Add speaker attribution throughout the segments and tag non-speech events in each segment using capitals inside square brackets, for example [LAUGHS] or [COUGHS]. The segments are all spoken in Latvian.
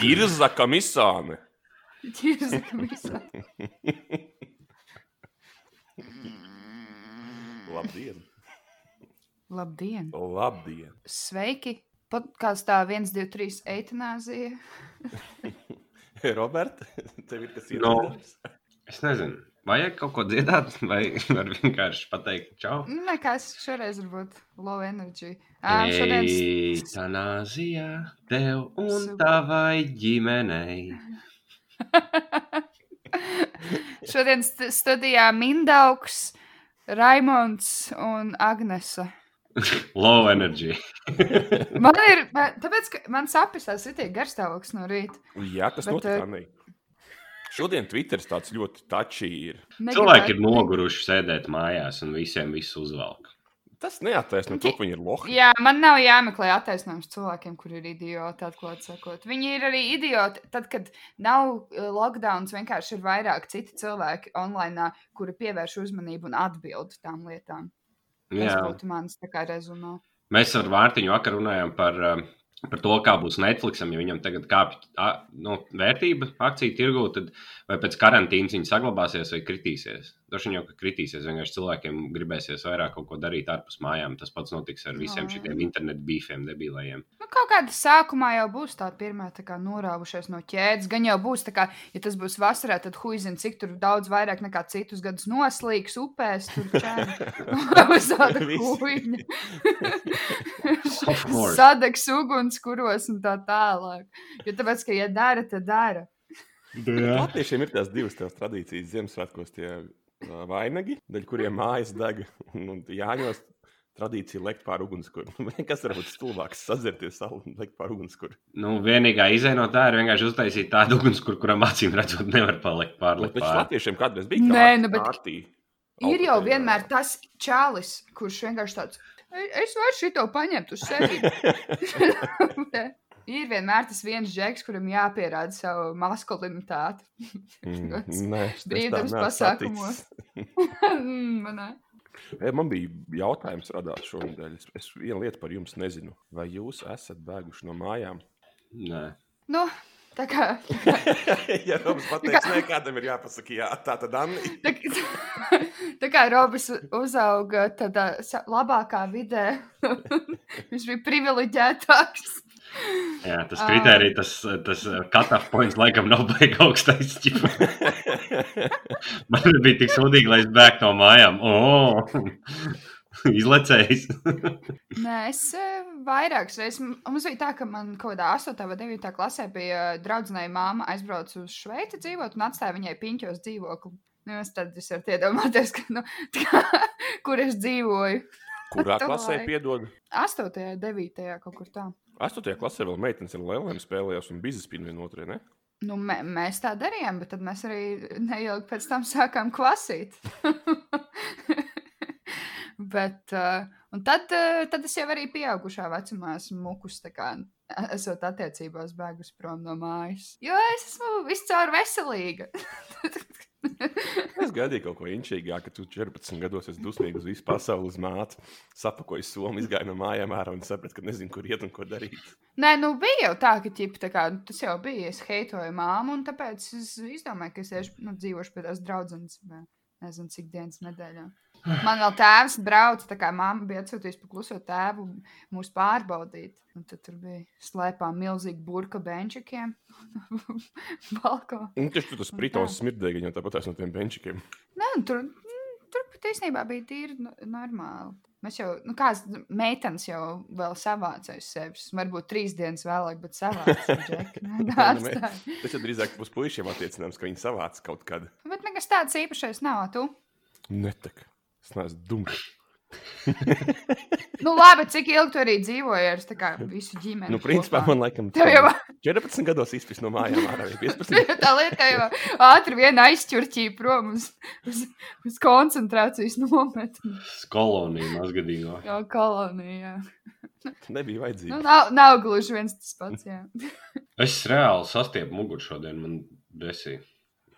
Speaker 1: Girza kamisāne.
Speaker 2: [LAUGHS]
Speaker 3: [LAUGHS]
Speaker 2: Girza kamisāne. Mm.
Speaker 1: Labdien!
Speaker 2: Labdien!
Speaker 1: Labdien!
Speaker 2: Sveiki! Podkāstā 1, 2, 3 eitanāzija.
Speaker 1: Roberta, tev ir kas
Speaker 3: No. Es nezinu, vajag kaut ko dziedāt, [LAUGHS] vai var vienkārši pateikt, čau.
Speaker 2: Nu, nē, kā es šoreiz varbūt low energy. Ā, šodien s-
Speaker 3: Eitanāzijā tev un
Speaker 2: Super.
Speaker 3: tavai ģimenei.
Speaker 2: Šodien st studijā Mindaugs, Raimons un Agnese.
Speaker 3: Low energy.
Speaker 2: Man ir, man, tāpēc, ka man sapisās ir tie garstāvoklis no rīta.
Speaker 1: Jā, tas
Speaker 2: Bet,
Speaker 1: notika
Speaker 2: eh,
Speaker 1: arī. Šodien Twitteris tāds ļoti tačī ir.
Speaker 3: Cilvēki ir noguruši sēdēt mājās un visiem visu uzvelk.
Speaker 1: Tas neataisno to, ka viņi ir lohi.
Speaker 2: Jā, man nav jāmeklē attaisnojums cilvēkiem, kur ir idioti. Atklāti sakot, viņi ir arī idioti. Tad, kad nav eh, lockdown, vienkārši ir vairāk citi cilvēki online, kuri pievērš uzmanību un atbild tām lietām. Tas
Speaker 3: Jā.
Speaker 2: būtu mans tā kā rezumē.
Speaker 3: Mēs ar Mārtiņu vakar runājām par, um, par to, kā būs Netflixam, ja viņam tagad kāpj no, vērtība akciju tirgū, tad vai pēc karantīnas viņa saglabāsies vai kritīsies. Droši vien jau, ka kritīsies, vienkārši cilvēkiem gribēsies vairāk kaut ko darīt ārpus mājām. Tas pats notiks ar visiem
Speaker 2: Jā.
Speaker 3: šiem internetu bīfiem, debilajiem.
Speaker 2: Nu, kaut kādā sākumā jau būs tā pirmā tā kā, norāvušies no ķēdes. Gan jau būs tā, kā, ja tas būs vasarā, tad huizina, cik tur daudz vairāk nekā citus gadus noslīgs upēs. Tur
Speaker 1: [LAUGHS]
Speaker 2: [LAUGHS]
Speaker 1: Visi.
Speaker 2: [LAUGHS]
Speaker 3: Of
Speaker 2: jau
Speaker 3: [LAUGHS] course.
Speaker 2: sadegs uguns, kuros un tā tālāk. Jo tāpēc, ka, ja dara, tad dara.
Speaker 1: [LAUGHS] Latviešiem ir tās divas tās tradīcijas Ziemassvētkos, tie ā, vainagi, daļ kuriem mājas deg. Un un jāņos tradīcija lekt pāri [LAUGHS] ugunskura. Kas var būt stulbāks sazerties salu un lekt pāri ugunskura?
Speaker 3: Nu, vienīgā izēja no tā ir vienkārši uztaisīt tādu uguns, kur, kuram acīm redzot, nevar palikt
Speaker 1: Bet
Speaker 3: pārlikt.
Speaker 1: taču
Speaker 3: Pār.
Speaker 1: Latviešiem kādreiz bija
Speaker 2: Nē, nu, bet [LAUGHS]
Speaker 1: kārtī.
Speaker 2: Ir jau
Speaker 1: Alkatēji,
Speaker 2: vienmēr tas čālis, kurš vienkārši tāds - es varu šito paņemt uz
Speaker 3: [LAUGHS]
Speaker 2: sevi. Ir vienmēr tas viens žeks, kuram jāpierāda savu maskulinitāti. [LAUGHS]
Speaker 1: Mm,
Speaker 2: Tas
Speaker 1: Nē, es tā
Speaker 2: brīvdienas
Speaker 1: neesmu
Speaker 2: pasākumos.
Speaker 1: saticis.
Speaker 2: Mm, manā.
Speaker 1: E, Man bija jautājums, radās šonadēļ. Es, es vienu lietu par jums nezinu. Vai jūs esat bēguši no mājām?
Speaker 3: Nē.
Speaker 2: nu, tā kā.
Speaker 1: [LAUGHS] ja jums pateiks, nē, kādam ir jāpasaka, jā, tā tad Anna.
Speaker 2: Tā, kā- [LAUGHS] tā kā Robis uzauga tādā sa- labākā vidē, [LAUGHS] viņš bija privileģētāks.
Speaker 3: Jā, tas
Speaker 2: Ā.
Speaker 3: kriterijs, tas, tas eh, cut-off points laikam nav [LAUGHS] baigts augstais. ķipa. Man bija tik sūdīgi, lai es bēgtu no mājām. Oh! [LAUGHS] Izlecējis.
Speaker 2: Nē, es eh, vairākas reizes. m- Mums bija tā, ka man kaut kādā 8. vai 9. klasē bija draudzenei māma aizbrauca uz Šveici dzīvot un atstāja viņai piņķos dzīvokli. Nu, es tad es varu iedomāties, ka, nu, [LAUGHS] tā kā, kur es dzīvoju.
Speaker 1: [LAUGHS] Kurā
Speaker 2: Tu
Speaker 1: klasē
Speaker 2: laik.
Speaker 1: piedod?
Speaker 2: 8. un 9. kaut kur tā.
Speaker 1: Astotajā klasē vēl meitenes ar lēlēm spēlējās un bija spīna vienotrē, ne?
Speaker 2: Nu, mē, mēs tā darījām, bet tad mēs arī neilgi pēc tam sākām klasīt. [LAUGHS] bet, uh, un tad, uh, tad es jau arī pieaugušā vecumā esmu mukus, tā kā esot attiecībās, bēgus prom no mājas. Jo es esmu viscaur veselīga.
Speaker 1: Es gaidīju kaut ko inčīgāku, ka tu 14 gados esi dusmīgs uz visu pasauli, uz māti, sapakoji somu, izgāji no mājām ārā un saprati, ka nezinu, kur iet un ko darīt.
Speaker 2: Nē, nu bija jau tā, ka ķip, tā kā, nu, tas jau bija. Es heitoju māmu, un tāpēc es izdomāju, ka es iešu, nu, dzīvošu pie tās draudzenes. vai Nezinu, cik dienas nedēļā. Man vēl tēvs brauca, tā kā māma bija atsūtījusi pa kluso tēvu mūs pārbaudīt. Un tad tur bija slēpām milzīgi burka benčikiem. [LAUGHS] Balko.
Speaker 1: Un tieši tu tas
Speaker 2: Un
Speaker 1: pritons smirdēji, viņa tāpat no tiem benčikiem.
Speaker 2: Nē, un tur, mm, tur pat īstenībā bija tīri no- normāli. Mēs jau, nu, kādas meitenes jau vēl savācēju sevis. Varbūt trīs dienas vēlāk, bet
Speaker 1: [LAUGHS] Nē, nu, mē-
Speaker 2: savācēju.
Speaker 1: Tas jau drīzāk būs puišiem attiecināms, ka viņi savāc kaut kad.
Speaker 2: Bet nekas tāds īpašais nav. a Tu?
Speaker 1: Netek. Es neesmu dumjš.
Speaker 2: Nu, labi, cik ilgi tu arī dzīvoji ar tā kā, visu ģimeni?
Speaker 1: Nu, principā
Speaker 2: kopā? [LAUGHS]
Speaker 1: man laikam
Speaker 2: Tev jau
Speaker 1: 14 gados izpist no mājām ārā. vai
Speaker 2: [LAUGHS]
Speaker 1: 15.
Speaker 2: tā lieta jau ātri vien aizķurķīja prom uz, uz, uz koncentrācijas nometni.
Speaker 3: Skolonija mazgadīgo.
Speaker 2: Jā, kolonijā.
Speaker 1: Nebija
Speaker 2: Nu,
Speaker 1: vajadzīga.
Speaker 2: nav, nav gluži viens tas pats. Jā.
Speaker 3: Es reāli sastiepu muguru šodien, man desī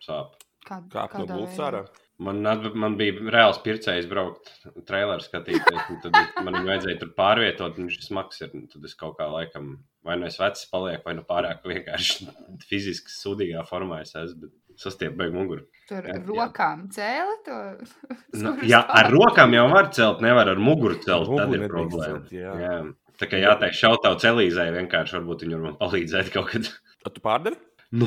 Speaker 3: sāp.
Speaker 2: Kā,
Speaker 1: Kāp no
Speaker 2: kādā
Speaker 1: gultas
Speaker 2: veidā?
Speaker 1: ārā.
Speaker 3: Man, atb- man bija reāls pircējs braukt, traileru skatīties. un Tad es- man viņu vajadzēja tur pārvietot, un šis maksas ir. un Tad es kaut kā laikam, vai nu es vecs palieku, vai nu pārāk vienkārši [LAUGHS] fiziski sudīgā formā es esmu. bet Sastiepu beig muguru.
Speaker 2: Tur
Speaker 3: Jā,
Speaker 2: ar
Speaker 3: jā.
Speaker 2: rokām cēla to. [LAUGHS]
Speaker 3: Nu,
Speaker 2: skuru
Speaker 3: jā, ar
Speaker 2: stāvu.
Speaker 3: rokām jau var celt, nevar ar muguru celt. Tad
Speaker 1: Muguru
Speaker 3: ir
Speaker 1: nedrīkst
Speaker 3: problēma.
Speaker 1: celt, jā.
Speaker 3: jā. Tā kā jāteic šautauts Elīzai, vienkārši varbūt viņam var palīdzēt kaut kad. [LAUGHS]
Speaker 1: Tad tu pārdari? [LAUGHS]
Speaker 3: Nu,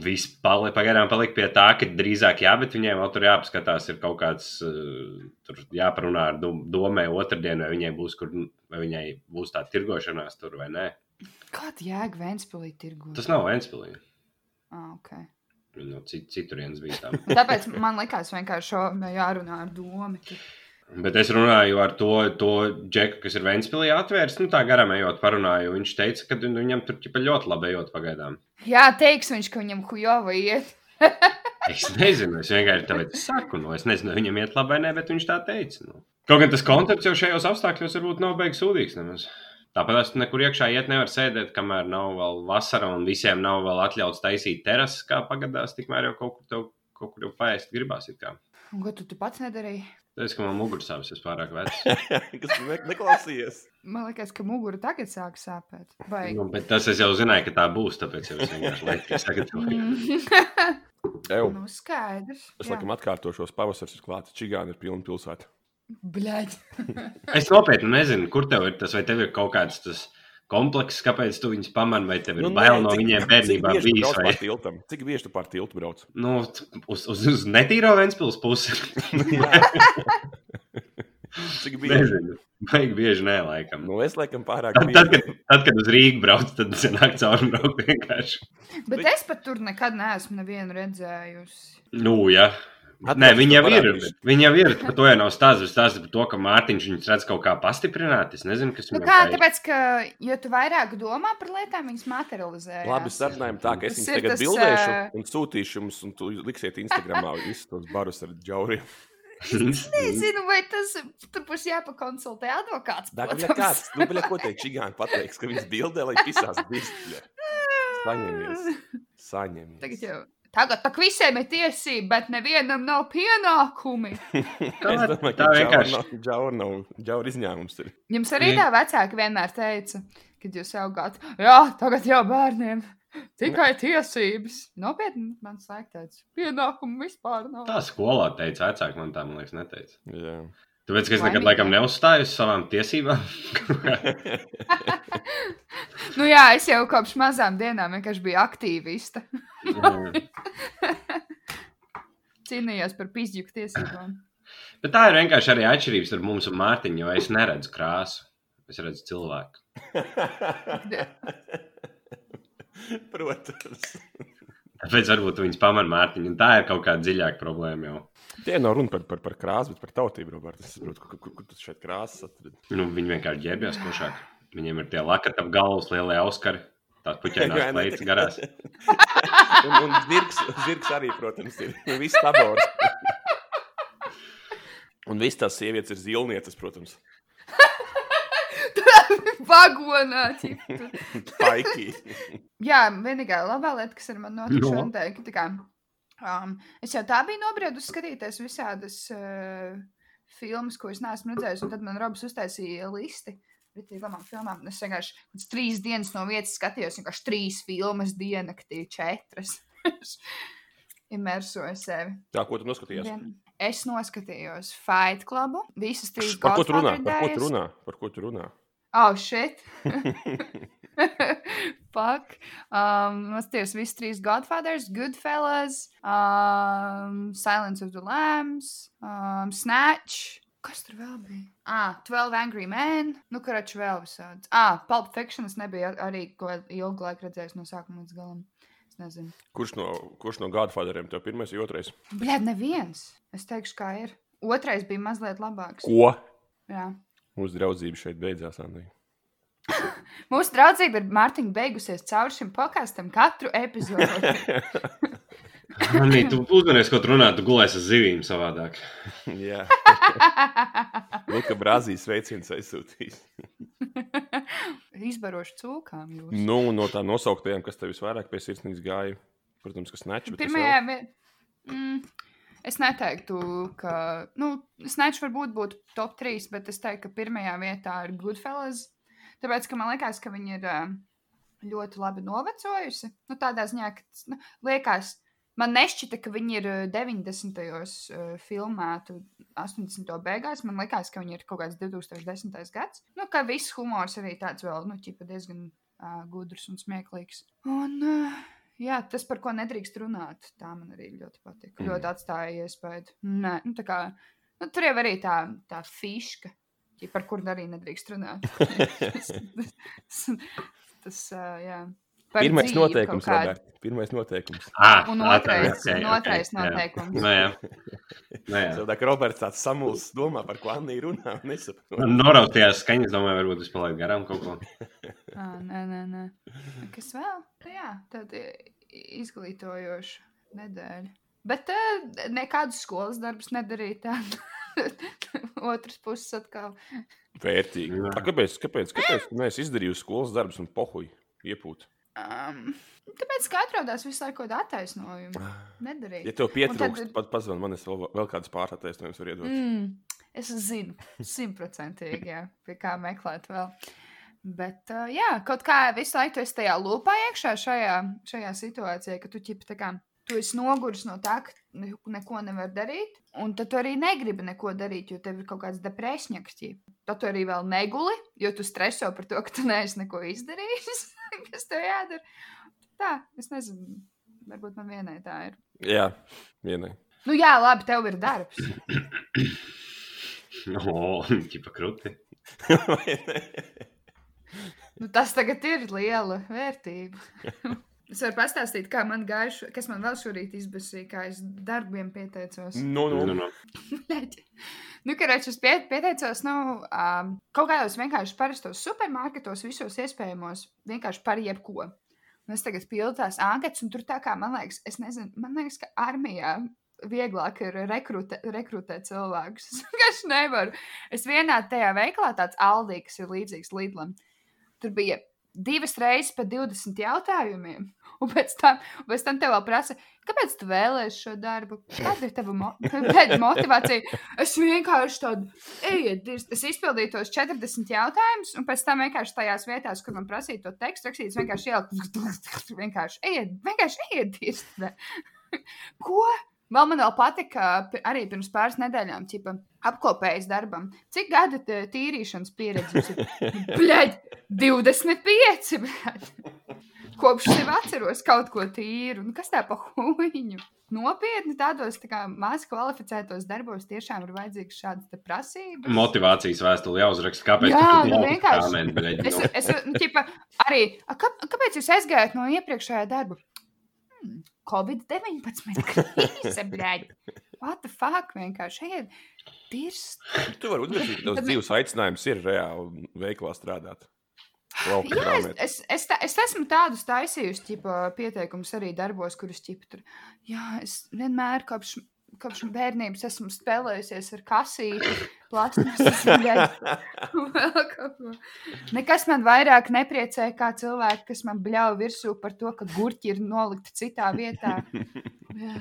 Speaker 3: viss pali, pagaidām palika pie tā, ka drīzāk jā, bet viņiem vēl tur jāapskatās, ir kaut kāds, eh, tur jāparunā ar dom- domē otrdien, vai viņai būs, kur, vai viņai būs tā tirgošanās tur vai nē.
Speaker 2: Kāda jēga Vēnspilī tirgu?
Speaker 3: Tas nav Ventspilī.
Speaker 2: Ah, okay.
Speaker 3: Viņa no cit, citurienes bija tā.
Speaker 2: [LAUGHS] Tāpēc man likās vienkārši šo, nu, jārunā ar domu. tik.
Speaker 3: Bet es runāju ar to, to džeku, kas ir Ventspilī atvērts, nu tā garām ejot parunāju. Viņš teica, ka nu, viņam tur ķipa ļoti labi ejot pagaidām.
Speaker 2: Jā, teiks viņš, ka viņam hujova iet.
Speaker 3: Es nezinu, es vienkārši tādu saku, nu, es nezinu, vai viņam iet labi vai nē, bet viņš tā teica. Nu. Kaut gan tas koncepts jau šajos apstākļos varbūt nav beigas sūdīgs. Nemaz. Tāpat es nekur iekšā iet nevaru sēdēt, kamēr nav vēl vasara un visiem nav vēl atļauts taisīt terases, kā pagadās, tikmēr jau kaut kur tev kaut kur jau paēst gribās. it kā.
Speaker 2: Un ko tu, tu pats nedarīji?
Speaker 3: Tas, ka man muguras sāpes ir pārāk vecs.
Speaker 1: Kas ne, neklausījies?
Speaker 2: Man liekas, ka mugura tagad sāk sāpēt. Vai...
Speaker 3: Nu, bet tas es jau zināju, ka tā būs, tāpēc jau es vienkārši laikam sagatavoju. [LAUGHS]
Speaker 2: Mm.
Speaker 1: Tev.
Speaker 2: nu, skaidrs.
Speaker 1: Es laikam atkārtošos, pavasaris ir klāts. Čigāna ir pilna pilsēta.
Speaker 2: Bļaģ.
Speaker 3: Es nopietni nezinu, kur tev ir tas, vai tev ir kaut kāds tas komplekss, kāpēc tu viņus pamani, vai tev ir nu, bail no viņiem bērnībā
Speaker 1: cik bieži tu
Speaker 3: bijis.
Speaker 1: brauc
Speaker 3: Vai...
Speaker 1: pār tiltam? Cik bieži tu pār tiltu
Speaker 2: [LAUGHS]
Speaker 1: brauc? [LAUGHS]
Speaker 3: Nu, t- uz, uz, uz netīro Vēncpils pusi.
Speaker 1: Cik bieži?
Speaker 3: Nezinu. Baigi bieži nē, laikam.
Speaker 1: Nu, es laikam pārāk
Speaker 3: Tad, tad,
Speaker 1: bieži.
Speaker 3: kad, tad, kad uz Rīgas brauc, tad senāk cauri braukt vienkārši.
Speaker 2: Bet
Speaker 1: Bet-
Speaker 2: es pat tur nekad neesmu nevienu redzējusi.
Speaker 3: Nu, jā.
Speaker 1: Atnāc,
Speaker 3: Nē, viņi jau
Speaker 1: tu
Speaker 3: ir.
Speaker 1: parādīsi.
Speaker 3: Viņi jau ir. Par to jau nav stāsts. Stāsts par to, ka Mārtiņš viņus redz kaut kā pastiprināt. Es nezinu, kas
Speaker 2: Nu
Speaker 3: viņam
Speaker 2: kā,
Speaker 3: tā ir.
Speaker 2: tāpēc, ka, jo tu vairāk domā par lietām, viņas materializē.
Speaker 1: Labi, sarunājam tā, ka es
Speaker 2: Tas
Speaker 1: jums
Speaker 2: ir
Speaker 1: tagad
Speaker 2: tas,
Speaker 1: bildēšu
Speaker 2: ā,
Speaker 1: un sūtīšu jums, un tu liksiet
Speaker 2: [LAUGHS]
Speaker 1: Instagramā visus tos barus ar džauriem.
Speaker 2: Nezinu, vai tas tur būs jāpakonsultē advokāts.
Speaker 1: Dāngļa
Speaker 2: protams.
Speaker 1: kāds, nu, bļa, ko teikt, čigāni pateiks, ka viņas bildē, lai pisās dirzbļa. Saņemies. Saņemies.
Speaker 2: Tagad jau. Tagad tak visiem ir tiesība, bet nevienam nav pienākumi.
Speaker 1: Es domāju,
Speaker 3: tā
Speaker 1: ka
Speaker 3: vienkārši.
Speaker 1: džauri nav, džauri izņēmums ir.
Speaker 2: Jums arī
Speaker 3: Nē.
Speaker 2: tā vecāki vienmēr teica, kad jūs augāt, jā, tagad jau bērniem tikai tiesības. Nopietni, man sāk tāds pienākumu vispār nav.
Speaker 3: [LAUGHS] Tā skolā teica, vecāki man tā, man liekas, neteica.
Speaker 1: Jā.
Speaker 3: Tāpēc, ka es nekad
Speaker 2: Laimīgi.
Speaker 3: laikam neuzstāju uz savām
Speaker 2: [LAUGHS]
Speaker 3: tiesībām. [LAUGHS]
Speaker 2: Nu jā, es jau kopš mazām dienām vienkārši biju aktīvista. Cīnījos par pizģu tiesībām. [LAUGHS]
Speaker 3: Bet tā ir vienkārši arī atšķirība starp mums un Mārtiņu, jo es neredzu krāsu. Es redzu cilvēku.
Speaker 1: [LAUGHS] Protams.
Speaker 3: Tāpēc varbūt viņas pamana Mārtiņu. un Tā ir kaut kāda dziļāka problēma jau.
Speaker 1: Tie nav runa par, par, par krāsu, bet par tautību, Roberts. Es saprotu, kur, kur, kur tu šeit krāsas atradi.
Speaker 3: Nu, viņi vienkārši ģērbjas košāk. Viņiem ir tie lakati ap galvas, lielie auskari.
Speaker 1: [LAUGHS] Vai
Speaker 3: Tās
Speaker 1: nu
Speaker 3: puķainās
Speaker 1: ne?
Speaker 3: plētas garās.
Speaker 1: Un, un zirgs, zirgs arī, protams, ir. Un viss tabors. Un viss tās sievietes ir zilnieces, protams.
Speaker 2: Vagonā! ķip, tu-
Speaker 1: Paiki.
Speaker 2: Jā, vienīgā labā lieta, kas ar mani notika
Speaker 3: Nu?
Speaker 2: šodien, ka tā kā, um, es jau tā biju nobriedusi skatīties visādas uh, filmas, ko es neesmu redzējusi, un tad man Robs uztaisīja listi. Ritīgi Labām filmām. Un Es vienkārši kāds trīs dienas no vietas skatījos, vienkārši trīs filmas diennaktī, četras. [LAUGHS] Imersoju sevi.
Speaker 1: Tā, ko tu noskatījies?
Speaker 2: Vien- Es noskatījos Fight Clubu. Visas trīs
Speaker 1: Par ko tu runā? Par ko
Speaker 2: Godfather
Speaker 1: tu runā? Par ko tu runā?
Speaker 2: Oh, shit! [LAUGHS] Fuck. Um, Nostieties visi trīs Godfathers, Goodfellas, um, Silence of the Lambs, um, Snatch. Kas tur vēl bija? Ah, 12 Angry Men. Nu, karaču vēl visādi. Ah, Pulp Fiction es nebiju ar- arī ko ilgu laiku redzējis no sākuma līdz galam. Es nezinu.
Speaker 1: Kurš no, kurš no Godfatheriem tev pirmais un otrais?
Speaker 2: Bļēd, neviens. Es teikšu, kā ir. Otrais bija mazliet labāks.
Speaker 1: Ko?
Speaker 2: Jā.
Speaker 1: Mūsu draudzība šeit beidzās, Andri.
Speaker 2: Mūsu draudzība ir Mārtiņa beigusies caur šim pakāstam katru [LAUGHS] epizodi.
Speaker 3: Manī, tu uzmanies, ko tu runā, tu gulēsi ar zivīm savādāk.
Speaker 2: [LAUGHS]
Speaker 1: Jā. Luka Brāzijas sveiciens aizsūtīs.
Speaker 2: Izbarošu cūkām jūs.
Speaker 1: Nu, no tā nosauktajām, kas tev visvairāk pie sirsnības gāja, protams, kas neču.
Speaker 2: Pirmajā. vi- Mm, Es neteiktu, ka. Nu, Snatch varbūt būtu top 3, bet es teiktu, ka pirmajā vietā ir Goodfellas. Tāpēc, ka man liekas, ka viņi ir ā, ļoti labi novecojusi. Nu, tādā ziņā, ka tas, nu, liekas, man nešķita, ka viņi ir eh, ā, 90. gados filmēti 80. beigās. Man liekas, ka viņi ir kaut kāds 2010. gads. Nu, ka viss humors arī tāds vēl, nu, ķipa diezgan uh, gudrs un smieklīgs. Un, uh, Jā, tas, par ko nedrīkst runāt, tā man arī ļoti patīk. Mm.
Speaker 1: Mhm.
Speaker 3: Mm.
Speaker 2: Ļoti atstāja iespaidu. Nē, nu, tā kā, nu, tur jau arī tā, tā fiška, ja par kuru arī nedrīkst
Speaker 1: [LAUGHS]
Speaker 2: runāt. [LAUGHS] tas, tas ā, jā. Par
Speaker 1: Pirmais
Speaker 2: dzīvi
Speaker 1: noteikums,
Speaker 2: kaut kādu.
Speaker 1: Robert. Pirmais noteikums.
Speaker 3: Ah,
Speaker 2: Un
Speaker 3: labi,
Speaker 2: otrais-
Speaker 3: ok,
Speaker 2: un
Speaker 3: ok,
Speaker 2: otrais
Speaker 3: jā.
Speaker 2: noteikums.
Speaker 3: Nu, jā. Nu, jā.
Speaker 1: Savādāk Roberts tāds samulsis domā, par ko Anna runā. un Nesaprot.
Speaker 3: Man norautījās Nu, skaņas, domāju, varbūt es palaidu garām kaut ko.
Speaker 2: Ā,
Speaker 3: [LAUGHS]
Speaker 2: Ah, Nē, nē, nē. Kas vēl? Nu, jā, tāda izglītojoša nedēļa. Bet eh, nekādus skolas darbus nedarīt. tā. [LAUGHS] Otrs puses atkal.
Speaker 1: Vērtīgi.
Speaker 3: Jā.
Speaker 1: Tā, kāpēc? Kāpēc? Kāpēc? Nē, es izdarīju skolas darbus un pohuju iepūt.
Speaker 2: Um, tāpēc, ka atrodās visu laiku tādu attaisnojumu, nedarīt.
Speaker 1: Ja tev pietrūkst,
Speaker 2: tad-
Speaker 1: tad... pat pazvan man, es vēl, vēl kādas pārtaisnojumus varu iedot.
Speaker 2: Mm, es zinu, simtprocentīgi, jā, pie kā meklēt vēl. Bet, uh, jā, kaut kā visu laiku tu esi tajā lupā iekšā šajā, šajā situācijā, ka tu ķipi tā kā. Tu esi noguris no tā, ka ne- neko nevar darīt, un tad tu arī negribi neko darīt, jo tev ir kaut kāds depresņaks. ķip. Tad tu arī vēl neguli, jo tu streso par to, ka tu neesi neko izdarījis, [LAUGHS] kas tev jādara. Tā, es nezinu, varbūt man vienai tā ir.
Speaker 1: Jā, [LAUGHS] vienai.
Speaker 2: Nu, jā, labi, tev ir darbs.
Speaker 3: O, ķipa krūti.
Speaker 1: Vai ne?
Speaker 2: Nu, tas tagad ir liela vērtība. es varu pastāstīt, kā man gāja, šo- kas man vēl šorīt izbasīja, kā es darbiem pieteicos.
Speaker 1: Nu,
Speaker 3: Nu,
Speaker 1: nu.
Speaker 3: nu.
Speaker 2: [LAUGHS] Bļaģi. nu, karāč, es pie, pieteicos nu, um, kaut kādos vienkārši parastos supermarketos, visos iespējamos, vienkārši par jebko. Un es tagad pildu tās anketas, un tur tā kā man liekas, es nezinu, man liekas, ka armijā. Vieglāk ir rekrute, rekrutēt cilvēkus. [LAUGHS] Es vienkārši nevaru. Es vienā tajā veikalā, tāds Aldī, kas ir līdzīgs Lidlam, tur bija divas reizes pa 20 jautājumiem. Un pēc tam, pēc tam tev vēl prasa, kāpēc tu vēlējies šo darbu? Kāda ir tava mo kāda motivācija? Es vienkārši tādu, ejiet, dirst." es izpildīju tos 40 jautājumus, un pēc tam vienkārši tajās vietās, kur man prasīja to tekstu rakstīt, es vienkārši ieliku, [LAUGHS] vienkārši ejiet, vienkārši ejiet, dirst. [LAUGHS] Ko? Vēl man vēl patika, uh, pi- arī pirms pāris nedēļām, tipā apkopējas darbam. Cik gada te- tīrīšanas pieredze jums ir? Bļaļ, 25! Bļaļ. Kopš sev atceros kaut ko tīru. Nu, kas tā pa huīņu? Nopietni tādos tā kā, maz kvalificētos darbos tiešām ir vajadzīgs šāds te prasības.
Speaker 3: Motivācijas vēstuli jāuzraksta. Kāpēc?
Speaker 2: Jā,
Speaker 3: tu tik
Speaker 2: nu,
Speaker 3: labi
Speaker 2: vienkārši.
Speaker 3: kāmēni, bļaļ,
Speaker 2: Es,
Speaker 3: [LAUGHS] nu.
Speaker 2: es nu, ķipa, arī, "A, kā, kāpēc jūs aizgājāt no iepriekšējā darba? Hmm, Covid-19 [LAUGHS] krīze, bļaļ. What the fuck, vienkārši ejiet, dirst.
Speaker 1: Tu vari uzrakstīt, ka
Speaker 2: Tad
Speaker 1: tavs
Speaker 2: ne-
Speaker 1: dzīves aicinājums ir reāli veiklā strādāt. Lauka
Speaker 2: Jā, es,
Speaker 1: grāmatā.
Speaker 2: es, es, tā, es esmu tādus taisījusi, tipā, pieteikumus arī darbos, kurus tipā tur. Jā, es vienmēr kopš, kopš bērnības esmu spēlējusies ar kasīti, plasmas, vēl kaut ko. Nekas man vairāk nepriecē, kā cilvēki, kas man bļauj virsū par to, ka gurķi ir nolikti citā vietā. Jā.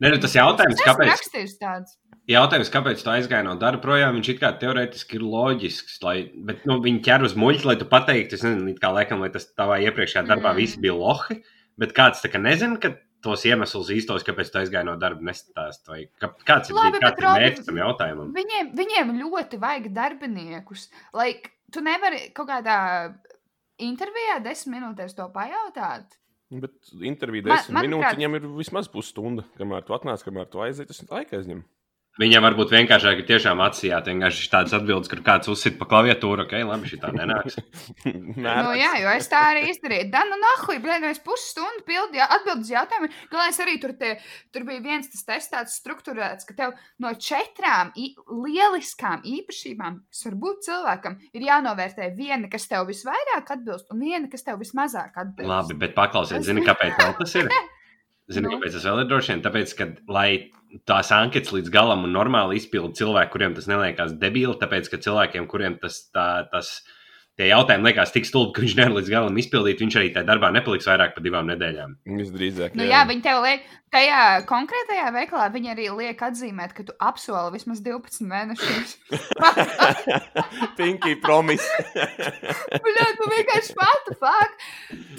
Speaker 3: Nē, nu, tas jautājums,
Speaker 2: Tas
Speaker 3: kāpēc?
Speaker 2: rakstījis tāds.
Speaker 3: Jautājums, kāpēc tu aizgāji no darba projām, viņš it kā teorētiski ir loģisks. Lai, bet nu, viņi ķer uz muļķi, lai tu pateiktu, es nezinu, it kā laikam, lai tas tavā iepriekšējā darbā
Speaker 2: Mm.
Speaker 3: mm. viss bija lohi. Bet kāds tā kā nezina, ka tos iemeslus īstos, kāpēc tu aizgāji no darba, nestāst. Vai kā, kāds ir,
Speaker 2: Labi,
Speaker 3: bija-
Speaker 2: bet,
Speaker 3: kāds ir
Speaker 2: Robi,
Speaker 3: mērķis tam jautājumam?
Speaker 2: Viņiem, viņiem ļoti vajag darbiniekus. Lai k- tu nevari kaut kādā intervijā desmit minūtēs to pajautāt.
Speaker 1: Nu, Bet intervijā
Speaker 2: Man-
Speaker 1: desmit
Speaker 2: manuprāt-
Speaker 1: minūtes viņam ir vismaz pusstunda. Kamēr tu atnāc, kamēr tu aizies, tas ir laika [LAUGHS] aizņem.
Speaker 3: Viņam varbūt vienkāršāk ir tiešām atsijāt, vienkārši tādas atbildes, kur kāds uzsit pa klaviatūru, ok, labi, šī tā nenāks.
Speaker 1: Mēr,
Speaker 2: Nu, jā, jo es tā arī izdarīju. Da, nu, nahuj, blēņ, es pusstundu pildīju atbildus jautājumu. Galvenais arī tur, te, tur bija viens tas tests tāds struktūrēts, ka tev no četrām i- lieliskām īpašībām, kas var būt cilvēkam, ir jānovērtē viena, kas tev visvairāk atbilst, un viena, kas tev vismazāk atbilst.
Speaker 3: Labi, bet paklausiet, zini, kāpēc vēl tas ir? Zini,
Speaker 2: Nu.
Speaker 3: nu. kāpēc tas vēl ir droši vien? Tāpēc, ka lai tās anketas līdz galam un normāli izpildītu cilvēki, kuriem tas neliekas debīli, tāpēc, ka cilvēkiem, kuriem tas tā, tas. tie jautājumi liekas tik stulbi, ka viņš nevar līdz galam izpildīt. Viņš arī tajā darbā nepaliks vairāk par divām nedēļām.
Speaker 1: Visdrīzāk.
Speaker 2: Nu, jā, viņi tev liek, tajā konkrētajā veikalā viņi arī liek atzīmēt, ka tu apsoli vismaz 12
Speaker 3: [LAUGHS]
Speaker 2: mēnešus. [LAUGHS]
Speaker 1: Pinky promise.
Speaker 2: Bļaut, Nu, tu vienkārši patu fāk.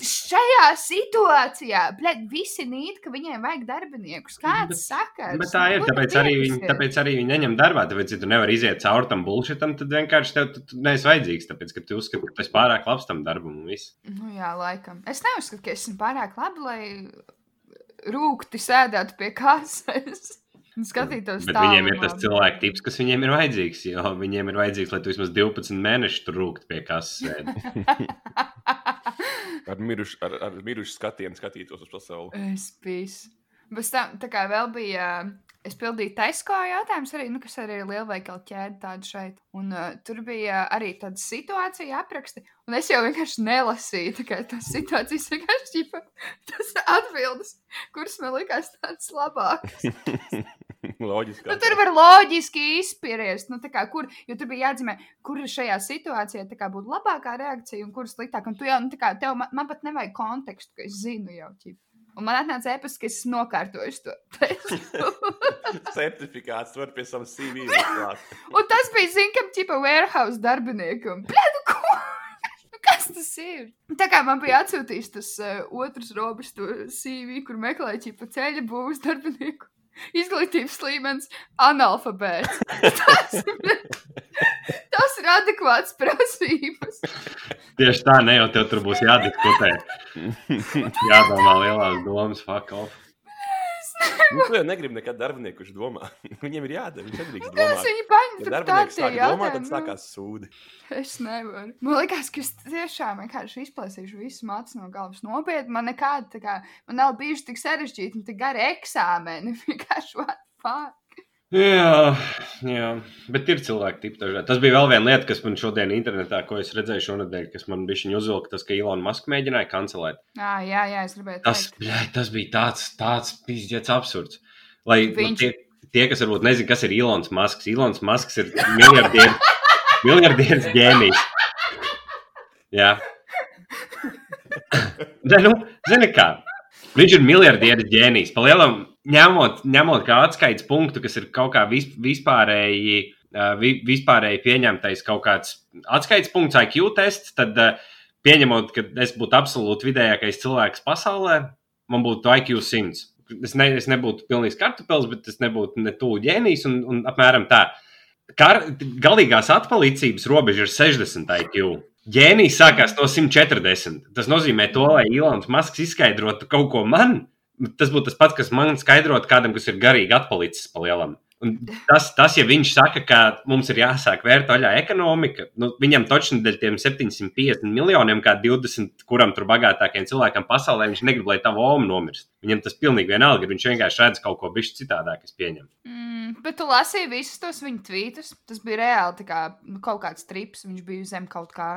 Speaker 2: Šajā situācijā, bļaut, visi nīt, ka viņiem vajag darbiniekus. Kāds Nu, saka?
Speaker 3: Bet tā ir, tāpēc arī, viņi, tāpēc arī viņi neņem darbā. Tāpēc, ja tu nevari iziet cauri tam bullshitam, tad vienkārši tev tu, tu neesi vajadzīgs. Tāpēc, ka tu uzskati, ka tu esi pārāk labs tam darbam un viss.
Speaker 2: Nu jā, laikam. Es neuzskatu, ka esmu pārāk labi, lai rūkti sēdētu pie [LAUGHS] kases. un Skatītos,
Speaker 3: Bet
Speaker 2: tālu
Speaker 3: viņiem ir
Speaker 2: no
Speaker 3: tas
Speaker 2: viņiem.
Speaker 3: cilvēku tips, kas viņiem ir vajadzīgs. Jo viņiem ir vajadzīgs, lai tu vismaz 12 mēnešus tur rūktu pie kases. sēdi.
Speaker 2: [LAUGHS]
Speaker 1: Ar mirušu, ar, ar mirušu skatienu skatītos uz pasauli. [LAUGHS]
Speaker 2: Es biju. Bez tam, tā kā vēl bija, es pildīju Taisko jautājumus, arī, nu, kas arī ir lielveikala ķēde tāda šeit. Un uh, tur bija arī tāda situācija apraksti, un es jau vienkārši nelasīju, tā kā tās situācijas vienkārši ķipa, tas atbildes, kuras man likās tādas labākas.
Speaker 1: Loģiski.
Speaker 2: Nu, tur var loģiski izspiest, nu, tā kā, kur, jo tur bija jāatzīmē, kur šajā situācijā tā kā, būtu labākā reakcija un kur sliktāk. Un tu jau, nu, tā kā, tev, man, man pat nevajag kontekstu, ka es zinu jau. Ķip. Un man atnāca ēpas, ka es esmu nokārtojis to testu.
Speaker 1: certifikāts var pie savas
Speaker 2: [LAUGHS]
Speaker 1: CV. uzklāt.
Speaker 2: un tas bija, zinām, kam tipa warehouse darbiniekam. Bļā, nu, ko? [LAUGHS] Nu, Kas tas ir? Tā kā man bija atsūtījis tas uh, otrs robežs, to CV, kur meklēja ķipa ceļa būvniecības darbinieku. Izglītības līmenis, analfabēts. [LAUGHS] Tas, ir- tas ir adekvāts prasības.
Speaker 3: Tieši tā, ne jau tev tur būs jādiskutē. Jādomā lielās domas, fuck off.
Speaker 1: Nu, tu jau negribi nekad darbinieku, kurš domā. [LAUGHS] Viņiem ir jādara. Viņš nedrīkst
Speaker 2: Nu, Tas
Speaker 1: domāt.
Speaker 2: viņa paņem
Speaker 1: Ja
Speaker 2: tur
Speaker 1: darbinieks
Speaker 2: tādā
Speaker 1: sāk domāt,
Speaker 2: nu.
Speaker 1: tad sākās sūdi.
Speaker 2: Es nevaru. Man liekas, ka es tiešām vienkārši izplēsīšu visu mācu no galvas. Nopietni, man nekāda tā kā, man nav bijuši tik sarežģīti un tik gari eksāmeni. [LAUGHS] Vienkārši what the fuck?
Speaker 3: Jā, jā, bet ir cilvēki, tipi dažādi. Tas bija vēl viena lieta, kas man šodien internetā, ko es redzēju šonadēļ, kas man bija viņa uzvilka, tas, ka Ilona Maska mēģināja kancelēt.
Speaker 2: Jā, jā, jā, es gribēju
Speaker 3: Tas,
Speaker 2: teikt.
Speaker 3: bļai, tas bija tāds, tāds pizdzēts absurds. Lai nu,
Speaker 2: Viņš-
Speaker 3: tie, tie, kas varbūt nezina, kas ir Ilons Masks, Ilons Masks ir miljardieris, miljardieris ģēnijs. Jā. Nē, nu, zini kā. Viņš ir miljardieris ģēnijs. Pa lielam, ņemot, ņemot kā atskaites punktu, kas ir kaut kā vis, vispārēji, uh, vi, vispārēji pieņemtais kaut kāds atskaites punkts, IQ tests, tad uh, pieņemot, ka es būtu absolūti vidējākais cilvēks pasaulē, man būtu IQ 100. Es, ne, es nebūtu pilnīgs kartupēlis, bet es nebūtu ne tuvu ģēnijs un, un apmēram tā. Kar, galīgās atpalicības robeža ir 60 IQ. Ģēnijs sākās no 140. Tas nozīmē, to, lai Ilons Masks izskaidrotu kaut ko man. Tas būtu tas pats, kas man skaidrotu kādam, kas ir garīgi atpalicis pa lielam. Un tas, tas, ja viņš saka, ka mums ir jāsāk vērt vaļā ekonomika, nu, viņam taču dēļ tiem 750 miljoniem, kā 20, kuram tur bagātākiem cilvēkam pasaulē, viņš negrib, lai tā voma nomirst. Viņam tas pilnīgi vienalga, ir, viņš vienkārši redz kaut ko bišķi citādāk, es pieņemu.
Speaker 2: Mm, bet tu lasīji visus tos viņa tvītus. Tas bija reāli tā kā nu, kaut kāds trips, viņš bija zem kaut kā.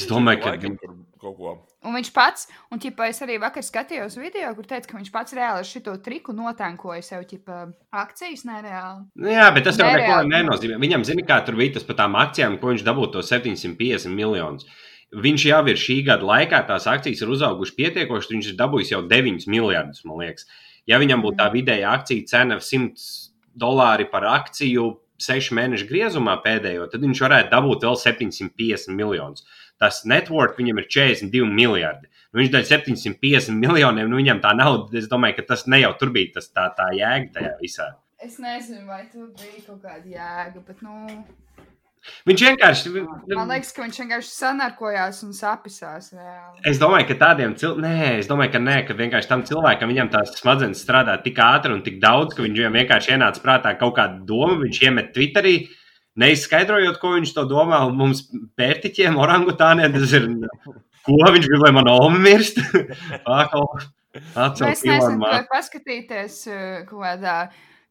Speaker 3: Es domāju, ka
Speaker 1: Laikam tur kaut ko.
Speaker 2: Un viņš pats, un ķipa, es arī vakar skatījos video, kur teica, ka viņš pats reāli ar šo triku notankoja sev ķipa, akcijas nereāli.
Speaker 3: Nu Jā, bet tas jau
Speaker 2: Nereāli.
Speaker 3: neko nenozīmē. Viņam, zini, kā tur bija tas par tām akcijām, ko viņš dabūja to 750 miljonus. Viņš jau ir šī gada laikā, tās akcijas ir uzaugušas pietiekoši, viņš ir dabūjis jau 9 miljardus, man liekas. Ja viņam būtu tā vidēja akcija cena 100 dolāri par akciju 6 mēnešu griezumā pēdējo, tad viņš varētu dabūt vēl 750 miljonus. Tas network viņam ir 42 miljardi. Nu, viņš dēļ 750 miljoniem, nu viņam tā nauda, es domāju, ka tas ne jau tur bija tas tā, tā jēga tajā visā.
Speaker 2: Es nezinu, vai tur bija kaut kāda jēga, bet, nu,
Speaker 3: Viņš vienkārši.
Speaker 2: Man liekas, ka viņš vienkārši sanarkojās un sapisās. Reāli.
Speaker 3: Es domāju, ka tādiem cilvēkiem, es domāju, ka nē, ka vienkārši tam cilvēkam viņam tās smadzenes strādā tik ātri un tik daudz, ka viņam vienkārši ienāca prātā kaut kāda doma, viņš iemet Twitterī, neizskaidrojot, ko viņš to domā, un mums pērtiķiem, orangutāniem tas ir, ko viņš grib, lai man oma
Speaker 2: [LAUGHS]
Speaker 3: mirst. Pakal,
Speaker 2: Mēs
Speaker 3: atcelt
Speaker 2: neesam
Speaker 3: Ilonu
Speaker 2: to
Speaker 3: Masku.
Speaker 2: paskatīties eh, kaut kādā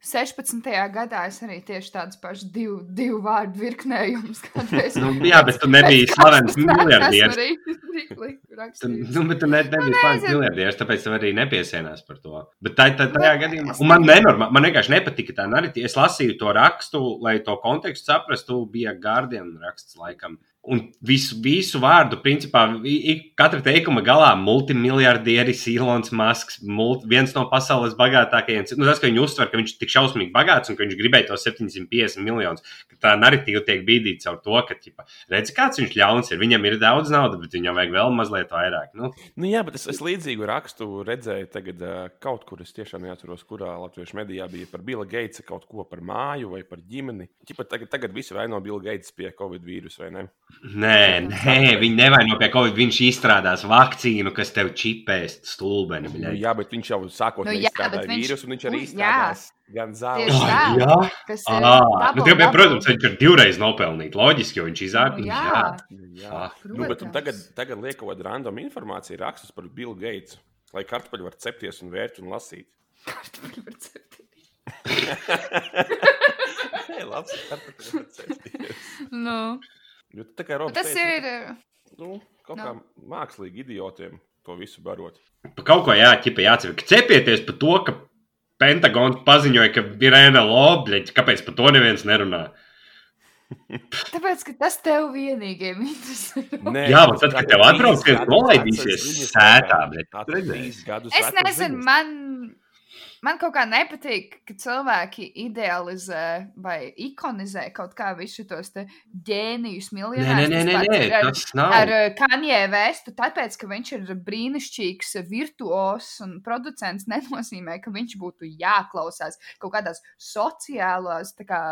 Speaker 2: 16. gadā. Es arī tieši tādu pašu divu, divu vārdu virknējumus [LAUGHS] kādreiz.
Speaker 3: Nu, jā, bet tu nebiji
Speaker 2: Pēc [LAUGHS] kādas
Speaker 3: slavens
Speaker 2: nākas
Speaker 3: miljardieris.
Speaker 2: arī rīktīgi
Speaker 3: Tu,
Speaker 2: rakstīts.
Speaker 3: nu, bet tu ne, nebija slēgts
Speaker 2: nezinu.
Speaker 3: miljardieris, tāpēc tev arī nepiesienās par to. Bet tā, tā, tajā
Speaker 2: Bet
Speaker 3: gadījumā
Speaker 2: es
Speaker 3: un man, nenorma, man vienkārši nepatika tā narratīva. Es lasīju to rakstu, lai to kontekstu saprastu. Bija Guardian raksts, laikam. Un visu, visu vārdu, principā, i- ik- katra teikuma galā - multimiliardieris, Ilons Masks, mult, viens no pasaules bagātākajiem. Nu, tas, ka viņi uztver, ka viņš ir tik šausmīgi bagāts un ka viņš gribēja tos 750 miljonus, ka tā narratīva tiek bīdīta caur to, ka, tipa, redz, kāds viņš ļauns ir. Viņam ir daudz naudas, bet viņam vajag vēl mazliet vairāk. Nu,
Speaker 1: Nu, jā, bet es, es līdzīgu rakstu redzēju tagad ā, kaut kur. Es tiešām neatceros, kurā latviešu medijā bija par Bila Geitsa kaut ko par māju vai par ģimeni. Čipa, tagad, tagad visi vaino Bila Geitsa pie Covid vīrusa, vai ne?
Speaker 3: Nē, nē, viņi nevaino pie kaut kā. Viņš izstrādās vakcīnu, kas tev čipēs stulbeni.
Speaker 1: Nu,
Speaker 3: bļaļ.
Speaker 1: jā, bet viņš jau sākotnēji
Speaker 2: Nu,
Speaker 1: nu,
Speaker 2: jā,
Speaker 1: izstrādāja
Speaker 2: bet viņš
Speaker 1: vīrusu, un viņš arī
Speaker 2: uz- jā.
Speaker 1: izstrādās gan
Speaker 2: Tieši
Speaker 1: zāles.
Speaker 2: tā.
Speaker 1: gan-
Speaker 3: jā.
Speaker 2: Kas ir
Speaker 3: Ah, nu,
Speaker 2: double,
Speaker 3: tev, bija,
Speaker 2: double.
Speaker 3: protams, viņš ir divreiz nopelnījis. Loģiski, jo viņš iznāk.
Speaker 2: Nu,
Speaker 3: Nu,
Speaker 2: jā,
Speaker 3: jā,
Speaker 1: Jā.
Speaker 3: Ah,
Speaker 1: Nu, bet
Speaker 2: protams.
Speaker 1: un tagad, tagad liek kaut kāda random informācija, rakstus par Bila Geitsu, lai kartupeļi var cepties un vērt un
Speaker 3: [LAUGHS]
Speaker 1: lasīt.
Speaker 2: Kartupeļu var cept.
Speaker 1: Nē, labs kartupeļi var cepties.
Speaker 2: Nu,
Speaker 1: Jo tā kā
Speaker 2: bet
Speaker 1: Robs
Speaker 2: tas
Speaker 1: teica,
Speaker 2: ir. eh,
Speaker 1: nu, kaut kā mākslīgi idiotiem to visu barot.
Speaker 3: [LAUGHS] pa kaut ko jāķipa, jāatcerās. Cepieties par to, ka Pentagons paziņoja, ka ir NLO, bļaļ, kāpēc par to neviens nerunā.
Speaker 2: Tāpēc, ka tas tev vienīgajam [LAUGHS] interesē.
Speaker 1: Nē,
Speaker 3: Jā, bet tad,
Speaker 1: tā ir
Speaker 3: kad tev
Speaker 1: trīs
Speaker 3: atbrauc, viens
Speaker 1: gadus
Speaker 3: nolaidīsies
Speaker 1: vecas ziņas,
Speaker 3: sētā,
Speaker 1: tā
Speaker 3: bļaļ.
Speaker 1: kā
Speaker 3: Tu redzēji?
Speaker 1: trīs gadus
Speaker 2: Es
Speaker 1: vecas
Speaker 2: nezinu,
Speaker 1: ziņas.
Speaker 2: man, man kaut kā nepatīk, ka cilvēki idealizē vai ikonizē kaut kā visus tos te ģēnijus,
Speaker 3: Nē, nē,
Speaker 2: miljonus.
Speaker 3: nē, nē, nē tas nav.
Speaker 2: Ar Kanjē vēstu, tāpēc, ka viņš ir brīnišķīgs, virtuos un producents, nenozīmē, ka viņš būtu jāklausās kaut kādās sociālās, tā kā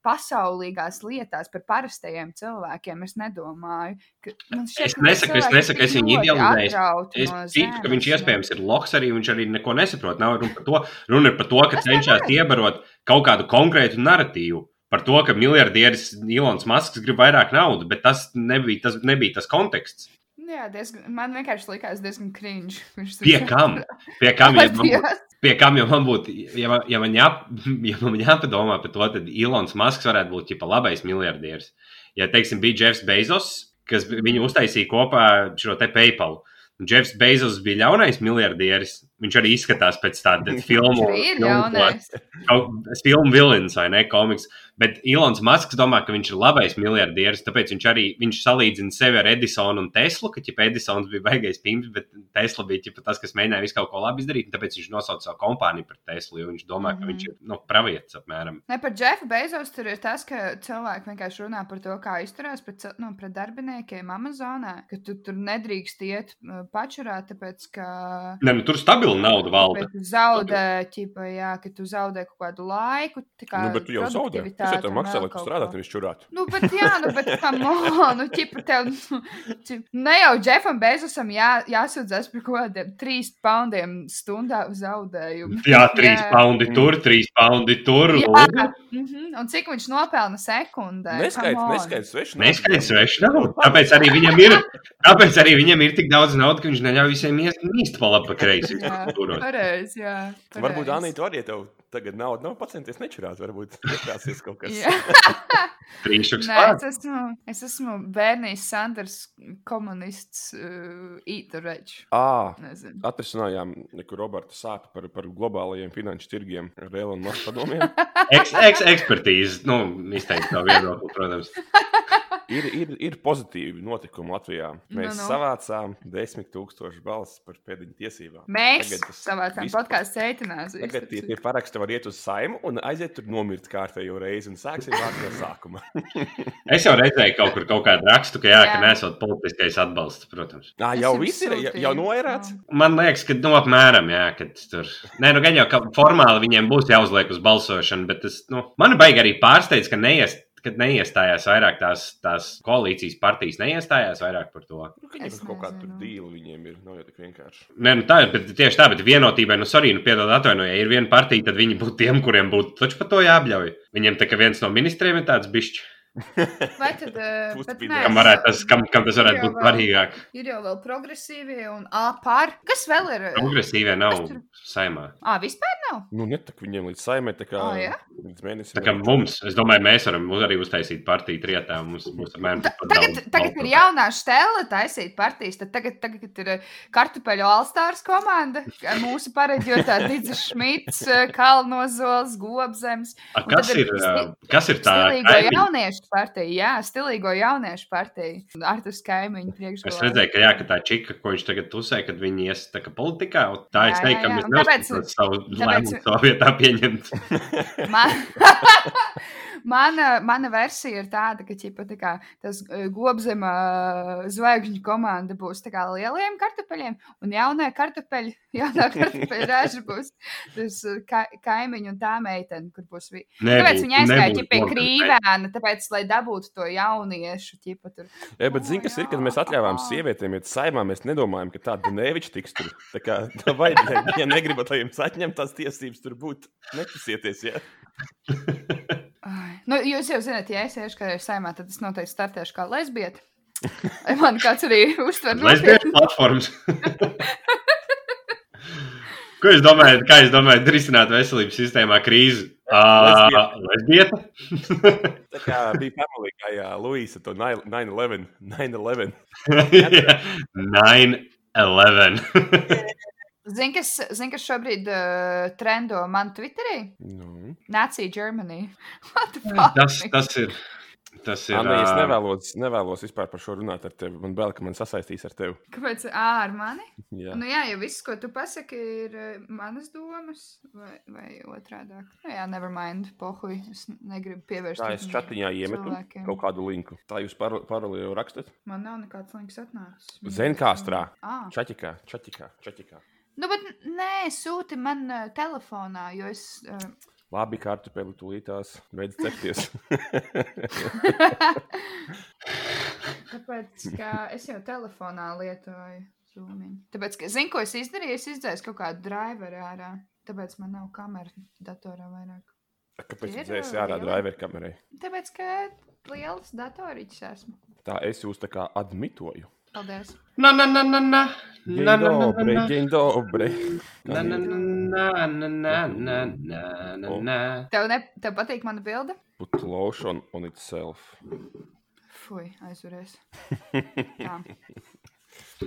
Speaker 2: pasaulīgās lietās par parastajiem cilvēkiem. Es nedomāju, ka man šķiet,
Speaker 3: Es
Speaker 2: ka tie
Speaker 3: nesaku, es
Speaker 2: cilvēki
Speaker 3: nesaku,
Speaker 2: tik
Speaker 3: es viņu
Speaker 2: ļoti
Speaker 3: idealizēju.
Speaker 2: atrauti
Speaker 3: Es
Speaker 2: no
Speaker 3: ticu, ka viņš
Speaker 2: zemes, nu.
Speaker 3: iespējams ir loks arī. Viņš arī neko nesaprot. Nav runa par to. Runa ir par to, ka
Speaker 2: Es
Speaker 3: cenšas
Speaker 2: nevaru.
Speaker 3: iebarot kaut kādu konkrētu narratīvu. Par to, ka miljardieris Ilons Masks grib vairāk naudas, bet tas nebija tas, nebija tas konteksts.
Speaker 2: Nu Jā, diezgan, man vienkārši likās diezgan cringe. [LAUGHS] Viņš tur
Speaker 3: Pie kam? Pie kam, ja man,
Speaker 2: Paldies!
Speaker 3: pie kam ja man būtu, ja man, ja man, jā, [LAUGHS] ja man jāpadomā par to, tad Ilons Masks varētu būt tipa labais miljardieris. Ja, teiksim, bija Jeffs Bezos, kas bi- viņu uztaisīja kopā šo te PayPal. Un Jeffs Bezos bija ļaunais miljardieris. Viņš arī izskatās pēc
Speaker 2: [LAUGHS]
Speaker 3: tāda filmu.
Speaker 2: Viņš ir
Speaker 3: filmu-
Speaker 2: jaunais.
Speaker 3: kaut- filmu vilnis vai ne komiks. Bet Ilons Masks domā, ka viņš ir labais miljardieris, tāpēc viņš arī viņš salīdzina sevi ar Edisonu un Teslu. Ka ķipa, Edisons bija baigais pīns, bet Tesla bija ķipa, tas, kas mēģināja visu kaut ko labi izdarīt. un Tāpēc viņš nosauca savu kompāniju par Teslu, jo viņš domā, ka
Speaker 2: Mhm.
Speaker 3: viņš ir nu, pravietis apmēram.
Speaker 2: Ne par Jeffu Bezos tur ir tas, ka cilvēki vienkārši runā par to, kā izturās pret, cil- nu, pret darbiniekiem Amazonā. Ka tu tur nedrīkst iet uh, pačurā, tāpēc ka.
Speaker 3: Ne, nu, tur stabili nauda valda.
Speaker 2: Tāpēc Tu zaudē, ķipa, jā, ka tu zaudē kaut kādu laiku. tā kā
Speaker 1: Nu, bet tu jau zaudē. Tas jau
Speaker 2: produktivitāti
Speaker 1: tev
Speaker 2: un
Speaker 1: maksā,
Speaker 2: vēl
Speaker 1: lai tu
Speaker 2: kaut
Speaker 1: strādātu,
Speaker 2: ko.
Speaker 1: nevis čurātu.
Speaker 2: Nu, bet, jā, nu, bet kā monēta, nu, ķipa, tev, nu, ķip, ne jau Jeffam Bezosam jā, jāsūdzas par kaut kādiem trīs poundiem stundā zaudējumu.
Speaker 3: Jā, trīs
Speaker 2: Jā.
Speaker 3: paundi tur, trīs paundi tur.
Speaker 2: Jā, mm -hmm. un cik viņš nopelna sekundē?
Speaker 1: Neskaidrs,
Speaker 2: Come on.
Speaker 1: neskaidrs, svešs.
Speaker 3: Neskaidrs, sveši nav. Tāpēc arī viņam ir, tāpēc arī viņam ir tik daudz naudas, ka viņš neļauj visiem iest mīst pa labi pa kreisi.
Speaker 2: Jā,
Speaker 3: Turot.
Speaker 2: pareizi, jā. Pareiz.
Speaker 1: Varbūt Anīte arī tev tagad naudu nav pacenties nečurāt. Varbūt iekāsies kaut kas.
Speaker 2: Jā,
Speaker 3: Trīsšuks
Speaker 2: nē,
Speaker 3: pārāk.
Speaker 2: es esmu, es esmu Bernijs Sanders, komunists, uh, īturēčs.
Speaker 1: Ā,
Speaker 2: Nezinu.
Speaker 1: Atrisinājām nekur Roberta sāpes par, par globālajiem finanšu tirgiem ar Elonu Masku
Speaker 2: [LAUGHS]
Speaker 1: padomiem.
Speaker 3: Eks, eks, ekspertīze, nu, izteikti tā viedokļa, protams.
Speaker 1: Ir, ir, ir pozitīvi notikumi Latvijā. Mēs
Speaker 2: Nu,
Speaker 1: no,
Speaker 2: nu.
Speaker 1: no. savācām 10,000 balsis par pēdiņu tiesībām.
Speaker 2: Mēs
Speaker 1: Tagad tas
Speaker 2: savācām
Speaker 1: viss-
Speaker 2: podkāstu seitināsim.
Speaker 1: Tagad tie, tie paraksti var iet uz saimu un aiziet tur nomirt kārtējo reizi un sāksim vārdu no
Speaker 2: [LAUGHS]
Speaker 1: sākuma.
Speaker 3: Es jau redzēju kaut kur kaut kādu rakstu, ka jā, jā. ka
Speaker 2: Jā.
Speaker 3: nesot politiskais atbalsts, protams.
Speaker 1: Nā,
Speaker 2: Es
Speaker 1: jau
Speaker 2: jums
Speaker 1: viss ir, ja-
Speaker 2: sūtīju.
Speaker 1: jau noērāts.
Speaker 3: Man liekas, ka, nu, apmēram, jā, ka tur. Nē, nu, gan jau, ka formāli viņiem būs jāuzliek uz balsošanu, bet es, nu, man baigi arī pārsteidz, ka neies. Kad neiestājās vairāk tās, tās koalīcijas partijas, neiestājās vairāk par to.
Speaker 1: Nu, Viņiem
Speaker 2: Es
Speaker 1: ir kaut kāda
Speaker 2: nezinu.
Speaker 1: dīla, viņiem ir. Nav jau tik vienkārši.
Speaker 3: Nē, nu tā ir bet tieši tā, bet vienotībai, nu, sorry, nu, piedod, atvainojiet, ja ir viena partija, tad viņi būtu tiem, kuriem būtu taču par to jāapļauj. Viņiem tā kā viens no ministriem ir tāds bišķis.
Speaker 2: Vai
Speaker 1: [LAUGHS]
Speaker 2: tad, eh,
Speaker 1: Pusi
Speaker 2: bet
Speaker 1: pīdē.
Speaker 2: nē,
Speaker 3: kam, varētu, tas, kam, kam tas varētu
Speaker 2: Jā,
Speaker 3: būt
Speaker 2: vēl.
Speaker 3: svarīgāk.
Speaker 2: ir jau vēl progresīvie un apār. Kas vēl ir?
Speaker 3: Progresīvie nav
Speaker 2: Es tur-
Speaker 3: saimā.
Speaker 2: Ā, vispār nav?
Speaker 1: Nu, ne tā, ka viņiem līdz saimē, tā kā
Speaker 2: Ā, jā?
Speaker 1: līdz mēnesim.
Speaker 3: Tā kā mums, es domāju, mēs varam uz- arī uztaisīt partiju trijotā. Mums būs apmēram
Speaker 2: Ta-
Speaker 3: tikpat
Speaker 2: Tagad,
Speaker 3: daudz
Speaker 2: tagad ir
Speaker 3: balsu.
Speaker 2: jaunā stela taisīt partijas, tad tagad, tagad ir eh, kartupeļu alstārs komanda, kā mūsu pareģotā
Speaker 3: [LAUGHS]
Speaker 2: Dīdze Šmits, eh, Kalnozols, Gobzems.
Speaker 3: A,
Speaker 2: un
Speaker 3: Kas
Speaker 2: tad ir
Speaker 3: ir,
Speaker 2: sti-
Speaker 3: ā, kas ir tā
Speaker 2: Stilīgo
Speaker 3: kaimiņa?
Speaker 2: jauniešu partija, jā, stilīgo jauniešu partija. Ar tas kaimiņu priekšgalā.
Speaker 3: Es redzēju, ka, jā, ka tā čika, ko viņš tagad uzsēja, kad viņi ies tā kā politikā, un tā
Speaker 2: Jā,
Speaker 3: es
Speaker 2: jā,
Speaker 3: teiktu, ka
Speaker 2: jā.
Speaker 3: mēs
Speaker 2: Un tāpēc-
Speaker 3: nevaram savu
Speaker 2: tāpēc-
Speaker 3: lēmumu savā vietā pieņemt.
Speaker 2: Man... mana, mana versija ir tāda, ka ķipa, tā kā, tas gobzemē zvaigžņu komanda būs tā kā lieliem kartupeļiem, un jaunā kartupeļa, [LAUGHS] jaunā kartupeļa raža būs tas eh, ka, kaimiņu un tā meitene, kur būs vi... [LAUGHS] Tāpēc viņi aizgāja ķipa, pie krīvēna, tāpēc, lai dabūtu to jauniešu. Ķipa, tur.
Speaker 1: Jā, E, bet zini, kas ir, kad mēs atļāvām
Speaker 2: Ā.
Speaker 1: sievietēm iet saimā, mēs nedomājam, ka tāda neviča tiks tur. Tā kā [LAUGHS] tā vajag, ja, ja negribat, lai jums atņemt tās tiesības tur būt, nekusieties, jā.
Speaker 2: Ai, Nu, jūs jau zināt, ja es iešu kādreiz saimā, tad es noteikti startēšu kā lesbieta. Lai Man kāds arī uztver
Speaker 3: Lesbiešu platformas. [LAUGHS] Ko jūs domājat, kā jūs domājat, risināt veselības sistēmā krīzi? Ā, Lesbieta?
Speaker 1: Tā kā bija pamalīgā, jā, Luisa, to 9-11, 9-11.
Speaker 3: [LAUGHS] Jā, [LAUGHS] 9-11.
Speaker 2: Zini, kas, zin, kas šobrīd uh, trendo man Twitterī?
Speaker 1: Nu.
Speaker 2: Nācija Germany. [LAUGHS]
Speaker 3: Tas, tas ir. Tas ir.
Speaker 1: Anna, es
Speaker 3: ā,
Speaker 1: nevēlos, nevēlos vispār par šo runāt ar tevi. Man bail, ka man sasaistīs ar tevi. [LAUGHS]
Speaker 2: Kāpēc Ā, ar mani? Jā.
Speaker 1: Jā.
Speaker 2: Nu jā, jo viss, ko tu pasaki, ir eh, manas domas vai, vai otrādāk. Nu jā, never mind, pohuj. Es negribu pievērst
Speaker 1: Tā es
Speaker 2: uzmanību
Speaker 1: čatiņā iemetu
Speaker 2: cilvēkiem.
Speaker 1: kaut kādu linku. Tā jūs paro- paroli jau rakstat?
Speaker 2: Man nav nekāds links atnācis.
Speaker 1: Zenkastrā.
Speaker 2: Ah.
Speaker 1: Čaķikā, čaķikā, čaķikā.
Speaker 2: Nu, bet nē, sūti man uh, telefonā, jo es. Uh,
Speaker 1: Labi, kartupeli tūlītās, beidz
Speaker 2: [LAUGHS]
Speaker 1: cepties.
Speaker 2: Tāpēc, ka es jau telefonā lietoju zūmiņu. Tāpēc, ka zinu, ko es izdarīju, es izdzēsu kaut kādu driveru ārā. Tāpēc man nav kamera datorā vairāk.
Speaker 1: Kāpēc
Speaker 2: Ir,
Speaker 1: jūs dzēsiet ārā
Speaker 2: jā.
Speaker 1: driver kamerai?
Speaker 2: Tāpēc, ka liels datoriņš esmu.
Speaker 1: Tā es jūs tā kā admitoju.
Speaker 2: Paldies.
Speaker 3: Na, na, na, na, na. Na, na, na, na,
Speaker 1: Dobre,
Speaker 3: na.
Speaker 1: dzień dobre.
Speaker 3: Na, na, na, na, na, na, na, na,
Speaker 1: Oh.
Speaker 3: na.
Speaker 2: Tev, ne, tev patīk mana bilde?
Speaker 1: Put lotion on itself.
Speaker 2: Fui, aizvarēs. Jā.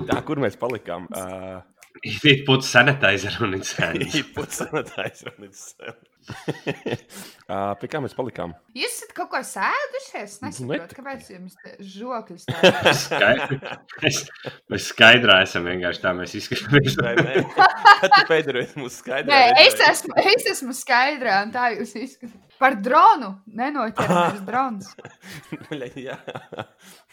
Speaker 1: Tā, kur mēs palikām? Uh,
Speaker 3: It puts sanitizer on
Speaker 1: [LAUGHS]
Speaker 3: its hands.
Speaker 1: Put sanitized on itself. uh, pie kā mēs palikām?
Speaker 2: Jūs esat kaut ko sēdušies? Es
Speaker 1: Bet-
Speaker 2: nesaprotu, kāpēc jums te žokļus
Speaker 3: [LAUGHS]
Speaker 2: tāds.
Speaker 3: Skai- Mēs mēs skaidrā esam vienkārši tā, mēs izskatāmies.
Speaker 1: Vai ne? Kad tu pēdējais mums
Speaker 2: Nē,
Speaker 1: skaidroja?
Speaker 2: es esmu, es esmu skaidrā, un tā jūs izskatāt. Par dronu nenoķeramies drons.
Speaker 1: Jā,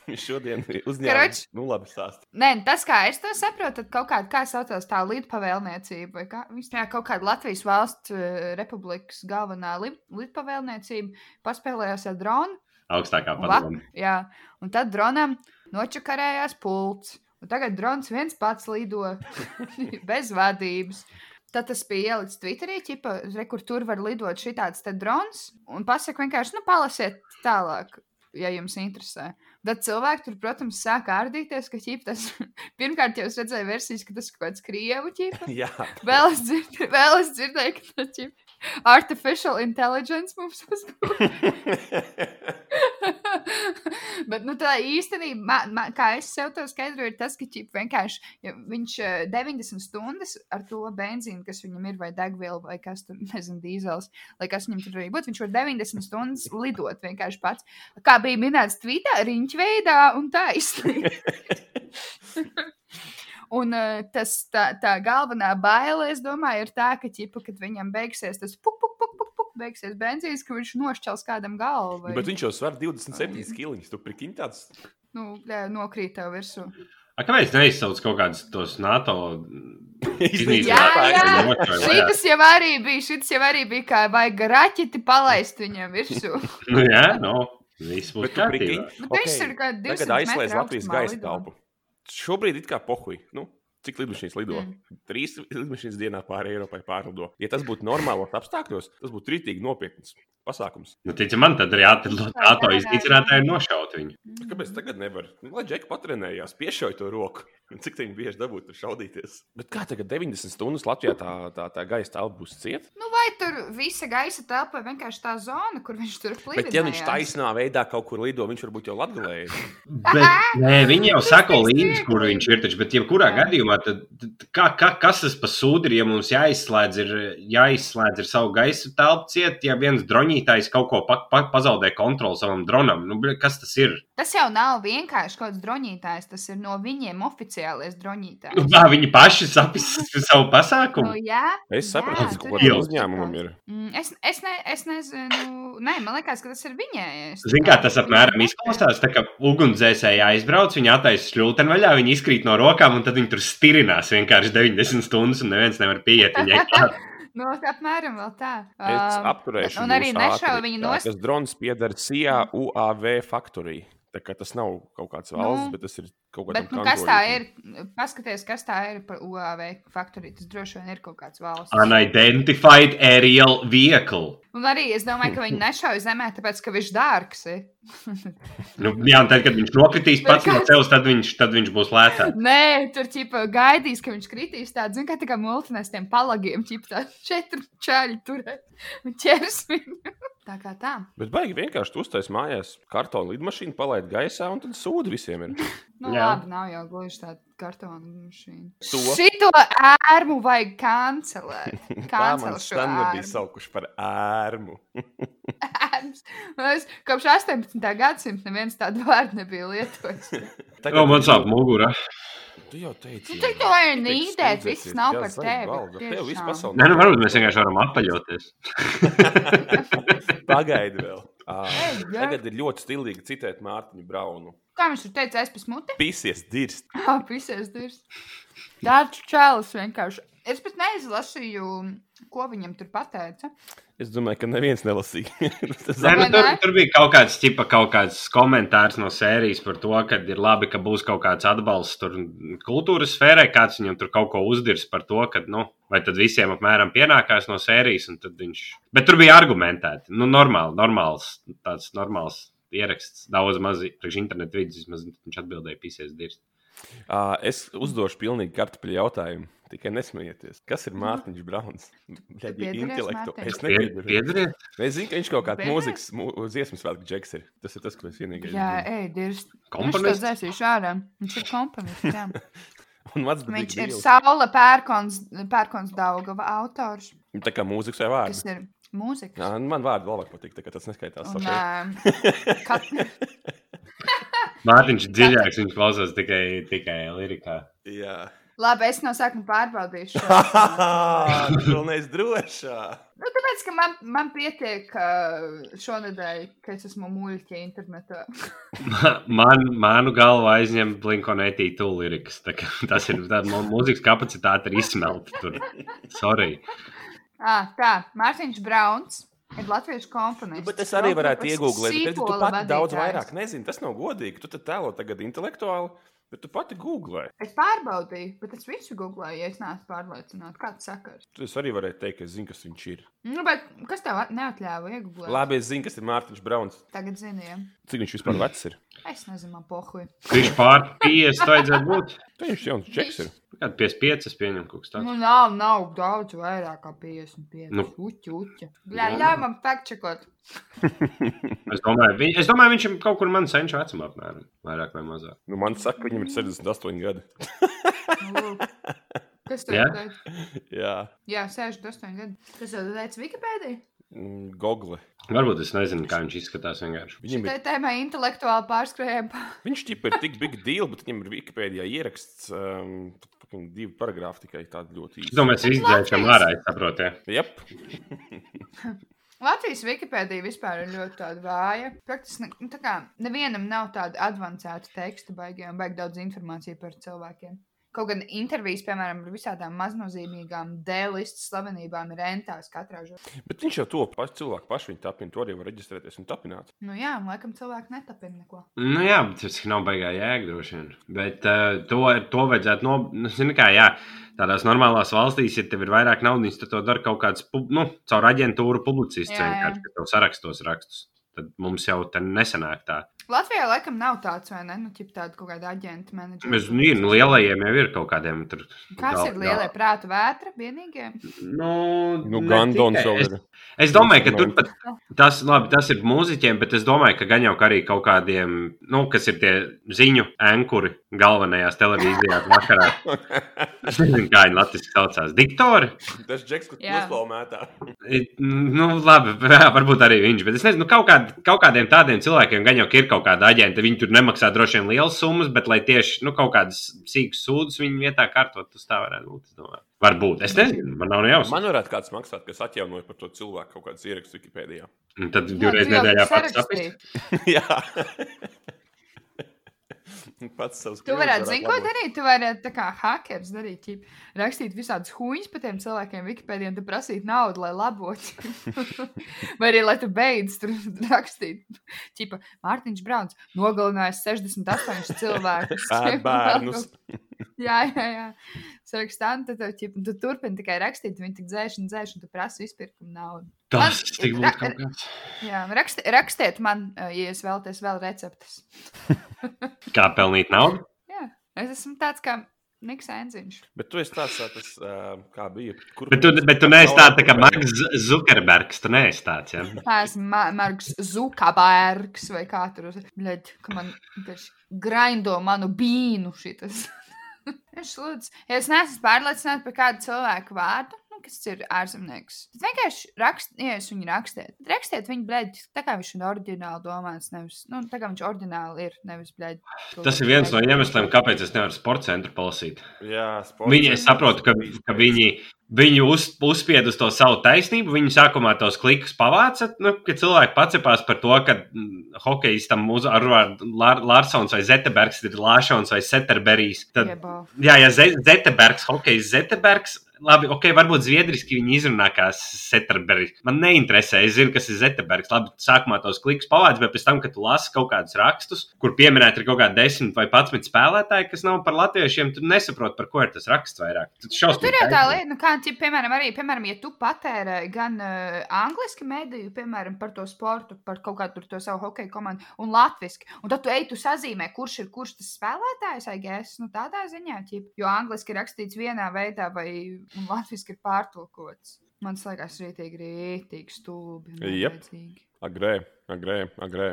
Speaker 1: viņš šodien
Speaker 2: Karoč.
Speaker 1: uzņēma. Nu, labi, stāst.
Speaker 2: Nē, tas, kā es to saprotu, tad kaut kāda, kā saucās tā līdpavēlniecība, vai kā viņš tajā kaut kāda Latvijas valsts eh, republikas galvenā lid- līdpavēlniecība paspēlējās ar dronu,
Speaker 3: Augstākā
Speaker 2: Un
Speaker 3: padoma.
Speaker 2: jā, un tad dronam nočakarējās pults, un tagad drons viens pats lido [LAUGHS] bez vadības. Tad tas bija ielikts Twitterī, ķipa, re, kur tur var lidot šitāds te drons, un pasaka vienkārši, nu, palasiet tālāk, ja jums interesē. Tad cilvēki tur, protams, sāk ārdīties, ka ķip, tas [LAUGHS] pirmkārt jau es redzēju versijas, ka tas ir kaut kāds krievu ķip. [LAUGHS]
Speaker 1: Jā,
Speaker 2: Vēl es, dzird, [LAUGHS] vēl es dzirdēju, ka tas ir artificial intelligence mums [LAUGHS] uzbūvēta. [LAUGHS] Bet nu, tā īstenībā, ma, ma, kā es sev to skaidroju, ir tas, ka ķip, vienkārši, ja viņš eh, 90 stundas ar to benzīnu, kas viņam ir, vai degvielu, vai kas tur, [LAUGHS] nezinu, dīzels, lai kas viņam tur arī būtu, viņš var 90 stundas lidot vienkārši pats. Kā bija minēts tvītā, riņķveidā un taisnīgi. [LAUGHS] Un eh, tas, tā, tā galvenā baila, es domāju, ir tā, ka, ķipa, kad viņam beigsies tas puk, puk, puk, puk, puk beigsies benzīns, ka viņš nošķels kādam galvu. vai-
Speaker 1: bet viņš jau svar 27 kiliņus. Tu prikiņ tāds
Speaker 2: nu, jā, nokrīt tev virsū.
Speaker 3: A, kāpēc neizsauc kaut kādus tos
Speaker 1: [LAUGHS]
Speaker 3: NATO?
Speaker 1: Iznīcināt
Speaker 2: Jā, jā.
Speaker 3: Noķer,
Speaker 2: [LAUGHS]
Speaker 3: jā.
Speaker 2: Šis jau arī bija, šis jau arī bija, kā vajag raķeti palaist viņam virsū. [LAUGHS]
Speaker 3: Nu, jā, nu, viss būs
Speaker 1: Bet tu
Speaker 3: kārtībā.
Speaker 1: prikiņ.
Speaker 2: Nu,
Speaker 1: Okei,
Speaker 2: viņš ir kā
Speaker 1: Tagad
Speaker 2: 200
Speaker 1: aizslēdz
Speaker 2: metru
Speaker 1: Latvijas
Speaker 2: augstumā
Speaker 1: gaisa
Speaker 2: lido.
Speaker 1: telpu. Šobrīd it kā pohuj. Nu, Cik lidmašīnas lido? Mm. Trīs lidmašīnas dienā pāri Eiropai pārlido. Ja tas būtu normālos apstākļos, tas būtu rītīgi nopietns pasākums.
Speaker 3: Nu, tici, man tad ir jāatrod
Speaker 2: Vai
Speaker 3: auto
Speaker 2: nevarētu?
Speaker 3: iznīcinātāji un nošaut viņu.
Speaker 2: Mm.
Speaker 1: Kāpēc tagad nevar? Nu, Lai Džeki patrenējās, piešauj to roku. Cik tā viņi bieži dabūtu šaudīties? Bet kā tagad 90 stundas Latvijā tā, tā, tā gaisa telpa būs cieta?
Speaker 2: Nu, vai tur visa gaisa telpa ir vienkārši tā zona, kur viņš tur klīda?
Speaker 1: Bet, ja viņš taisnā veidā kaut kur lido, viņš varbūt jau latgalēji.
Speaker 3: Bet,
Speaker 2: [LAUGHS]
Speaker 3: nē, viņi jau
Speaker 2: Tas
Speaker 3: sako
Speaker 2: ir
Speaker 3: līdzi,
Speaker 2: smieklīgi.
Speaker 3: kur viņš ir. Taču, bet, jebkurā gadījumā, tad, tad kā, kā, kas tas par sūdu ir, ja mums jāizslēdz ir, jāizslēdz ir savu gaisa telpu ciet, ja viens droņītājs kaut ko pa, pa, pazaudē kontroli savam dronam? Nu, bļa, kas tas ir?
Speaker 2: Tas jau nav vienkārši kaut kāds droņītājs, tas ir no viņiem oficiālais
Speaker 3: Nu, [LAUGHS]
Speaker 2: droņītājs.
Speaker 3: kā viņi paši sapisīs savu
Speaker 2: Nu,
Speaker 3: pasākumu?
Speaker 2: jā,
Speaker 1: Es sapratu, ka
Speaker 2: Jā, tur
Speaker 1: kaut
Speaker 2: ir
Speaker 1: kādam uzņēmumam ir.
Speaker 2: Mm, Es, es, ne, es nezinu, nē, man liekas, ka tas ir viņējais.
Speaker 3: Ziniet, kā tas
Speaker 2: [LAUGHS]
Speaker 3: apmēram izklausās. Tā kā ugunsdzēsēji aizbrauc, viņi attaisno šļūteni vaļā, viņi izkrīt no rokām, un tad viņi tur stirinās vienkārši 90 stundas, un neviens nevar pieiet viņai. klāt.
Speaker 2: Nu, apmēram vēl tā.
Speaker 1: Es
Speaker 2: Um,
Speaker 1: apturēšu.
Speaker 2: un arī
Speaker 1: jūs
Speaker 2: nešauju
Speaker 1: ātri.
Speaker 2: viņu
Speaker 1: Tā,
Speaker 2: nost.
Speaker 1: Tas drons pieder CIA UAV faktorijai. Tā kā tas nav kaut kāds valsts, nu, bet tas ir kaut kāds.
Speaker 2: Bet, nu, kas tā ir? Paskaties, kas tā ir par UAV faktoriju. Tas droši vien ir kaut kāds valsts.
Speaker 3: Unidentified aerial vehicle.
Speaker 2: Un arī es domāju, ka viņi nešauja zemē, tāpēc, ka viņš dārgs. ir.
Speaker 3: Nu, jā, un tad, kad viņš nokritīs pats no sevis, tad viņš, tad viņš būs lētāks.
Speaker 2: Nē, tur ķipa, gaidīs, ka viņš kritīs tādā, zin, kā, tā kā multinēs tiem palagiem, ķipa, tā četri čaļi turē un ķers viņu. Tā kā tā.
Speaker 1: Bet baigi vienkārši uztaisīt mājās kartonu lidmašīnu, palaid gaisā un tad sūdi visiem. Ir.
Speaker 2: Nu,
Speaker 3: Jā.
Speaker 2: Jā. labi, nav jau gluži tāda kartona mašīna.
Speaker 1: To.
Speaker 2: Šito ērmu vajag
Speaker 1: [LAUGHS]
Speaker 2: kancelēt.
Speaker 1: Tā man
Speaker 2: Kancel šo
Speaker 1: sen nebija
Speaker 2: ērmu.
Speaker 1: saukuši par ērmu.
Speaker 2: Ērms. Man liekas, Nu, Kopš 18. gadsimta neviens tādu vārdu nebija lietojis.
Speaker 3: Jā, man sāp mugura.
Speaker 1: Tu jau teici,
Speaker 2: Nu, tik to vajag nīdēt, viss nav par tevi,
Speaker 1: Tev viss
Speaker 2: tiešām.
Speaker 1: pasaule.
Speaker 3: Nē, nu, varbūt mēs vienkārši varam apaļoties.
Speaker 1: Pagaidi vēl. Ā,
Speaker 2: [LAUGHS] Ej, jā.
Speaker 1: Tagad ir ļoti stilīgi citēt Mārtiņu Braunu.
Speaker 2: Kā viņš tur teica, es pēc [LAUGHS] mutes?
Speaker 1: Pisies, dirst.
Speaker 2: Apsies durvis. Tāds čēlis vienkārši. Es pat neizlasīju, ko viņam tur pateica.
Speaker 1: Es domāju, ka neviens nelasīja. Tas
Speaker 3: Nē, nu,
Speaker 2: Vai
Speaker 3: tur,
Speaker 2: ne?
Speaker 3: tur bija kaut kāds, ķipa, kaut kāds komentārs no sērijas par to, ka ir labi, ka būs kaut kāds atbalsts tur kultūras sfērai. Kāds viņam tur kaut ko uzdirs par to, ka, nu, vai tad visiem apmēram pienākās no sērijas. un tad Viņš... Bet tur bija argumentēti. Nu, normāli, normāls, tāds normāls ieraksts. Daudz maz, priekš internetu vidus, vismaz viņš atbildēja pisies dirst.
Speaker 1: Ā, Es uzdošu pilnīgi kartupeļu jautājumu. Tikai nesmieties. Kas
Speaker 2: Nu.
Speaker 1: ir Mārtiņš Brauns? Viņa bija
Speaker 2: piederēs
Speaker 1: intelektu.
Speaker 2: Mārtiņš?
Speaker 1: Es nepiedaru.
Speaker 3: Piedariet,
Speaker 1: Es zinu, ka viņš kaut kāda
Speaker 2: Piederēs?
Speaker 1: mūzikas, mū, dziesmas svētku džeks ir. Tas ir tas, ko es vienīgais
Speaker 2: Jā,
Speaker 1: zinu.
Speaker 2: ej, dirs. Nu, Viņš to
Speaker 3: komponists.
Speaker 2: dzēsīšu ārā. Viņš ir komponists.
Speaker 1: [LAUGHS]
Speaker 2: jā.
Speaker 1: Un Mats
Speaker 2: Viņš ir
Speaker 1: Dievs.
Speaker 2: Saula Pērkons, Pērkons Daugava autors,
Speaker 1: Tā kā mūzikas vai vārds.
Speaker 2: kas ir mūzikas.
Speaker 1: Jā, nu, man vārdi vēl vairāk patīk, tā kā tas neskaitās.
Speaker 2: Un,
Speaker 1: saprati? [LAUGHS]
Speaker 2: ā, kat...
Speaker 3: Mārtiņš ir dziļāks, viņš klausās tikai, tikai lirikā.
Speaker 2: [LAUGHS]
Speaker 1: Jā,
Speaker 2: Labi, es no sākuma
Speaker 1: [LAUGHS]
Speaker 2: pārbaudīšu.
Speaker 1: tā
Speaker 2: šo.
Speaker 1: ir pilnīgi drošā.
Speaker 2: Nu, tāpēc, ka man, man pietiek ā, šonadēļ, ka es esmu muļķi internetā.
Speaker 3: [LAUGHS] Man, manu galvu aizņem Blinkonētī tūlīriks. [LAUGHS] Tas ir tā, mu- mūzikas kapacitāte ir izsmelta tur. Sorry.
Speaker 2: À, tā, Mārtiņš Brauns ir latviešu komponists.
Speaker 1: Nu, Bet es arī varētu iegūt, bet tu
Speaker 2: Sīpola
Speaker 1: pati daudz
Speaker 2: vadītājs.
Speaker 1: vairāk nezini. Tas nav godīgi. Tu te tēlo tagad intelektuāli, bet tu pati googlē.
Speaker 2: Es pārbaudīju, bet es visu googlēju, ja es neesmu pārliecināta. Kāds sakars?
Speaker 1: Tu es arī varētu teikt, ka es zinu, kas viņš ir.
Speaker 2: Nu, bet kas tev at- neatļāva iegūt?
Speaker 1: Labi, es zinu, kas ir Mārtiņš Brauns.
Speaker 2: Tagad zinām.
Speaker 1: Cik viņš vispār vecs ir?
Speaker 2: Es nezinu, pohuj.
Speaker 3: Viņš pār 50 vajadzētu būt.
Speaker 1: Tā viņš jau ir čeks. ir.
Speaker 3: Kāda 55 es pieņemu kaut kas tāds.
Speaker 2: Nu, nav, nav daudz vairāk kā 55.
Speaker 3: Nu.
Speaker 2: Nu. Uķi, uķi. Jā,
Speaker 3: Nu.
Speaker 2: jā, man fakčakot.
Speaker 3: Es domāju, viņ, es domāju, viņš ir kaut kur man senču vecumā apmēram. Vairāk vai mazāk.
Speaker 1: Nu, man saka, viņam ir 68 gadi.
Speaker 2: Nu, Kas tev
Speaker 3: Jā?
Speaker 2: yeah. teica?
Speaker 1: [LAUGHS] Jā,
Speaker 2: Jā, 68 gadi. Tas jau teica Wikipēdija.
Speaker 1: Mm, Google.
Speaker 3: Varbūt es nezinu, kā viņš izskatās vienkārši.
Speaker 1: Viņam
Speaker 2: Tā
Speaker 1: ir,
Speaker 2: ir tēma intelektuāli pārskrējama.
Speaker 1: viņš ķip ir tik big deal, bet viņam ir Wikipēdijā ieraksts um, fucking divi paragrāfi tikai tādi ļoti
Speaker 3: Es
Speaker 1: īsi.
Speaker 3: domāju, es izdzēšam ārā, es saprotu. ja.
Speaker 1: Yep.
Speaker 2: [LAUGHS] Latvijas Wikipēdija vispār ir ļoti tāda vāja. Praktiski ne- nu, tā kā nevienam nav tāda avansēta teksta, baigām, baig daudz informāciju par cilvēkiem. Kaut gan intervijas, piemēram, ar visādām maznozīmīgām D-listas slavenībām ir rentās katrā žurnālā.
Speaker 1: Bet viņš jau to pašu cilvēku pašu viņa tapina. Tur jau var reģistrēties un tapināt.
Speaker 2: Nu jā, un laikam cilvēki netapina neko.
Speaker 3: Nu, jā, bet tas nav baigā jēga droši vien. Bet uh, to, to vajadzētu no... Nu, zini kā, jā, tādās normālās valstīs, ja tev ir vairāk naudas, tad to dara kaut kāds, pub- nu, caur aģentūru publicists,
Speaker 2: Jā,
Speaker 3: vai
Speaker 2: jā.
Speaker 3: vienkārši, kas tev sarakstos rakstus. Tad mums jau te nesanāk tā.
Speaker 2: Latvijā laikam nav tāds, vai ne? Nu, ķip tāda kaut kāda aģenta menedžera.
Speaker 3: Mēs, nu, ir, nu, lielajiem jau ir kaut kādiem tur.
Speaker 2: Kas
Speaker 3: gal-
Speaker 2: ir lielie prāta vētra? Vienīgie.
Speaker 3: Nu,
Speaker 1: Nu,
Speaker 3: ne
Speaker 1: Gandons
Speaker 3: tikai.
Speaker 1: jau
Speaker 3: Es-
Speaker 1: ir.
Speaker 3: Es domāju, ka
Speaker 1: Instrumenti.
Speaker 3: turpat tas, labi, tas ir mūziķiem, bet es domāju, ka gan jau ka arī kaut kādiem, nu, kas ir tie ziņu ankuri galvenajās televīzijās vakarā. Es nezinu, kā viņi latviešu saucās. Diktori?
Speaker 1: [LAUGHS] Tas Džeks, kas
Speaker 2: Jā.
Speaker 1: noslaumētā.
Speaker 3: I- Nu, labi, [LAUGHS] jā, varbūt arī viņš, bet es nezinu, nu, kaut, kād, kaut kādiem tādiem cilvēkiem gan jau ka ir kaut kāda aģenta. Viņi tur nemaksā droši vien lielas summas, bet lai tieši nu, kaut kādas sīkas sūdzes viņu vietā kārtot, tas tā varētu būt. es domāju. Varbūt, es nezinu, man nav ne jausmas.
Speaker 1: Man varētu kāds maksāt, kas atjaunoja par to cilvēku kaut kādas ierakstus Wikipēdijā. [LAUGHS]
Speaker 3: Un Tad
Speaker 2: Jā,
Speaker 3: divreiz
Speaker 2: tu jau
Speaker 3: nedēļā pats saprast.
Speaker 2: sarakstīji.
Speaker 1: Jā. [LAUGHS] Pats savs.
Speaker 2: Tu
Speaker 1: kļūdas
Speaker 2: varētu, zini, ko
Speaker 1: labot.
Speaker 2: darīt? Tu varētu, tā kā hackers darīt, ķip, rakstīt visādus huņus par tiem cilvēkiem, Wikipēdiem, tad prasīt naudu, lai labotu. Vai arī, lai tu beidz tur rakstīt, ķipa, Mārtiņš Brauns nogalinājis 68 cilvēkus.
Speaker 1: Ēd
Speaker 2: [LAUGHS]
Speaker 1: bērnus.
Speaker 2: jā, jā, jā. Sarakstā, un tad tev, ķip, tu turpini tikai rakstīt, un viņi tik dzēš un dzēš, un tu prasi izpirkumu naudu.
Speaker 3: Tas
Speaker 2: Man-
Speaker 3: tik būtu kaut kas.
Speaker 2: Jā, raksti, rakstiet man, eh, ja jūs vēlaties vēl receptes.
Speaker 3: Kā pelnīt naudu?
Speaker 2: Jā, es esmu tāds kā Niks Enziņš.
Speaker 1: Bet tu esi tāds, tā, tas, ā, kā bija. Kur...
Speaker 3: Bet tu, bet tu neesi tāds tā kā Marks Z- Zukerbergs. Tu neesi tāds. Ja?
Speaker 2: Tā ir Marks Zukabergs vai kā tur blēģ, ka man vienkārši graindo manu bīnu šitas. [LAUGHS] Viņš lūdz, ja es neesmu pārliecināts par kādu cilvēku vārdu, nu, kas ir ārzemnieks, tad vienkārši rakstiet, ja jūs viņu rakstiet. Tad rakstiet viņu blēģi, tā kā viņš ir oriģināli domāts, nevis, nu, tā kā viņš oriģināli ir, nevis blēģi.
Speaker 3: Tas ir viens no iemesliem, kāpēc es nevaru sporta centru palasīt.
Speaker 1: Jā, sports.
Speaker 3: Viņi es saprotu, ka, ka viņi, viņi uz, uzspied uz to savu taisnību. Viņi sākumā tos klikus pavāca, nu, ka cilvēki pacēpās par to, ka mm, hokeistam uz Arvārdu Lār- Lārsons vai Zetebergs ir Lārsons vai Seterberijs. Tad,
Speaker 2: Jebau.
Speaker 3: jā, ja Ze- Zetebergs, hokejs Zetebergs. Labi, ok, varbūt zviedriski viņi izrunā kā Zetebergs. Man neinteresē, es zinu, kas ir Zetebergs. Labi, sākumā tos klikus pavāc, bet pēc tam, kad tu lasi kaut kādus rakstus, kur pieminēti ir kaut kādi 10 vai 11 spēlētāji, kas nav par latviešiem, tu nesaproti, par ko ir tas raksts vairāk.
Speaker 2: Nu,
Speaker 3: Tas
Speaker 2: Tur
Speaker 3: šausmīgi.
Speaker 2: jau tā
Speaker 3: aizmirst.
Speaker 2: lieta, nu, kā, ķip, piemēram, arī, piemēram, ja tu patērē gan uh, angliski mediju, piemēram, par to sportu, par kaut kādu tur to savu hokeju komandu, un latviešu, un tad tu ej, tu sazīmē, kurš ir kurš tas spēlētājs, ai, gēs, nu, tādā ziņā, ķip, jo angliski ir rakstīts vienā veidā, vai un latviešu ir pārtulkots. Man tas liekas, rītīgi, rītīgi, stulbi. un
Speaker 1: Jep.
Speaker 2: nevajadzīgi.
Speaker 1: Agrē, agrē, agrē.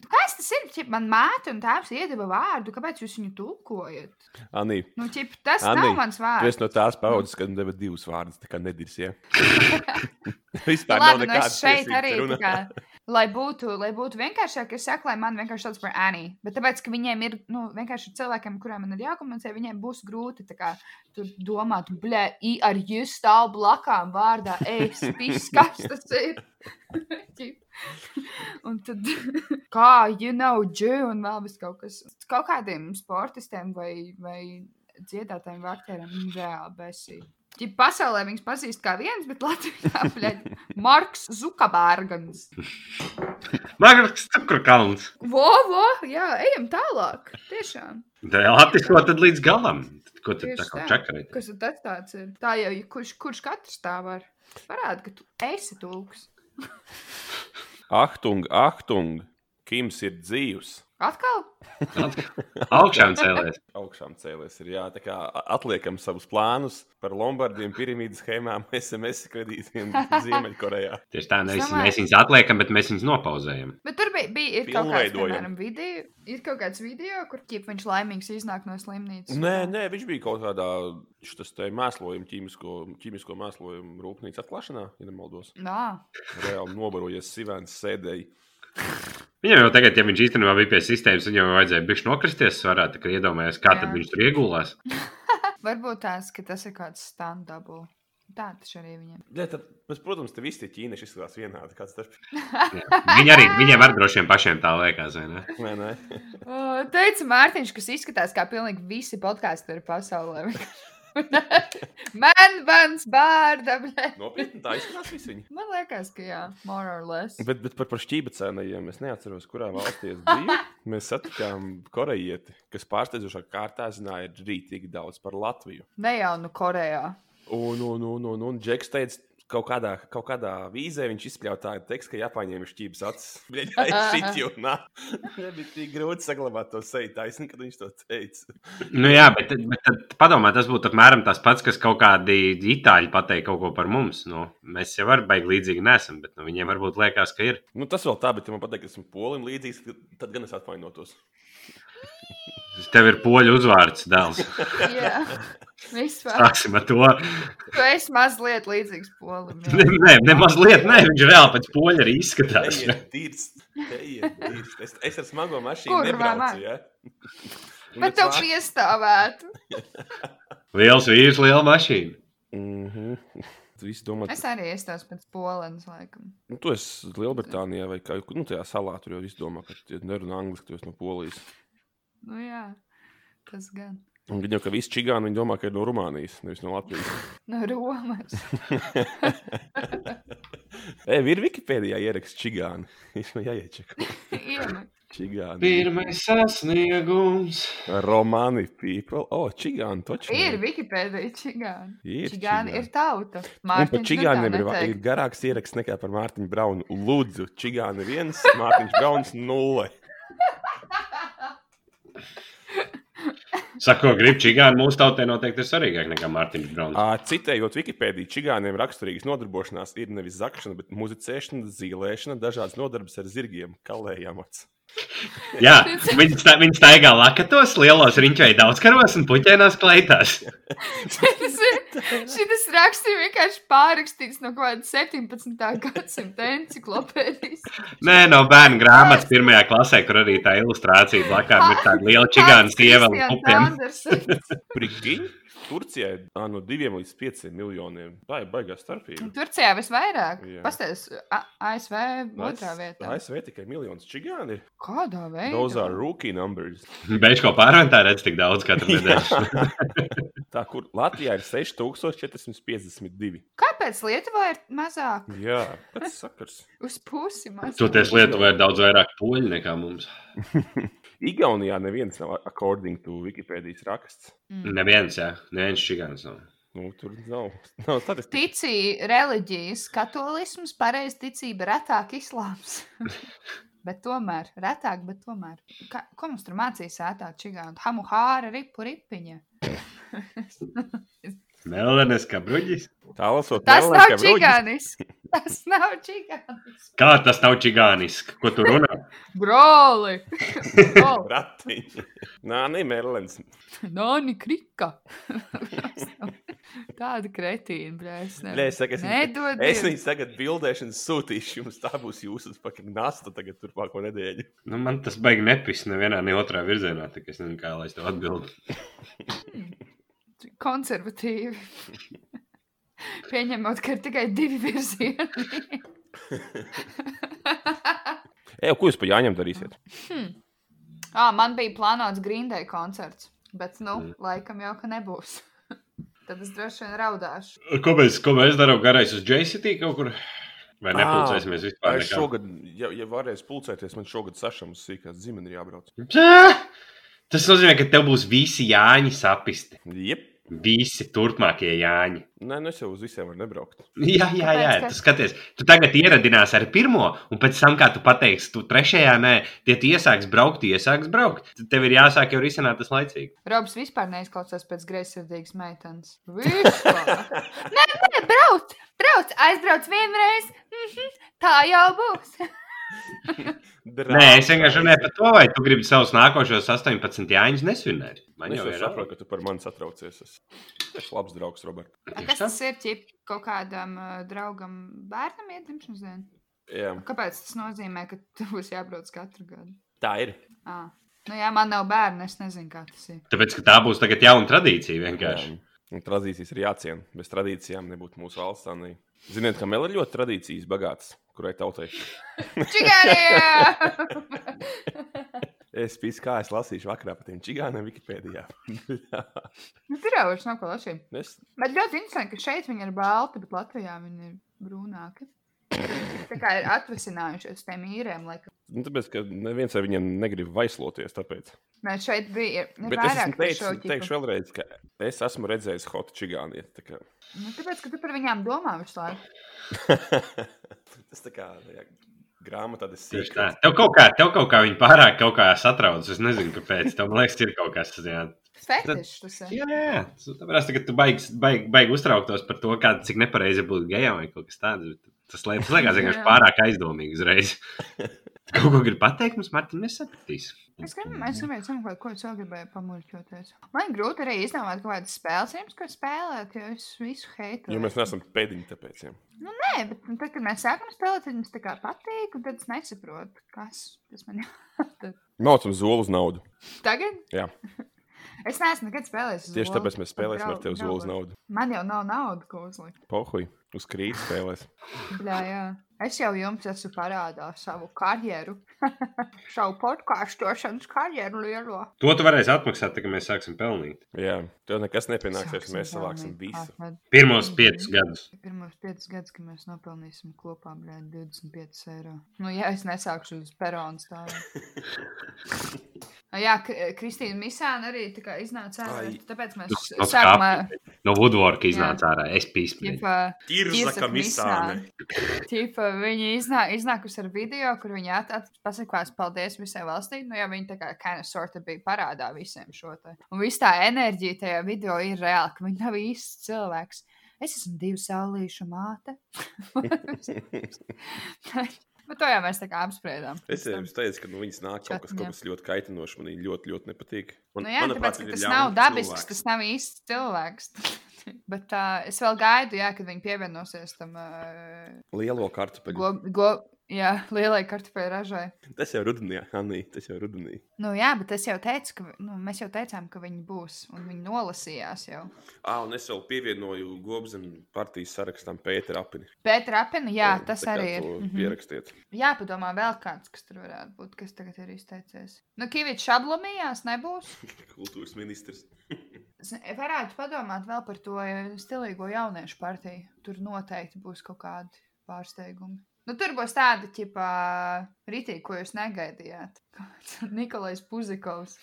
Speaker 2: Kas tas ir? Ķip, man māte un tēvs iedeva vārdu, kāpēc jūs viņu tulkojat?
Speaker 1: Anī,
Speaker 2: Nu, ķip, tas Andi,
Speaker 1: Anī,
Speaker 2: nav mans
Speaker 1: tu
Speaker 2: vārds.
Speaker 1: esi no tās paudzes, kad deva divus vārdus, tā kā nedirsie.
Speaker 2: Nu,
Speaker 1: Vispār nav
Speaker 2: labi, nu
Speaker 1: nekādas
Speaker 2: es šeit
Speaker 1: tiesības
Speaker 2: arī tā
Speaker 1: runāt.
Speaker 2: kā, lai būtu, lai būtu vienkāršāk, es saku, lai man vienkārši sauc par Anī. Bet tāpēc, ka viņiem ir, nu, vienkārši ir cilvēkiem, kuriem man ir jākomunicē, viņiem būs grūti tā kā tur domāt, blē, i ar jūs stāv blakām vārdā, es, pis, kas tas ir. [LAUGHS] un tad, [LAUGHS] kā, you know, džu, un vēl vis kaut kas. Kaut kādiem sportistiem vai, vai dziedātājiem, vaktēriem, reāli besī. Ķip, pasaulē viņas pazīst kā viens, bet Latvijā [LAUGHS] bļaļ, Marks Zukabērgans.
Speaker 3: Marks Cukurkalns.
Speaker 2: Vo, vo, jā, ejam tālāk. Tiešām.
Speaker 3: Tā ir latviešu tad līdz galam. Ko tad tā
Speaker 2: Tieši
Speaker 3: kā
Speaker 2: tā.
Speaker 3: čakarīt?
Speaker 2: Kas tad tas tāds ir? Tā jau, ir, kurš, kurš katrs tā var? Parādi, ka tu esi tulks.
Speaker 1: Achtung, achtung, Kims ir dzīvs.
Speaker 2: Atkal?
Speaker 3: Augšām cēlēs.
Speaker 1: Augšām cēlies ir jā, tā kā a- atliekam savus plānus par Lombardiem, piramīdas
Speaker 4: [LAUGHS]
Speaker 1: schēmām, SMS kredītiem Ziemeļkorejā.
Speaker 3: Tieši tā, nevis
Speaker 2: Domāju.
Speaker 3: mēs viņus atliekam, bet mēs viņus nopauzējam.
Speaker 2: Bet tur bija, bija ir kaut kāds,
Speaker 1: Pilnveidojam.
Speaker 2: piemēram, video, ir kaut kāds video, kur ķip viņš laimīgs iznāk no slimnīcas.
Speaker 1: Nē, nē, viņš bija kaut kādā šitas te mēslojuma, ķīmisko, ķīmisko mēslojumu rūpnīcas atklāšanā, ja nemaldos.
Speaker 2: Nā,
Speaker 1: Reāli nobarojies Sivēns sēdēji.
Speaker 3: Viņam jau tagad, ja viņš īstenībā bija pie sistēmas, viņam jau vajadzēja bišķi nokristies svarā, tā kā iedomājās, kā
Speaker 2: Jā.
Speaker 3: tad viņš tur iegulās.
Speaker 2: varbūt tās, ka tas ir kāds stand-up. Tā tas arī viņiem.
Speaker 4: Ja, tad, bet, protams, te visi tie ķīnieši izskatās vienādi. Kāds tas ir?
Speaker 3: Viņi arī, viņiem arī droši vien pašiem tā liekas, vai ne?
Speaker 4: Nē, nē.
Speaker 2: O, Teica Mārtiņš, kas izskatās kā pilnīgi visi podkāsteri pasaulē. [LAUGHS] Man, mans bārda. ble.
Speaker 4: Nopietni, tā izskatās visi viņi.
Speaker 2: Man liekas, ka jā, more or less.
Speaker 4: Bet, bet par, par šķībacenajiem es neatceros, kurā valstī es biju. Mēs satikām korejieti, kas pārsteidzošā kārtā zināja rītīgi daudz par Latviju.
Speaker 2: Ne jau nu
Speaker 4: [LAUGHS]
Speaker 2: Korejā.
Speaker 4: Un, un, un, un, un Džeks teica, kaut kādā, kaut kādā vīzē viņš izspļāva tādu tekstu, ka Japāņiem ir šķības acis. [LAUGHS] Viņa ir šī [LAUGHS] jūna. Nebija tik grūti saglabāt to seju taisni, kad viņš to teica.
Speaker 3: Nu jā, bet, bet tad padomā, tas būtu apmēram tas pats, kas kaut kādi itāļi pateica kaut ko par mums. Nu, mēs jau varam baigi līdzīgi nesam, bet nu, viņiem varbūt liekas, ka ir.
Speaker 4: Nu, tas vēl tā, bet ja man patīk, ka esmu polim līdzīgs, tad gan es [LAUGHS] atvainotos.
Speaker 3: Tev ir poļu uzvārds, dēls.
Speaker 2: Jā,
Speaker 4: Ah.
Speaker 2: vispār.
Speaker 3: Sāksim ar to.
Speaker 2: Tu esi mazliet līdzīgs polim. jā.
Speaker 3: Nē, nē, ne mazliet, nē, viņš reāli pēc poļa arī izskatās.
Speaker 4: Ejiet, dirst, ejiet, dirst. Es, es ar smago mašīnu
Speaker 2: Kur,
Speaker 4: nebraucu.
Speaker 2: mamā?
Speaker 4: Ja? Un
Speaker 2: Bet
Speaker 4: es
Speaker 2: tev
Speaker 4: vācu-
Speaker 2: piestāvētu.
Speaker 3: Liels vīrs, liela mašīna.
Speaker 4: Mhm. Tu Visi domā,
Speaker 2: Es arī iestāstu pēc polenes, laikam.
Speaker 4: nu, tu esi Lielbritānijā vai kā, nu, tajā salā. Tur jau viss domā, ka tu nerunā angliski, tu esi no Polijas.
Speaker 2: Nu jā, tas gan.
Speaker 4: Un viņi jau ka visi čigāni viņi domā, ka ir no Rumānijas, nevis no Latvijas.
Speaker 2: No
Speaker 4: [LAUGHS]
Speaker 2: Romas.
Speaker 4: Ei, ir Wikipēdijā ieraksts čigāni. [LAUGHS] Viņš man jāiečeka.
Speaker 2: Iemet.
Speaker 4: Čigāni.
Speaker 3: Pirmais sasniegums.
Speaker 4: Romani people. O, oh, čigāni taču.
Speaker 2: Ir Wikipēdija, čigāni.
Speaker 4: Ir
Speaker 2: čigāni ir
Speaker 4: čigāni.
Speaker 2: tauta.
Speaker 4: Un par
Speaker 2: Mārtiņš nu
Speaker 4: čigāniem
Speaker 2: tā
Speaker 4: ir, va-
Speaker 2: neteik.
Speaker 4: ir garāks ieraksts nekā par Mārtiņu Braunu. Lūdzu, čigāni viens, Mārtiņš Brauns nulle.
Speaker 3: Saku, ko grib čigāni. Mūsu tautai noteikti ir svarīgāk nekā Mārtiņš
Speaker 4: [LAUGHS]
Speaker 3: Browns.
Speaker 4: Ā, Citējot Wikipēdiju, čigāniem raksturīgas nodarbošanās ir nevis zakšana, bet muzicēšana, zīlēšana, dažādas nodarbes ar zirgiem, kalējām acis.
Speaker 3: Jā, viņi stā- viņi staigā lakatos, lielos riņķai daudzkaros un puķēnās kleitās.
Speaker 2: Šis
Speaker 4: [LAUGHS]
Speaker 2: ir- Šis raksts ir vienkārši pārrakstīts no kaut kāda 17. gadsimta enciklopēdijas.
Speaker 3: Nē, no bērnu grāmatas pirmajā klasē, kur arī tā ilustrācija blakām ir tāda liela čigāna sieva un pupiem.
Speaker 2: pupiem.
Speaker 4: Prikiņ, Turcijai ā, no 2 līdz 5 miljoniem. Tā ir baigā starpība.
Speaker 2: Turcijā visvairāk.
Speaker 4: Jā.
Speaker 2: Pastāties ASV otrā vietā. nu.
Speaker 4: ASV tikai miljons čigāni ir.
Speaker 2: Kādā
Speaker 4: Those are
Speaker 2: veidā?
Speaker 4: rookie numbers.
Speaker 3: [LAUGHS] Beidz ko pārventā redz tik daudz katru nedēļu.
Speaker 4: Tā kur Latvijā ir 6452.
Speaker 2: Kāpēc Lietuvā ir mazāk?
Speaker 4: Jā, tas sakars.
Speaker 2: Uz pusi mazāk.
Speaker 3: Toties Lietuvā ir daudz vairāk poļu nekā mums.
Speaker 4: Igaunijā neviens nav according to Wikipēdijas raksts.
Speaker 2: Mm.
Speaker 3: Neviens, jā, neviens čigāns nav.
Speaker 4: Nu, tur nav, nav statistikas.
Speaker 2: Ticība, reliģijas, katolisms, pareizticība, retāk islāms. bet tomēr, retāk, bet tomēr. Kā, ko mums tur mācīja sētā čigāna? Hamuhāra, ripu ripiņa.
Speaker 3: Melnēs kā bruģis.
Speaker 4: Tālāk,
Speaker 2: Tas nav
Speaker 4: [LAUGHS]
Speaker 2: čigānis. Tas nav čigānis.
Speaker 3: Kā tas nav čigāniski? Ko tu runā?
Speaker 2: Broli!
Speaker 4: [LAUGHS]
Speaker 2: Broli.
Speaker 4: Ratiņi. Nā, nē, Merlins.
Speaker 2: Nāni krika. [LAUGHS] Tāda kretīna, brēs.
Speaker 4: Nē, es saku, es viņu-
Speaker 2: Nedod.
Speaker 4: Es
Speaker 2: Dievu.
Speaker 4: viņu tagad bildēšanas sūtīšu jums. Tā būs jūsu pakaļ nasta tagad turpmāko nedēļu.
Speaker 3: Nu, man tas baigi nepis nevienā, ne otrā virzienā. tā kā Es nezinu, kā lai es tev atbildētu.
Speaker 2: Konservatīvi. [LAUGHS] Pieņemot, ka ir tikai divi virzieni. [LAUGHS]
Speaker 4: Ej, ko jūs pa jāņem darīsiet?
Speaker 2: À, man bija plānots Grindai koncerts, bet, nu,
Speaker 3: Mm.
Speaker 2: mm. laikam jau, ka nebūs. [LAUGHS] Tad es droši vien raudāšu.
Speaker 3: Ko mēs, ko mēs darām garais uz JCT kaut kur? Vai
Speaker 4: Ā,
Speaker 3: nepulcēsimies vispār?
Speaker 4: Es
Speaker 3: nekā?
Speaker 4: šogad, ja, ja varēs pulcēties, man šogad sašam uz sīkās dzimeni ir jābrauc.
Speaker 3: Pā! Tas nozīmē, ka tev būs visi Jāņi sapisti.
Speaker 4: Jep.
Speaker 3: Visi turpmākie Jāņi.
Speaker 4: Nē, nu es jau uz visiem varu nebraukt.
Speaker 3: Jā, jā, jā.
Speaker 2: Tāpēc, ka-
Speaker 3: Tu skaties, tu tagad ieradināsi ar pirmo, un pēc tam, kā tu pateiksi, tu trešajā nē, tie tu iesāks braukt, tu iesāks braukt. Tad Tev ir jāsāk jau risināt tas laicīgi.
Speaker 2: Robs vispār neizklausās pēc greizsirdīgas meitenes. Vispār. nē, nē, brauc! Brauc! Aizbrauc vienreiz! Mm -hmm, tā jau būs!
Speaker 3: Nē, es vienkārši runāju par to, vai tu gribi savus nākošos 18 Jāņus nesvinēt. Man
Speaker 4: Es
Speaker 3: jau
Speaker 4: jau
Speaker 3: ir
Speaker 4: saprotu, ka tu par mani satraucies. Es esmu labs draugs, Robert.
Speaker 2: A,
Speaker 3: Tieši
Speaker 2: Kas
Speaker 3: tā.
Speaker 2: tas ir ķip, kaut kādam uh, draugam, bērnam iedzimšanas dienā?
Speaker 4: Jā,
Speaker 2: Kāpēc tas nozīmē, ka tev būs jābrauc katru gadu?
Speaker 4: tā ir.
Speaker 2: À. Nu, jā, man nav bērnu, es nezinu, kā tas ir.
Speaker 3: Tāpēc, ka tā būs tagad jauna tradīcija vienkārši.
Speaker 4: Jā.
Speaker 1: Un tradīcijas ir jāciena. Bez tradīcijām nebūtu mūsu valsts. tā ne- Ziniet, kam vēl ir ļoti tradīcijas bagātas, kurai tautai
Speaker 2: Čigārija!
Speaker 1: es pīsu, kā es lasīšu vakarā par tiem čigāniem Wikipēdijā.
Speaker 2: Nu, tur jau vairs nav ko lašīt.
Speaker 1: es,
Speaker 2: Bet ļoti interesanti, ka šeit viņi ir balti, bet Latvijā viņi ir brūnāki. Tā kā ir atvesinājušies tiem īriem, laikam.
Speaker 1: nu, tāpēc, ka neviens ar viņiem negrib vaisloties. Tāpēc.
Speaker 2: Nē, šeit bija ir,
Speaker 1: Bet
Speaker 2: ir
Speaker 1: es esmu
Speaker 2: vairāk par
Speaker 1: teicis,
Speaker 2: šo
Speaker 1: un
Speaker 2: tipu.
Speaker 1: teikšu vēlreiz, ka es esmu redzējis hotu čigāni. tā kā-
Speaker 2: Nu, tāpēc, ka tu par viņām domā visu laiku.
Speaker 1: Tas tā kā jā, grāmatā tas ir
Speaker 3: Tieši tā. Tev kaut kā, tev kaut kā viņa pārāk kaut kā satrauc. Es nezinu, kāpēc. Tev, man liekas, ir kaut kas tāds.
Speaker 2: Fetišs tas ir.
Speaker 3: Jā, jā, jā. Tu- Tāpēc, tagad tu baigi baig, baig uztrauktos par to, kā, cik nepareizi būtu gejām vai kaut kas tāds. bet Tas lie- tas liekas vienkārši
Speaker 2: Jā.
Speaker 3: pārāk aizdomīgi [LAUGHS] uzreiz. Tu Kaut ko gribi pateikt, mums Martiņa nesapratīs.
Speaker 2: Es gribēju, es gribēju, sameklēt, ko es vēl gribēju pamurķoties. Man grūti arī izdomāt, kādas spēles jums, ko spēlēt, jo es visu heitu.
Speaker 1: Jo mēs neesam pēdiņi tāpēc. Jā.
Speaker 2: Nē, bet nu, tad, kad mēs sākam spēlēt, tad mums tā kā patīk, un tad es nesaprotu, kas tas man ir. [LAUGHS]
Speaker 1: Mācam zolu uz naudu.
Speaker 2: Tagad?
Speaker 1: Jā.
Speaker 2: Es neesmu nekad spēlējis. uz
Speaker 1: Tieši
Speaker 2: zolu.
Speaker 1: tāpēc mēs spēlēsim ar tevi zolu uz
Speaker 2: Draugos.
Speaker 1: naudu.
Speaker 2: Man jau nav naudas, ko uzlikt.
Speaker 1: Pohuj, uz krīt spēlēs.
Speaker 2: Jā, jā. Es jau jums esmu parādā savu karjeru, [LAUGHS] savu podkāstošanas karjeru lielo.
Speaker 3: To tu varēsi atmaksāt, tad, kad mēs sāksim pelnīt.
Speaker 1: Jā, tev nekas nepienāksies, un
Speaker 2: Sāksim
Speaker 1: mēs savāksim
Speaker 2: pelnīt
Speaker 1: visu.
Speaker 2: atmed-
Speaker 3: Pirmos piecus gadus.
Speaker 2: Pirmos piecus gadus, kad mēs nopelnīsim kopā bļā, 25 eiro. Nu, ja es nesākšu uz perona
Speaker 1: [LAUGHS]
Speaker 2: stāvot. Jā, K- Kristīna Misāna arī tā kā iznāca ārā.
Speaker 1: Ai.
Speaker 2: Tāpēc mēs
Speaker 3: Tas nav
Speaker 2: sākumā
Speaker 3: No Woodworka iznāca ārā. Es pīspēju.
Speaker 2: ķipa,
Speaker 1: Tirza
Speaker 2: Iesaka
Speaker 1: kamisāne.
Speaker 2: ķipa, viņi iznā, iznākus ar video, kur viņi at- at- pasakās paldies visai valstī. Nu, jā, viņi tā kā kind of sorta bija parādā visiem šo te. Un viss tā enerģija tajā video ir reāla, ka viņi nav īsts cilvēks. Es esmu divu
Speaker 1: [LAUGHS]
Speaker 2: saulīšu māte. Bet Nu, to jau mēs tā kā apspriedām.
Speaker 1: Es jau jums teicu, ka nu, viņas nāk kaut kas,
Speaker 2: Čatni, jā.
Speaker 1: kaut kas ļoti kaitinošs. Man viņa ļoti, ļoti nepatīk. Un,
Speaker 2: Nu, jā,
Speaker 1: manuprāt,
Speaker 2: tāpēc, ka
Speaker 1: viņa ir
Speaker 2: tas
Speaker 1: ļauns
Speaker 2: nav dabisks,
Speaker 1: cilvēks.
Speaker 2: tas nav īsts cilvēks. [LAUGHS] Bet uh, es vēl gaidu, jā, kad viņi pievienosies tam uh,
Speaker 1: Lielo kartupeļu.
Speaker 2: go, go, jā, lielai kartupeļu ražai.
Speaker 1: Tas jau rudenī, Anī, tas jau rudenī.
Speaker 2: Nu, jā, bet es jau teicu, ka vi- nu, mēs jau teicām, ka viņi būs. Un viņi nolasījās jau.
Speaker 1: Ah, un es vēl pievienoju Gobzem partijas sarakstam Pēteru Apini.
Speaker 2: Pēc rapina, jā,
Speaker 1: Tā
Speaker 2: tas
Speaker 1: kā
Speaker 2: arī ir.
Speaker 1: to
Speaker 2: Mhm.
Speaker 1: Pierakstiet.
Speaker 2: Jā, padomā, vēl kāds, kas tur varētu būt, kas tagad ir izteicies. Nu, Kavīts šablonījās, nebūs.
Speaker 1: Kultūras ministrs.
Speaker 2: Es ne- varētu padomāt vēl par to ja, stilīgo jauniešu partiju. Tur noteikti būs kaut kādi pārsteigumi. Nu, tur būs tāda tipa rītī, ko jūs negaidījāt. [LAUGHS] Nikolais Puzikovs,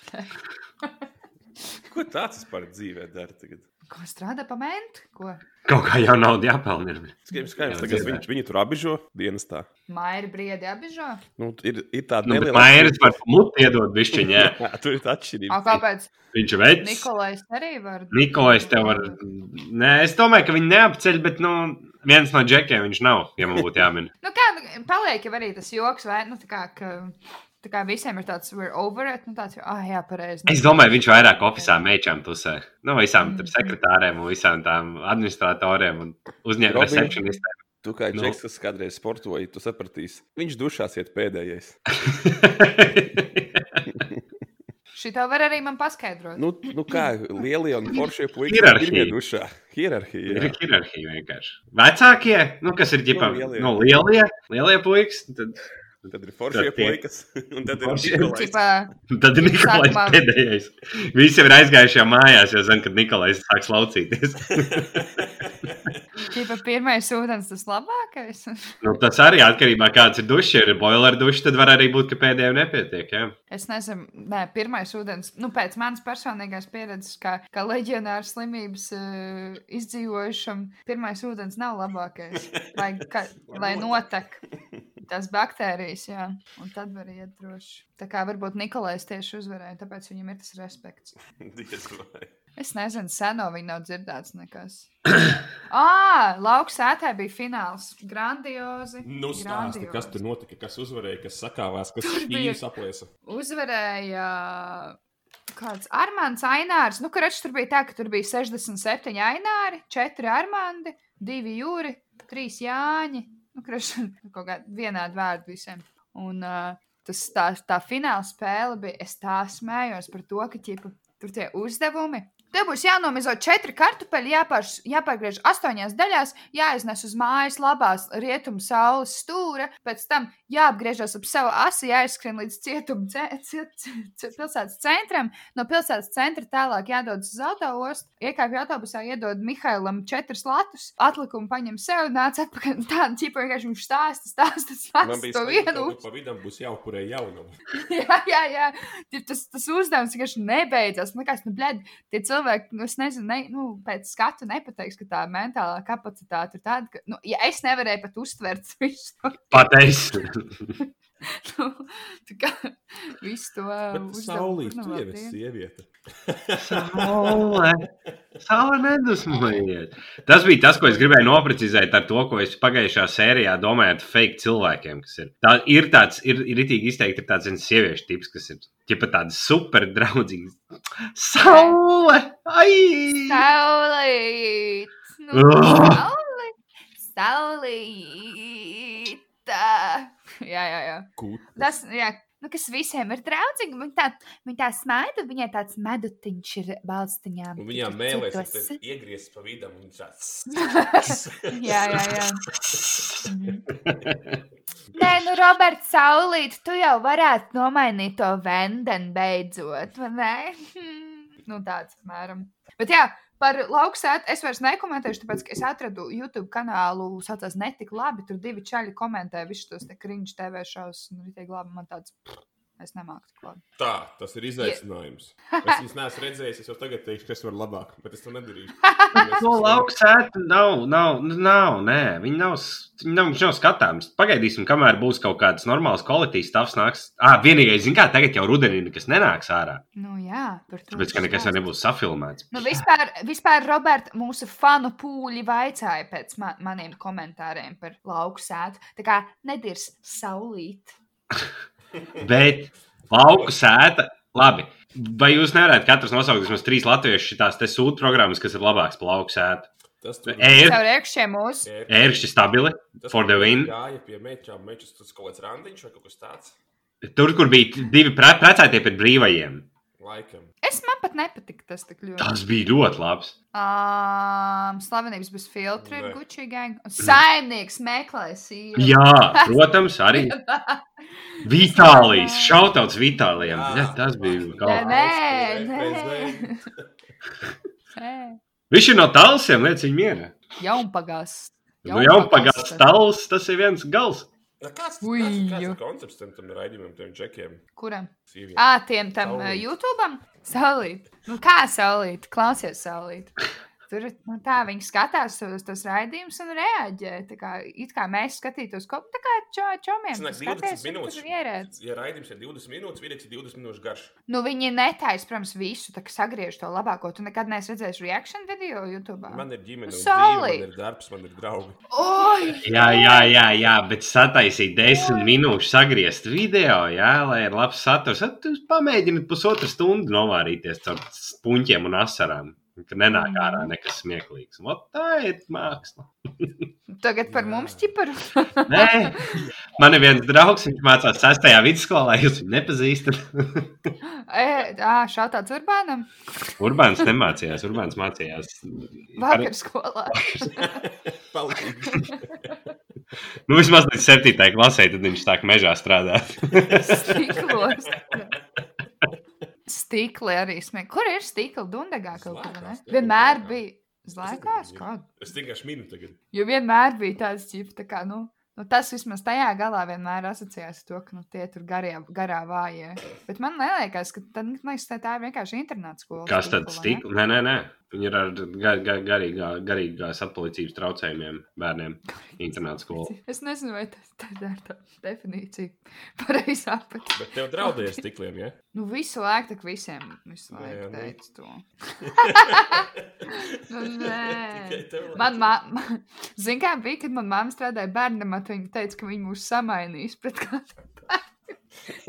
Speaker 1: Ko tāds vispār dzīvē dara tagad?
Speaker 2: ko strādā pamēnt, ko
Speaker 3: Kaut kā jau naudu jāpelnīt. ir.
Speaker 1: Skaidrs, ka
Speaker 3: Jā,
Speaker 1: tagad
Speaker 3: dzīvē.
Speaker 1: viņi, viņi tur apbižo dienestā.
Speaker 2: Maija briedi apbižo.
Speaker 1: Nu, ir, ir tāda
Speaker 3: Nu, bet Mairis var muti iedot bišķiņā. Jā.
Speaker 1: [LAUGHS] Jā, tur ir tā atšķirība.
Speaker 2: A, kāpēc
Speaker 3: Viņš ir vecs.
Speaker 2: Nikolais arī var.
Speaker 3: [LAUGHS] Nikolais tev var. Nē, es domāju, ka viņi neapceļ, bet nu, viens no džekiem viņš nav. Ja man būtu
Speaker 1: [LAUGHS]
Speaker 3: jāmin.
Speaker 2: Nu, kā nu, paliek jau arī tas joks, vai nu tā kā, ka, tā kā visiem ir tāds, we're over it, nu tāds, jau, ah, jā, pareizi.
Speaker 3: Es domāju, viņš vairāk oficiālā mečām pusē. Nu,
Speaker 2: Mhm.
Speaker 3: visām
Speaker 1: Mm.
Speaker 3: tur sekretārēm, un visām tām administratoriem un uzņēmējiem,
Speaker 1: Robin. [LAUGHS]
Speaker 3: recepcionistiem.
Speaker 1: Tu kā
Speaker 3: Nu.
Speaker 1: Džeks, kas kādreiz sportoja, tu sapratīsi, viņš dušās iet pēdējais.
Speaker 2: Šitā var arī man paskaidrot. Nu,
Speaker 1: Nu, nu kā lielie un foršie puikas
Speaker 3: Hierarhija.
Speaker 1: pirmie dušā. Hierarhija.
Speaker 3: Ir
Speaker 1: jā.
Speaker 3: hierarhija vienkārši. Vecākie, nu, kas ir ģipā,
Speaker 1: Nu, lielie.
Speaker 3: nu, lielie, lielie puikas, nu, tad,
Speaker 1: Tad ir foršie
Speaker 3: Tad tie-
Speaker 1: puikas, [LAUGHS] un tad ir
Speaker 3: Foršie.
Speaker 1: Nikolais.
Speaker 2: Tipā,
Speaker 3: nu, tad ir Nikolais
Speaker 2: Sākumā-
Speaker 3: pēdējais. Visi jau ir aizgājuši jau mājās, jo zina, kad Nikolais sāks laucīties.
Speaker 1: [LAUGHS]
Speaker 2: tipā pirmais ūdens tas labākais. [LAUGHS]
Speaker 3: Nu, tas arī atkarībā no tā, kāds ir dušs. Ja ir boiler dušs, tad var arī būt, ka pēdējiem nepietiek. Ja?
Speaker 2: Es nezinu, nē, pirmais ūdens, nu, pēc manas personīgās pieredzes, kā, kā leģionāra slimības uh, izdzīvojušam, pirmais ūdens nav
Speaker 1: [LAUGHS]
Speaker 2: labākais, lai, ka, lai notek tās baktērijas, jā, un tad var iet droši. Tā kā varbūt Nikolais tieši uzvarēja, tāpēc viņam ir tas respekts.
Speaker 1: [LAUGHS] Diez vai.
Speaker 2: Es nezinu, seno viņa nav dzirdēts nekas. [COUGHS] Ā, lauksētē bija fināls. Grandiozi.
Speaker 1: Nu, stāsti,
Speaker 2: Grandios.
Speaker 1: kas tur notika, kas uzvarēja, kas sakāvās, kas
Speaker 2: Tur bija-
Speaker 1: īsti apliesa.
Speaker 2: uzvarēja kāds Armāns Ainārs. Nu, kurš tur bija tā, ka tur bija 67 aināri, 4 armāni, 2 jūri, 3 jāņi. Nu, kurš [LAUGHS] kaut kādā vienādi vārdi visiem. Un uh, tas tā, tā fināla spēle bija, es tā smējos par to, ka ķipa, tur tie uzdevumi Tev būs jānomizo četri kartupeļi, jāpārš, jāpārgriež astoņās daļās, jāiznes uz mājas labās rietumu saules stūra, pēc tam jāapgriežas ap savu asi, jāizskrien līdz cietuma ce, ce, ce, ce, pilsētas centram, no pilsētas centra tālāk jādodas uz autoostu, iekāpj autobusā, iedod Mihailam četrus latus, atlikumu paņem sev, nāc atpakaļ, [LAUGHS] tāda ķipa vienkārši viņš stāsta, stāsta,
Speaker 1: Man
Speaker 2: stāsta
Speaker 1: bija slikti, ka
Speaker 2: to vienu.
Speaker 1: tur pa vidam būs jāupurē jaunumu.
Speaker 2: [LAUGHS] jā, jā, jā. Tie- Tas, tas uzdevums vienkārši nebeidzās. Man liekas, nu, blēd, tie cilvēki, nu, es nezinu, ne, nu, pēc skatu nepateiks, ka tā mentālā kapacitāte ir tāda, ka, nu, ja es nevarēju pat uztvert [LAUGHS] visu to,
Speaker 3: Pateicis.
Speaker 2: nu, tā kā, visu to
Speaker 1: Bet saulīt, tu jau esi sieviete.
Speaker 3: Saule. Saule nedusmojies. Tas bija tas, ko es gribēju noprecizēt ar to, ko es pagājušā sērijā domāju par fake cilvēkiem. kas Ir. Tā ir tāds, ir, ir itīgi izteikti, ir tāds viens sieviešu tips, kas ir ķipa tāds super draudzīgs. Saule! Ai!
Speaker 2: Saulīt! Nu,
Speaker 3: Ugh!
Speaker 2: saulīt! Saulīt! Jā, jā, jā.
Speaker 1: Kūta.
Speaker 2: Tas, jā, nu, kas visiem ir draudzīgi, viņa tā, viņa tā smaida, viņai tāds medutiņš ir balstiņā.
Speaker 1: Un viņām
Speaker 2: Tik
Speaker 1: mēlēs, un
Speaker 2: cietos.
Speaker 1: tad iegriezis pa vidam un tāds.
Speaker 2: Jā, jā, jā. Mhm. Nē, nu, Robert, saulīt, tu jau varētu nomainīt to vendeni beidzot, vai ne? [LAUGHS] Hmm. Nu, tāds, apmēram. Bet jā, par lauksētu es vairs nekomentēšu, tāpēc, ka es atradu YouTube kanālu, saucās Netik labi, tur divi čaļi komentē visus tos te kriņš TV šaus, nu, vitīgi labi, man tāds, pff, es nemāku tik labi.
Speaker 1: Tā, tas ir
Speaker 2: [LAUGHS]
Speaker 1: izaicinājums. Es viņas neesmu redzējis, es jau tagad teikšu, kas var labāk, bet es to nedarīšu. Mēs
Speaker 3: To
Speaker 1: esam-
Speaker 3: lauksētu nav, nav, nu, nav, nē, viņi nav, s- viņi nav, viņš nav skatāms. Pagaidīsim, kamēr būs kaut kāds normāls kvalitātes stāvs nāks. Ā, vienīgais, zin kā, tagad jau rudenī nekas nenāks ārā,
Speaker 2: Nu, jā, par to.
Speaker 3: tāpēc, ka
Speaker 2: es
Speaker 3: nekas
Speaker 2: stāstu.
Speaker 3: jau nebūs safilmēts.
Speaker 2: Nu, vispār, vispār Roberta, mūsu fanu pūļi vaicāja pēc ma maniem komentāriem par lauku sētu. Tā kā nedirs saulīt.
Speaker 3: Bet lauku sēta, labi. Vai jūs nevarat katrs nosaukt vismaz trīs latviešu šitās te sūdu programmas, kas ir labāks par lauku sētu?
Speaker 1: Tas tur
Speaker 3: Ir
Speaker 2: Tev riekšķie mūsu.
Speaker 1: ir.
Speaker 3: ērkšķi stabili.
Speaker 1: Tas,
Speaker 3: for
Speaker 1: kur
Speaker 3: the win.
Speaker 1: Gāja pie meitām, mečus, tas kaut kāds randiņš vai kaut kas tāds.
Speaker 3: Tur, kur bija t- divi pre precētie pret brīvajiem.
Speaker 1: Laikam.
Speaker 2: Es man pat nepatiku tas tik ļoti.
Speaker 3: Tas bija ļoti labs.
Speaker 2: Um, slavenības bez filtra ir
Speaker 1: Nē.
Speaker 2: Gucci gang. Un Saimnieks meklē sīru.
Speaker 3: Jā, protams, arī [LAUGHS] Vitālijas. Šautauts Vitālijam.
Speaker 1: Jā.
Speaker 3: Jā, tas bija.
Speaker 2: Nē,
Speaker 3: kaut-
Speaker 2: nē,
Speaker 1: Aizskrēja,
Speaker 2: nē.
Speaker 1: prezidents.
Speaker 2: Nē.
Speaker 3: Viņš ir no tālsiem, liec viņu mierā.
Speaker 2: Jaunpagās.
Speaker 3: Nu jau pagājušas tāls, tas ir viens gals.
Speaker 1: Nā, Kāds
Speaker 2: Ui,
Speaker 1: kāds- kāds
Speaker 2: jo.
Speaker 1: ir koncepts tam, tam raidījumam, tiem džekiem?
Speaker 2: Kuram?
Speaker 1: Sīviem.
Speaker 2: Ā, tiem tam
Speaker 1: Saulīt.
Speaker 2: YouTube. Saulīt. Nu, kā saulīt? Klausies, saulīt. Tur nu, tā viņi skatās uz tos raidījumus un reaģē. Tā kā, it kā mēs skatītos, ko tā kā čo, čomiem
Speaker 1: Sanāk,
Speaker 2: tu
Speaker 1: 20
Speaker 2: skaties, un
Speaker 1: minūtes.
Speaker 2: tur ierēdz.
Speaker 1: Ja raidījums ir 20 minūtes, vīrietis ir 20 minūtes garš.
Speaker 2: Nu, viņi netais, protams, visu, tā kā sagriež to labāko. Tu nekad neesi redzējis reaction video YouTube. Man...
Speaker 1: Man ir ģimene, un dzīve,
Speaker 2: Saulīt.
Speaker 1: man ir darbs, man ir draugi.
Speaker 2: Oi!
Speaker 3: Jā, jā, jā, jā, bet sataisīt desmit minūšu, sagriezt video, jā, lai ir labs saturs. Tad jūs pamēģiniet pusotru stundu novārīties ar puņķiem un asarām. Ka nenāk ārā nekas smieklīgs. Vot tā ir māksla.
Speaker 2: Tagad par
Speaker 1: Jā.
Speaker 2: mums ķiparu.
Speaker 3: Nē, [LAUGHS] man ir viens draugs, viņš mācās sastajā vidusskolā, jūs viņu nepazīstat.
Speaker 2: [LAUGHS] Ē, Ā, šautāts Urbānam.
Speaker 3: Urbāns nemācījās, Urbāns mācījās.
Speaker 2: Vakar skolā.
Speaker 1: Palīgi.
Speaker 3: Nu, vismaz līdz 7. klasē, tad viņš sāk mežā strādāt.
Speaker 2: Stiklos. Stikli arī smieklīgi. Kur ir stikla dundagā kaut kur? vai ne?
Speaker 1: Zlēkās, jā,
Speaker 2: Vienmēr
Speaker 1: Zlēkās.
Speaker 2: bija.
Speaker 1: Es
Speaker 2: Zvaigznājās,
Speaker 1: nezinu,
Speaker 2: kāda.
Speaker 1: Es vienkārši minu tagad.
Speaker 2: Jo vienmēr bija tāds ģips, tā kā, nu, nu, tas vismaz tajā galā vienmēr asociējās ar to, ka nu, tie tur garie, garā vājie. Bet man liekas, ka tad, nu, man liekas, tā- tā ir vienkārši internāta skola.
Speaker 3: Kas tad
Speaker 2: stikla, vai ne?
Speaker 3: stikla? Nē, nē, nē. Viņi ir ar gar, gar, garīgā, garīgās atpalicības traucējumiem bērniem internāta skolā.
Speaker 2: Es nezinu, vai tas tā ir tā definīcija. [LAUGHS] Pareizi apgūt.
Speaker 1: Bet tev draudēja stikliem, ja?
Speaker 2: Nu, visu laiku, tak visiem visu
Speaker 1: Nē,
Speaker 2: laiku
Speaker 1: nu.
Speaker 2: teicu to. nu, nē.
Speaker 1: Tikai tev
Speaker 2: Man, ma... ma- zin kā bija, kad manā māte strādāja bērnam, tad viņa teica, ka viņi mūs samainīs pret kādu. [LAUGHS]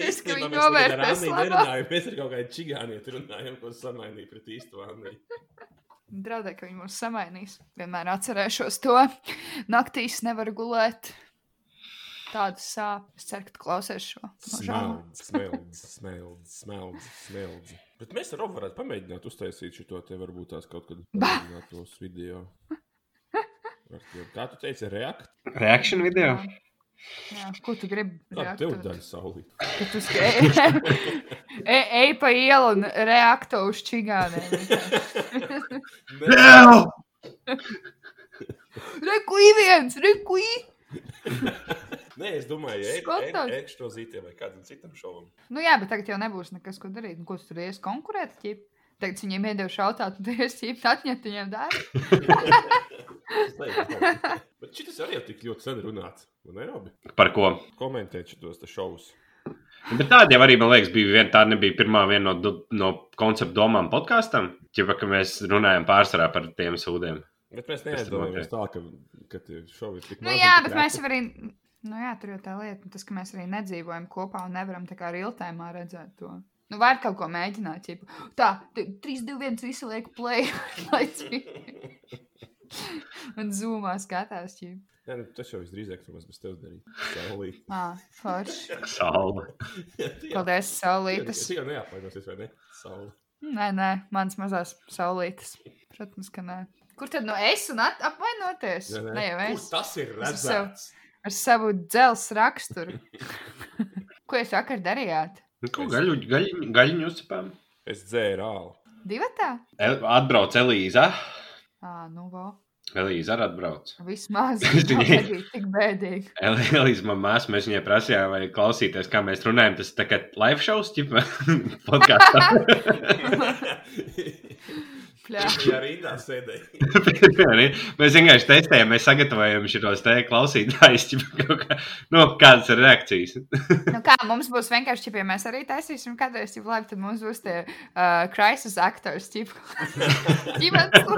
Speaker 2: Es, ka viņi novērtēs labāk.
Speaker 1: nerunājām. Mēs ar kaut kādu čigānieti runājām, ko samainīja pret īstu vānu.
Speaker 2: Draudēja, ka viņi mūs samainīs. Vienmēr atcerēšos to. Naktīs nevar gulēt. Tāda sāpes. Es ceru, ka tu klausies šo. No žēl.
Speaker 1: Smeldz, smeldz, smeldz, smeldz, smeldz.
Speaker 4: Bet mēs ar Robu varētu pamēģināt uztaisīt šo te varbūt tās kaut kad
Speaker 2: Ba!
Speaker 4: pamēģināt tos video. Ar tiem- Kā tu teici, reakt?
Speaker 3: Reakcija video.
Speaker 2: Jā, ko tu gribi?
Speaker 4: Kā
Speaker 2: reaktu?
Speaker 4: tev daļa saulīt?
Speaker 2: Ka tu sk- e- e- Ej pa ielu un reaktu uz čigāniem.
Speaker 3: Vēl!
Speaker 2: Reku īviens, reku īviens.
Speaker 4: Nē, es domāju,
Speaker 2: Skotās.
Speaker 4: ej šo zītiem vai kādam citam
Speaker 2: [LAUGHS]
Speaker 4: šovam.
Speaker 2: Nu jā, bet tagad jau nebūs nekas, ko darīt. Nu, Ko tu tur iesi konkurēt? Ķip? Tagad viņiem iedeva šautāt, un tu iesi ķipt atņemt viņiem darbu.
Speaker 4: Es nezinu, kā. Bet šis arī jau tik ļoti sen runāts. Man ir labi
Speaker 3: Par ko?
Speaker 4: komentēt šos te šovus.
Speaker 3: Bet tāda jau arī, man liekas, bija viena. Tā nebija pirmā viena no, du- no konceptu domām podkāstam. Ķipa, ka mēs runājam pārsvarā par tiem sūdiem.
Speaker 4: Bet mēs
Speaker 3: Kas tad
Speaker 4: neaizdomājamies tā, ka, ka tie šovi ir tik
Speaker 2: Nu
Speaker 4: mazi,
Speaker 2: jā,
Speaker 4: tik
Speaker 2: bet
Speaker 4: reti.
Speaker 2: mēs jau arī. Nu jā, tur jau tā lieta, nu tas, ka mēs arī nedzīvojam kopā un nevaram tā kā realtēmā redzēt to. Nu, var kaut ko mēģināt, ja tā, t- 3, 2, 1, visi liek play, [LAUGHS] lai cik. Un zūmā skatās, ja.
Speaker 4: Nē, nu, tas jau visdrīzāk, ka mēs bez tevis darītu. Saulīt. [LAUGHS]
Speaker 2: Ā, forši.
Speaker 3: Saula.
Speaker 4: Tu jau-
Speaker 2: Paldies, saulītas.
Speaker 4: Tu jau neapvainosies, vai ne? Saulīt.
Speaker 2: Nē, nē, mans mazās saulītas. Protams, ka nē. Kur tad no es un at- apvainoties? Nē, nē. jau
Speaker 4: Kur
Speaker 2: es.
Speaker 4: tas ir
Speaker 2: Es uz sev.
Speaker 4: redzams?
Speaker 2: Ar savu dzelzs
Speaker 4: [LAUGHS]
Speaker 2: raksturu. Ko jūs vakar darījāt?
Speaker 3: Nu, Ko gaļu, gaļu, gaļu uzcēpām?
Speaker 4: Es dzēru ālu.
Speaker 2: Divatā?
Speaker 3: Atbrauc Elīza.
Speaker 2: Ā, nu, vēl.
Speaker 3: Elīza arī atbrauc.
Speaker 4: [LAUGHS]
Speaker 2: Vismaz
Speaker 3: Es
Speaker 2: tā
Speaker 3: viņai-
Speaker 2: bija tik bēdīgi.
Speaker 3: El- Elīza man māsā, mēs viņai prasījām, vai klausīties, kā mēs runājam. Tas tā kā live shows, ķipa, [LAUGHS] podkāstā. [LAUGHS]
Speaker 2: Pļā.
Speaker 4: Jā, rindā
Speaker 2: [LAUGHS]
Speaker 4: sēdēja.
Speaker 3: mēs vienkārši testējam, mēs sagatavojam šos te klausītājus, ķipa, kaut kā, nu, kādas ir reakcijas.
Speaker 2: Nu, kā mums būs vienkārši, ķip, ja mēs arī taisīsim kādreiz jau labi, tad mums būs tie uh, crisis actors,
Speaker 4: [LAUGHS]
Speaker 2: ķip. Ģimenes.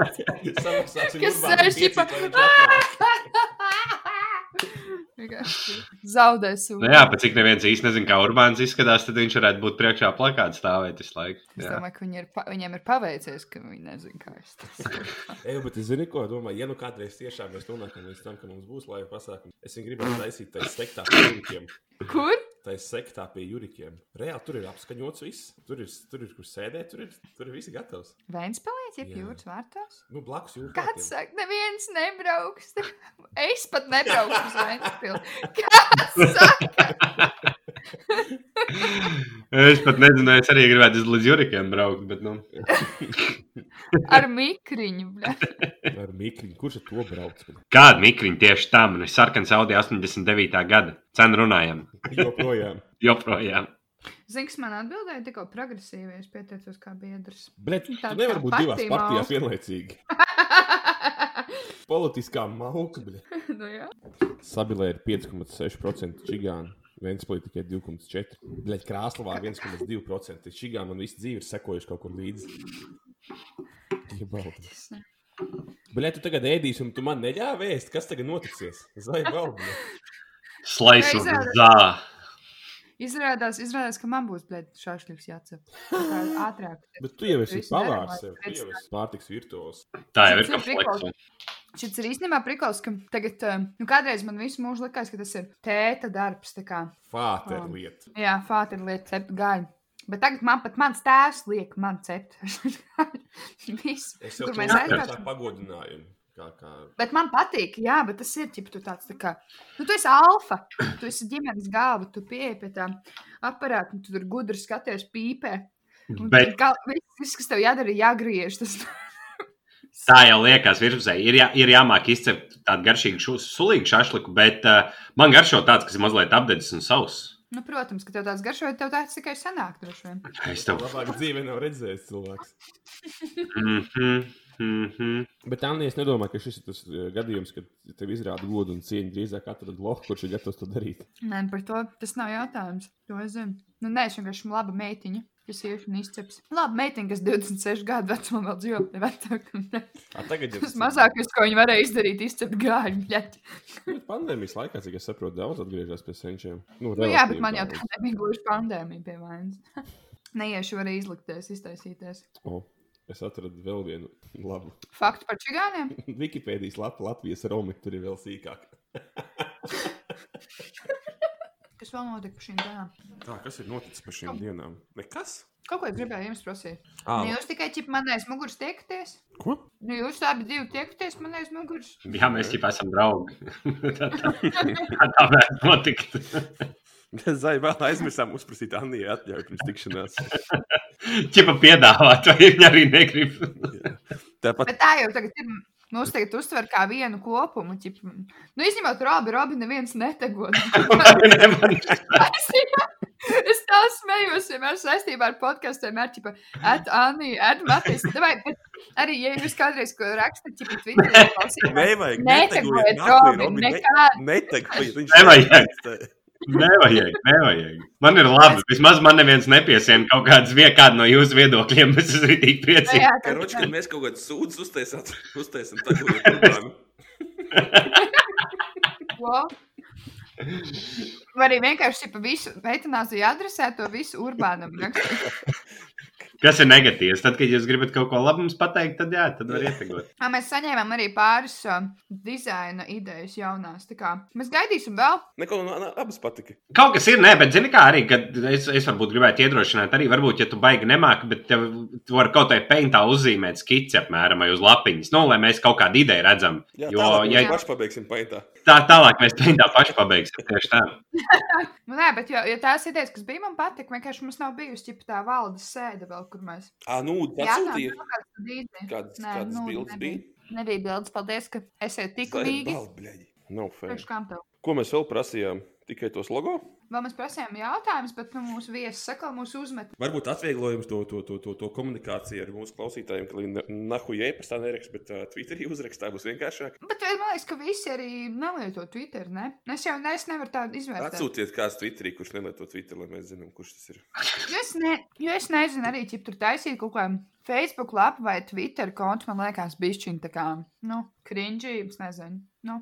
Speaker 2: Kas sēž, ķipa, "Ah!" Vienkārši Zaudēs.
Speaker 3: Nu, jā, pat cik neviens īsti nezina, kā Urbāns izskatās, tad viņš varētu būt priekšā plakāta stāvēt visu laiku.
Speaker 2: Es
Speaker 3: Jā.
Speaker 2: domāju, ka viņi ir, pa- viņiem ir paveicies, ka viņi nezina, kā es to saku.
Speaker 4: Ej, bet es zinu, ko domāju. Ja nu kādreiz tiešām mēs nonākam līdz tam, ka mums būs laiva pasākums, es viņu gribētu taisīt taisīt sektā pie jūrikiem.
Speaker 2: Kur?
Speaker 4: Taisīt sektā pie jūrikiem. Reāli tur ir apskaņots viss. Tur ir, tur ir kur sēdēt, tur ir, tur ir viss gatavs.
Speaker 2: Vēnspēlēt, ja
Speaker 4: Jā.
Speaker 2: jūras vārtos?
Speaker 4: Nu, blakus jūras.
Speaker 2: Kāds saka, neviens nebrauks. [LAUGHS] Es pat nebraucu uz Vēnspēli. Kāds saka?
Speaker 3: Es pat nezinu, es arī gribētu līdz jūrikiem braukt, bet nu,
Speaker 2: Ar mikriņu. bļa.
Speaker 4: Ar mikriņu. Kurš ar to brauc?
Speaker 3: kāda mikriņa tieši tam ir sarkans Audi 89. gada cena runājam.
Speaker 4: Joprojām.
Speaker 3: Joprojām.
Speaker 2: Zini, kas man atbildēja tikko progresīvi, es pieteicos kā biedrs. [LAUGHS]
Speaker 4: Bet tu
Speaker 2: Tā
Speaker 4: nevari
Speaker 2: kā
Speaker 4: būt divās
Speaker 2: patīmā. [LAUGHS]
Speaker 4: partijās vienlaicīgi. Politiskā mauka, bļa.
Speaker 2: nu, jā.
Speaker 4: Sabilē ir 5,6% čigāna. Vēnspēlī tikai 2,4%. Bļaļ, Krāslavā 1,2%. Čigāna man visu dzīvi ir sekojuši kaut kur līdzi. Jebaldi.
Speaker 2: Es ne-
Speaker 4: Bļaļ, tu tagad ēdīsi, un tu man neļāvēst, kas tagad notiksies. Zai, baldi.
Speaker 3: Slaids un
Speaker 2: Reizē-
Speaker 3: zā.
Speaker 2: Izrādās, izrādās, ka man būs blēd, šāšļiks jācep. Tā kā Ātrāk.
Speaker 4: Bet tu jau esi
Speaker 2: Visu darām,
Speaker 4: pavārs sev.
Speaker 2: lai
Speaker 4: Tu jau esi pārtiks virtuos.
Speaker 3: Tā jau ir
Speaker 2: Cits ir
Speaker 3: komplekts.
Speaker 2: Šis ir īstenībā prikals, ka tagad, eh, nu, kādreiz man visu mūžu likās, ka tas ir tēta darbs. tā kā.
Speaker 4: Fāter
Speaker 2: Ah.
Speaker 4: lieta.
Speaker 2: Jā, fāte ir lieta, cept gaļu. Bet tagad man pat mans tēvs liek man cept. [LAUGHS] Visu.
Speaker 4: Es jau
Speaker 2: Kur
Speaker 4: to
Speaker 2: mēs
Speaker 4: uzskatu tā
Speaker 2: aizbraucam?
Speaker 4: pagodinājumu. Kā, kā.
Speaker 2: Bet man patīk, jā, bet tas ir ģip, tu tāds, tā kā, nu, tu esi alfa, tu esi ģimenes galva, tu pieeji pie tā aparāta, un tu tur gudri skaties pīpē. Un
Speaker 3: Bet
Speaker 2: tur gal- viss, viss, kas tev jādara, ir jāgriež. Tas...
Speaker 3: tā jau liekas, virpusē. ir, jā, ir jāmāk izcept tādu garšīgu, šu- sulīgu šāšliku, bet uh, man garšo tāds, kas ir mazliet apdedzis un sauss.
Speaker 2: Nu, protams, ka tev tāds garšoja, tev tāds tikai sanāk, droši vien.
Speaker 3: Es tev.
Speaker 4: Labāk dzīve nav redzējis cilvēks.
Speaker 3: Mm -hmm, mm -hmm.
Speaker 4: Bet Anna, es nedomāju, ka šis ir tas eh, gadījums, kad tev izrāda godu un cieņu. Drīzāk atrod loku, kurš ir gatavs to darīt.
Speaker 2: Nē, par to tas nav jautājums. To es zinu. Nu, nē, es vienkārši esmu laba meitiņa, kas ieš un izceps. Labi, meitiņa, kas 26 gadu vecumā vēl dzīvo, ne vecāka. ne.
Speaker 4: A, tagad
Speaker 2: Tas mazākais, ko viņi varēja izdarīt, izcept gāļu. bļaļ.
Speaker 4: Bet Pandēmijas laikā, cik es saprotu, daudz atgriežas pie senčiem.
Speaker 2: Nu, jā, bet man jau tā nebija gluži pandēmija pie vainas. [LAUGHS] Neiešu arī izlikties, iztaisīties.
Speaker 4: Oh, es atradu vēl vienu labu. [LAUGHS]
Speaker 2: Faktu par čigāniem.
Speaker 4: Wikipēdijas lapu Latvijas Romi tur ir vēl sīkāk.
Speaker 2: Kas vēl notika par šīm dienām?
Speaker 4: Tā, kas ir noticis par šīm dienām? Nekas.
Speaker 2: Kaut ko es gribēju jums prasīt. Nu,
Speaker 1: Ah,
Speaker 2: jūs tikai ķip man aiz muguras tiekties?
Speaker 1: ko?
Speaker 2: Nu, jūs abi divi tiekties man aiz muguras?
Speaker 3: Jā, mēs jau esam draugi. [LAUGHS] tā tā, tā, tā varētu notikt.
Speaker 1: [LAUGHS] Zai, vēl aizmirsām uzprasīt Anniju atļauju pirms tikšanās.
Speaker 3: Čipa piedāvāt, vai viņa arī negrib. [LAUGHS]
Speaker 1: Tāpat
Speaker 2: Bet tā jau tagad ir. Mums tagad uztver kā vienu kopumu. Ķip. Nu, izņemot Robi, Robi neviens netegot.
Speaker 3: Ne, man-
Speaker 2: Es vienmēr- Es tā smējos, vienmēr saistībā ar podkāstu. Vienmēr, tipā, at Anī, at Matīs. Davai, bet arī, ja jūs kādreiz ko rakstat, tipā, Twitterī, klausītājiem,
Speaker 1: nevajag.
Speaker 2: netekojiet Robi, nekādu.
Speaker 1: Netekojiet,
Speaker 3: [LAUGHS]
Speaker 1: viņš
Speaker 3: Nevajag.
Speaker 1: nevajag.
Speaker 3: nevajag, nevajag. Man ir labi. Vismaz man neviens nepiesien kaut kādas vienkārši no jūsu viedokļiem. [LAUGHS] Es esmu rītīgi priecīgs.
Speaker 2: Jā, tā
Speaker 1: Karoči,
Speaker 2: ir.
Speaker 1: kad mēs kaut kādu sūdzu uztaisām, [LAUGHS] uztaisām tādu problēmu.
Speaker 2: Ko? Vai arī vienkārši pa visu eitanāziju adresē to visu urbānam. rakstu.
Speaker 3: Kas ir negatīvs? Tad, kad jūs gribat kaut ko labu mums pateikt, tad jā, tad var ietekmēt.
Speaker 2: Ā, Mēs saņēmām arī pāris uh, dizaina idejas jaunās. tā kā Mēs gaidīsim vēl.
Speaker 1: Neko man abas patika.
Speaker 3: Kaut kas ir, nē, bet zini, kā arī, kad es, es varbūt gribētu iedrošināt, arī, varbūt, ja tu baigi nemāki, bet tev tu vari kaut kādā peintā uzzīmēt skici apmēram vai uz lapiņas, nu, lai mēs kaut kādu ideju redzam.
Speaker 1: Jā,
Speaker 3: Jo,
Speaker 1: jo, tālāk,
Speaker 3: ja-
Speaker 1: ja paši pabeigsim paintā.
Speaker 3: Tā tālāk mēs peintā paši pabeigsim. Tieši tā.
Speaker 2: Nu, nē, bet jo, jo tās idejas, kas bija man patīk, vienkārši mums nav bijusi ķipa, tā valdes sēde vēl, kur mēs.
Speaker 1: Ā, nu,
Speaker 2: Jā,
Speaker 1: tas
Speaker 2: tā
Speaker 1: sūtīja.
Speaker 2: nav kāds dīdze.
Speaker 1: Kādas,
Speaker 2: Nē,
Speaker 1: kādas
Speaker 2: nu,
Speaker 1: nu, bildes
Speaker 2: nebija.
Speaker 1: bija?
Speaker 2: Nebija bildes, paldies, ka esiet tik mīgi.
Speaker 1: balbļaļi. Nav fair.
Speaker 2: Priekš kam tev?
Speaker 1: Ko mēs vēl prasījām? Tikai tos logo?
Speaker 2: Vēl mēs prasījām jautājumus, bet nu, mūsu viesis sakal mūs uzmet.
Speaker 1: Varbūt atvieglojums to, to, to, to, to komunikāciju ar mūsu klausītājiem, ka viņi ne- nahu e-pastā neraksta, bet uh, Twitterī uzrakstā būs vienkāršāk.
Speaker 2: Bet vēl man liekas, ka visi arī nelieto Twitter, ne? Es jau ne, es nevaru tādu izvērst.
Speaker 1: Atsūtiet kāds Twitterī, kurš nelieto Twitter, lai mēs zinām, kurš tas ir.
Speaker 2: Jo es, ne, jo es nezinu, arī ķip tur taisīt kaut kādu Facebook lapu vai Twitter kontu, man liekas, bišķiņ tā kā, nu, krinžības, nezinu. Nu,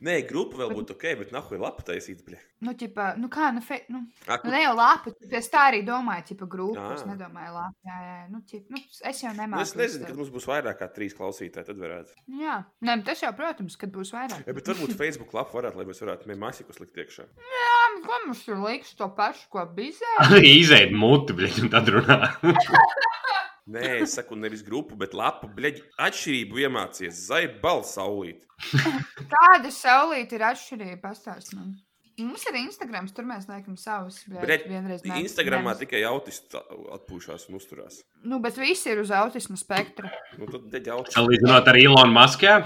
Speaker 1: Nē, grupa vēl būtu ok, bet nahu ir lapa taisīt, bļa.
Speaker 2: nu, ķipa, nu kā, nu, fe, nu,
Speaker 1: Ak,
Speaker 2: Nu, ne jau lapu, bet es tā arī domāju, tipa grupu. Es
Speaker 1: Ā.
Speaker 2: nedomāju, lapu. Jā, jā, nu, ķip, nu, es jau
Speaker 1: Nu,
Speaker 2: nemāku.
Speaker 1: es nezinu,
Speaker 2: visu.
Speaker 1: kad mums būs vairāk kā trīs klausītāji. Tad varētu.
Speaker 2: Nu, Jā, Nē, bet tas jau, protams, kad būs vairāk.
Speaker 1: Ja, bet varbūt Facebook lapā varētu, lai mēs varētu mēmāsikus likt iekšā.
Speaker 2: Jā, bet nu, ko mums tur liks to pašu, ko bizē?
Speaker 3: Arī izeid muti, bļaļ, un tad runā. [LAUGHS]
Speaker 1: Nē, es saku, nevis grupu, bet lapu. Bleģi, atšķirību iemācies. Zai balss saulīt.
Speaker 2: Kāda saulīte ir atšķirība? Pastāsti man. Mums ir Instagrams, tur mēs liekam savus. bļēt,
Speaker 1: Bret,
Speaker 2: vienreiz mēs-
Speaker 1: Instagramā
Speaker 2: mēs-
Speaker 1: tikai autisti atpūšas un uzturās.
Speaker 2: Nu, bet visi ir uz autisma spektra.
Speaker 1: Nu, tad te jau tā.
Speaker 3: Salīdzinot ar Ilonu Maskē,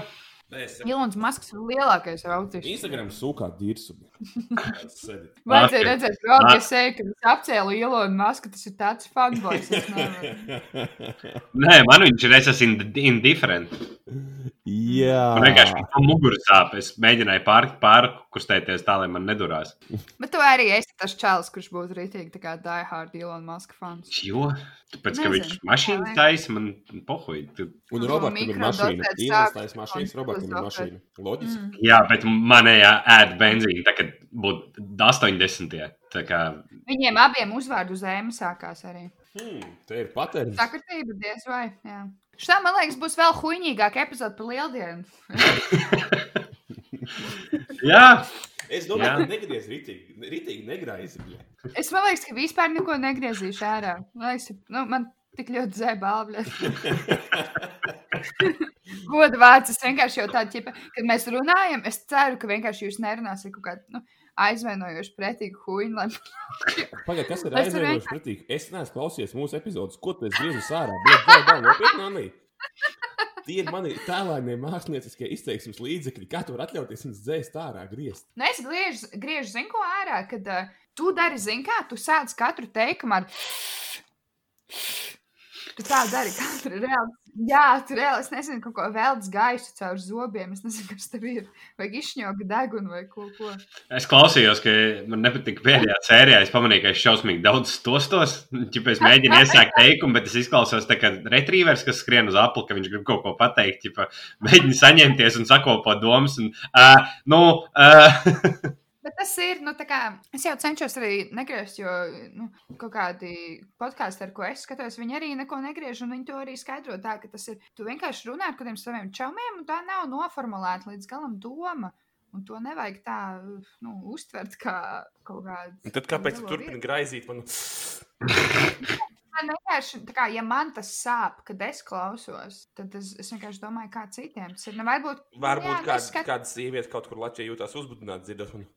Speaker 2: Ilons Masks ir lielākais autisms.
Speaker 1: Instagram sūkā dirsubi.
Speaker 2: Vajadzēja
Speaker 3: Masks.
Speaker 2: redzēt, kā viņš teica, ka viņš apcēla Ilonu Masku. Tas ir tāds fanboys. es nevaru.
Speaker 3: nē, man viņš ir, es esmu ind- indifferent.
Speaker 1: Jā,
Speaker 3: Man Nu, vienkārši man muguras sāp, es mēģināju pār, pārkustēties tā, lai man nedurās.
Speaker 2: Bet tu arī esi tas čels, kurš būtu rītīgi tā kā diehard Ilona Maska fans.
Speaker 3: Jo, tāpēc, ka
Speaker 2: Nezinu.
Speaker 3: viņš mašīnas taisa, man pohuj. tu-
Speaker 2: Un
Speaker 1: Un
Speaker 2: Robertam
Speaker 1: Robertam ir
Speaker 2: ir mašīna.
Speaker 1: mašīna.
Speaker 2: Mikrodotēt Ielas
Speaker 1: Ielas
Speaker 2: sāk- taisa mašīnas,
Speaker 1: mašīnas, Robertam
Speaker 2: Robertam ir
Speaker 1: ir
Speaker 2: Mikrodotēt.
Speaker 1: mašīna. Loģiski.
Speaker 2: Mm.
Speaker 3: Jā, bet manējā ēd benzīna, tā kad būtu 80. Tā kā
Speaker 2: Viņiem abiem uzvārdu zēma sākās arī.
Speaker 4: Hmm,
Speaker 1: Mm. Te ir patērns.
Speaker 2: Sakritība diez vai. Jā. Šitā, man liekas, būs vēl huņīgāka epizode par lieldienu.
Speaker 3: Jā,
Speaker 1: Es
Speaker 3: Jā.
Speaker 1: domāju, ka negriez rītīgi, rītīgi negraizi. bļa.
Speaker 2: Es man liekas, ka vispār neko negriezīšu ārā. Man liekas, nu, man tik ļoti zēbalbļa. Goda vārds, es vienkārši jau tādu ķipa, kad mēs runājam, es ceru, ka vienkārši jūs nerunāsiet kaut kādu, nu, aizvainojošu pretīgu huņu, lai [LAUGHS]
Speaker 4: Pagaidiet, kas ir
Speaker 2: Vai es varu
Speaker 4: aizvainojums pretīgi? Es neesmu klausies mūsu epizodes, ko tu gribi sārā. Bet, vai, vai, nopietni, Anī? Tie ir mani tēlānie mākslinieckie izteiksmes līdzekļi. Kā tu vari atļauties viņus dzēst ārā, griezt?
Speaker 2: Nu, es griežu, griežu zinu, ko ārā, kad uh, tu dari, zini, kā tu sēdi katru teikumu ar. [LAUGHS] Tu tā dari katru reāli. Jā, tu reāli, es nezinu, kaut ko velc gaisu caur zobiem. Es nezinu, kas tev ir. Vai izšņoga degunu vai ko. ko.
Speaker 3: es klausījos, ka man nepatika pēdējā sērijā. Es pamanīju, ka es šausmīgi daudz stostos. Čipa, es mēģinu iesākt teikumu, bet es izklausos tā kā retrīvers, kas skrien uz apli, ka viņš grib kaut ko pateikt. Čipa, mēģinu saņemties un sakopot domas. Un, uh, nu, uh,
Speaker 2: Bet tas ir, nu, tā kā es jau cenšos arī negriezt, jo nu, kaut kādi podkāstī, ar ko es skatos, viņi arī neko negriež, un viņi to arī skaidro tā, ka tas ir. Tu vienkārši runā ar kādiem saviem čaumiem, un tā nav noformulēta līdz galam doma. Un to nevajag tā nu, uztvert kā kaut kādu.
Speaker 1: Un Tad kāpēc tu
Speaker 2: lielo
Speaker 1: turpini graizīt manu?
Speaker 2: Man vienkārši, tā kā, ja man tas sāp, kad es klausos, tad es, es vienkārši domāju, kā citiem tas ir. Nu, varbūt
Speaker 4: Varbūt
Speaker 2: jā,
Speaker 4: kāda,
Speaker 2: neskat-
Speaker 4: kāda sieviete kaut kur Latvijā jūtas uzbudināta, dzirdot, un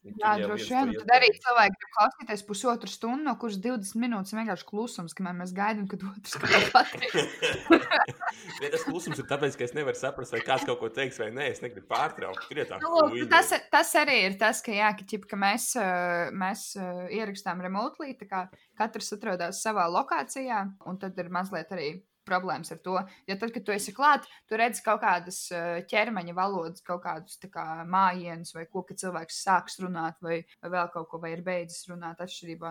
Speaker 2: Jā, droši vien. Tad arī cilvēki grib klausīties pusotru stundu, no kuras 20 minūtes ir vienkārši klusums, kamēr mēs gaidām, kad otrs kaut ko pateiks.
Speaker 4: Ja tas klusums ir tāpēc, ka es nevaru saprast, vai kāds kaut ko teiks, vai nē, es negribu pārtraukt. Tur ir tā
Speaker 2: Nu, lūk,
Speaker 4: huīna.
Speaker 2: tas, tas arī ir tas, ka, jā, ka, ķip, ka mēs, ā, mēs ā, ierakstām remotely, tā kā katrs atrodas savā lokācijā, un tad ir mazliet arī problēmas ar to. Ja tad, kad tu esi klāt, tu redz kaut kādas ā, ķermeņa valodas, kaut kādus tā kā, mājienus, vai ko, ka cilvēks sāks runāt, vai, vai vēl kaut ko, vai ir beidzis runāt atšķirībā.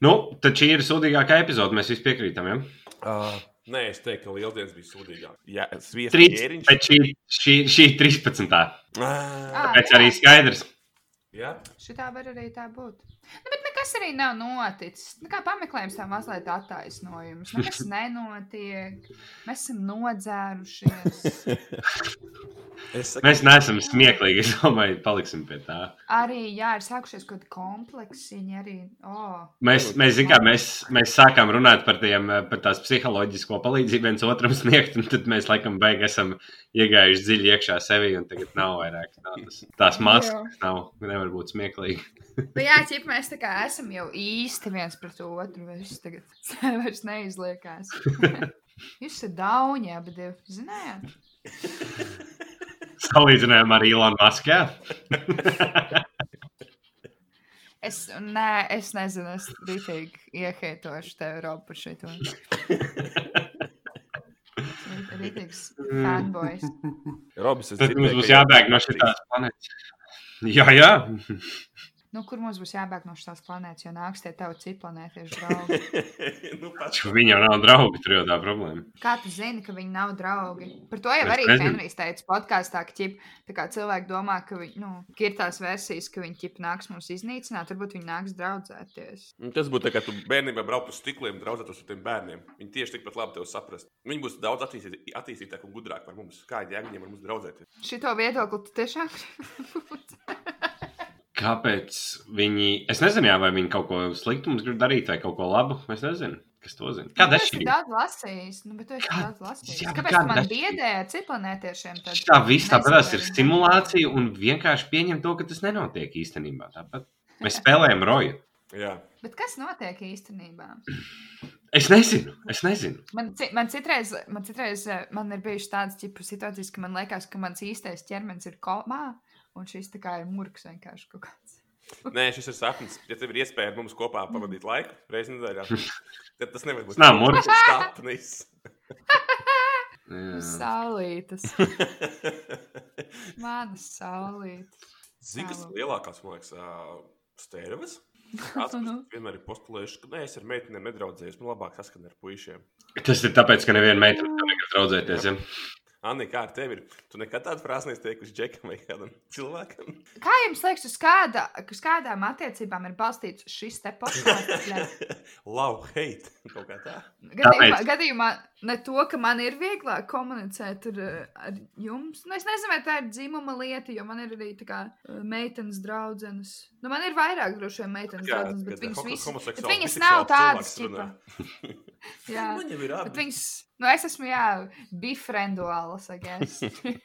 Speaker 3: [LAUGHS] Nu, tad šī ir sūdīgākā epizode. Mēs visi piekrītam. Ja?
Speaker 4: Ā, Nē, es teiktu, ka lieldienas bija sūdīgākas.
Speaker 1: Ah. Jā, sviesta
Speaker 3: Trīs,
Speaker 1: ķēriņš.
Speaker 3: bet šī, šī, šī 13.
Speaker 4: Ā,
Speaker 3: Pēc arī skaidrs.
Speaker 4: Ah. Jā,
Speaker 2: Šitā var arī tā būt. Nu, bet nekas arī nav noticis. Nu, kā pameklējums tā mazliet attaisnojums. Nekas nenotiek. Mēs esam nodzērušies.
Speaker 4: es saku, [LAUGHS]
Speaker 3: Mēs neesam smieklīgi. Es domāju, paliksim pie tā.
Speaker 2: Arī, jā, ir sākušies kaut kādi kompleksiņi arī. Oh.
Speaker 3: Mēs, mēs, zin kā, mēs, mēs sākām runāt par, tiem, eh, par tās psiholoģisko palīdzību viens otram sniegt, un tad mēs laikam beigās esam iegājuši dziļi iekšā sevi, un tagad nav vairāk tādas, tās maskas, nav, nevar būt smieklīgi.
Speaker 2: Bet jā, ķip, mēs tā kā esam jau īsti viens pret otru. Mēs tagad [LAUGHS] vairs neizliekās. [LAUGHS] Jūs esat dauņi, abi divi. Zinājāt?
Speaker 3: Salīdzinājumā ar Ilonu Masku. jā.
Speaker 2: Es, nē, es nezinu, es rītīgi ieheitošu tev Eiropu par
Speaker 3: [LAUGHS]
Speaker 2: šito. Rīt- Rītīgs
Speaker 3: Mm.
Speaker 2: fanboys.
Speaker 1: Robis, es
Speaker 3: Tad
Speaker 1: dzirdēju,
Speaker 3: mums
Speaker 1: ka
Speaker 3: būs
Speaker 1: jau
Speaker 3: jābēg no
Speaker 1: rakstīs.
Speaker 3: šīs planētas. Jā, jā.
Speaker 2: Nu, kur mums būs jābēg no šīs planētas, jo nāks tie tavi citi planētieši draugi?
Speaker 4: nu, pats.
Speaker 3: Taču Viņam nav draugi, tur jau tā problēma.
Speaker 2: Kā tu zini, ka viņi nav draugi? Par to jau
Speaker 3: Es
Speaker 2: arī
Speaker 3: nezinu.
Speaker 2: Henrijs teica podkāstā, ka ķip, tā kā cilvēki domā, ka, viņi, nu, ka ir tās versijas, ka viņi ķip, nāks mums iznīcināt, varbūt viņi nāks draudzēties.
Speaker 4: Nu, Tas būtu tā, kā tu bērnībā brauc uz stikliem, draudzētos ar tiem bērniem. Viņi tieši tikpat labi tevi saprast. Viņi būs daudz attīstīt- attīstītāki un gudrāki par mums. Kā jēga viņiem ar mums draudzēties?
Speaker 2: Šito viedokli tu tiešām gribi [LAUGHS] būt.
Speaker 3: Kāpēc viņi. Es nezinu, jā, vai viņi kaut ko sliktu mums grib darīt, vai kaut ko labu. Es nezinu, kas to zina. Kāda
Speaker 2: es
Speaker 3: ir šī?
Speaker 2: esmu daudz lasījis. Nu, bet tu esi
Speaker 3: Kā-
Speaker 2: daudz lasījis.
Speaker 3: Jā,
Speaker 2: Kāpēc
Speaker 3: kā
Speaker 2: tu man
Speaker 3: dažs-
Speaker 2: biedē ar ciplanētiešiem? tad?
Speaker 3: Tā viss
Speaker 2: Nezinu,
Speaker 3: tāpēc
Speaker 2: vai
Speaker 3: ir
Speaker 2: viņi-
Speaker 3: simulācija un vienkārši pieņem to, ka tas nenotiek īstenībā. Tāpat mēs spēlējam roju.
Speaker 4: Jā,
Speaker 2: Bet kas notiek īstenībā?
Speaker 3: Es nezinu, es nezinu.
Speaker 2: Man, ci- man citreiz, man citreiz eh, man ir bijušas tādas tipu situācijas, ka man liekas, ka mans īstais ķermenis ir komā, un šis tā kā ir murgs vienkārši kaut kāds.
Speaker 3: nu.
Speaker 4: Nē, šis ir sapnis. Ja tev ir iespēja ar mums kopā pavadīt laiku reizes
Speaker 3: [LAUGHS]
Speaker 4: nedēļā, tad tas nevar būt
Speaker 3: Tas nav murgs.
Speaker 4: Tas ir sapnis.
Speaker 3: Jā. [LAUGHS]
Speaker 2: Saulītas, manas saulītas.
Speaker 4: Zikas
Speaker 2: Tālu.
Speaker 4: lielākās, man liekas, ā,
Speaker 2: [LAUGHS]
Speaker 4: stērves. Kāds
Speaker 2: Nu.
Speaker 4: vienmēr ir postulējuši, ka nē, es ar meitenēm nedraudzējos, man labāk saskana ar puišiem.
Speaker 3: Tas ir tāpēc, ka neviena meitene tam negrib draudzēties. Ja?
Speaker 4: Anni, kā ar tevi ir? Tu nekad tādu frāzi neesi teikusi džekam vai kādam cilvēkam. [LAUGHS]
Speaker 2: Kā jums liekas, uz, kāda, uz kādām attiecībām ir balstīts šis te posms?
Speaker 4: Lau, heit, kaut kā tā.
Speaker 2: Gadījumā,
Speaker 3: Tāpēc.
Speaker 2: gadījumā ne to, ka man ir vieglāk komunicēt ar, eh, ar jums. Nu, es nezinu, vai tā ir dzimuma lieta, jo man ir arī tā kā eh, meitenes draudzenes. Nu, man ir vairāk droši vien meitenes
Speaker 4: Jā,
Speaker 2: draudzenes, bet
Speaker 4: kad, eh,
Speaker 2: viņas,
Speaker 4: homo-
Speaker 2: visas, bet
Speaker 4: homoseksuāli,
Speaker 2: viņas
Speaker 4: biseksuāli
Speaker 2: nav tādas.
Speaker 4: cilvēks runā.
Speaker 2: ķipa. Jā.
Speaker 4: Man jau ir
Speaker 2: Bet
Speaker 4: abi.
Speaker 2: viņas, nu, es esmu, jā, bifrenduāls, I
Speaker 4: [LAUGHS]
Speaker 2: guess.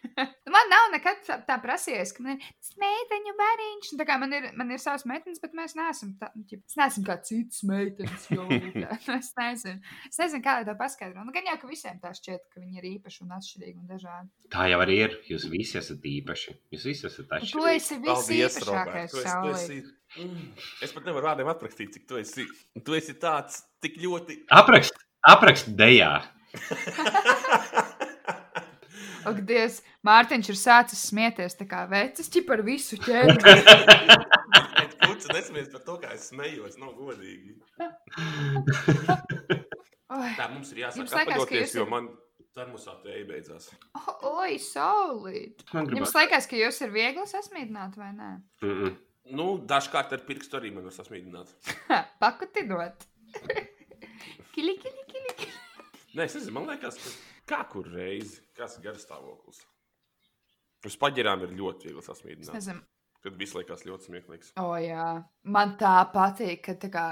Speaker 2: [LAUGHS] man nav nekad tā, tā prasījies, ka man ir "Tas meiteņu bērniņš. Un Tā kā man ir, man ir savas meitenes, bet mēs neesam, tā, nu, ķip, es neesmu kā citas meitenes. Jo, tā, [LAUGHS] nu, es nezinu, es nezinu kā lai tā paskaidro. Nu, gan jau, ka visiem tā šķiet, ka viņi ir īpaši un atšķirīgi un dažādi.
Speaker 3: Tā jau arī ir. Jūs visi esat īpaši. Jūs visi esat
Speaker 2: Un
Speaker 3: atšķirīgi.
Speaker 2: tu esi viss
Speaker 4: Paldies, Robert.
Speaker 2: īpašākais
Speaker 4: Tu esi- tu
Speaker 2: saulē.
Speaker 4: esi- Mm. Es pat nevaru vārdiem aprakstīt, cik tu esi. Tu esi tāds tik ļoti.
Speaker 3: Aprakst, aprakst dejā.
Speaker 2: Ak, Dievs, Mārtiņš ir sācis smieties tā kā vecis, ķip par visu ķēdi.
Speaker 4: [LAUGHS] Bet Kurš nesmies par to, kā es smējos, nav godīgi. Tā mums ir jāsāk
Speaker 2: Jums liekas, ka
Speaker 4: atpakoties,
Speaker 2: jūs-
Speaker 4: jo man termosā tēja beidzās.
Speaker 2: Oi, saulīt!
Speaker 3: Man
Speaker 2: Jums
Speaker 3: gribas.
Speaker 2: liekas, ka jūs ir viegli sasmīdināt, vai nē?
Speaker 3: Mm -mm.
Speaker 4: Nu, dažkārt ar pirkstu arī man var sasmīdināt.
Speaker 2: Ha,
Speaker 1: [LAUGHS]
Speaker 2: Pakutinot. Kili, kili, kili. kili.
Speaker 4: Nē, es nezinu, man liekas, ka kā kur reizi, kas ir garas stāvoklis. Uz paģirām ir ļoti viegli
Speaker 2: Es
Speaker 4: sasmīdināt.
Speaker 2: nezinu.
Speaker 4: Tad viss liekas ļoti smieklīgs.
Speaker 2: O, jā. Man tā patīk, ka tā kā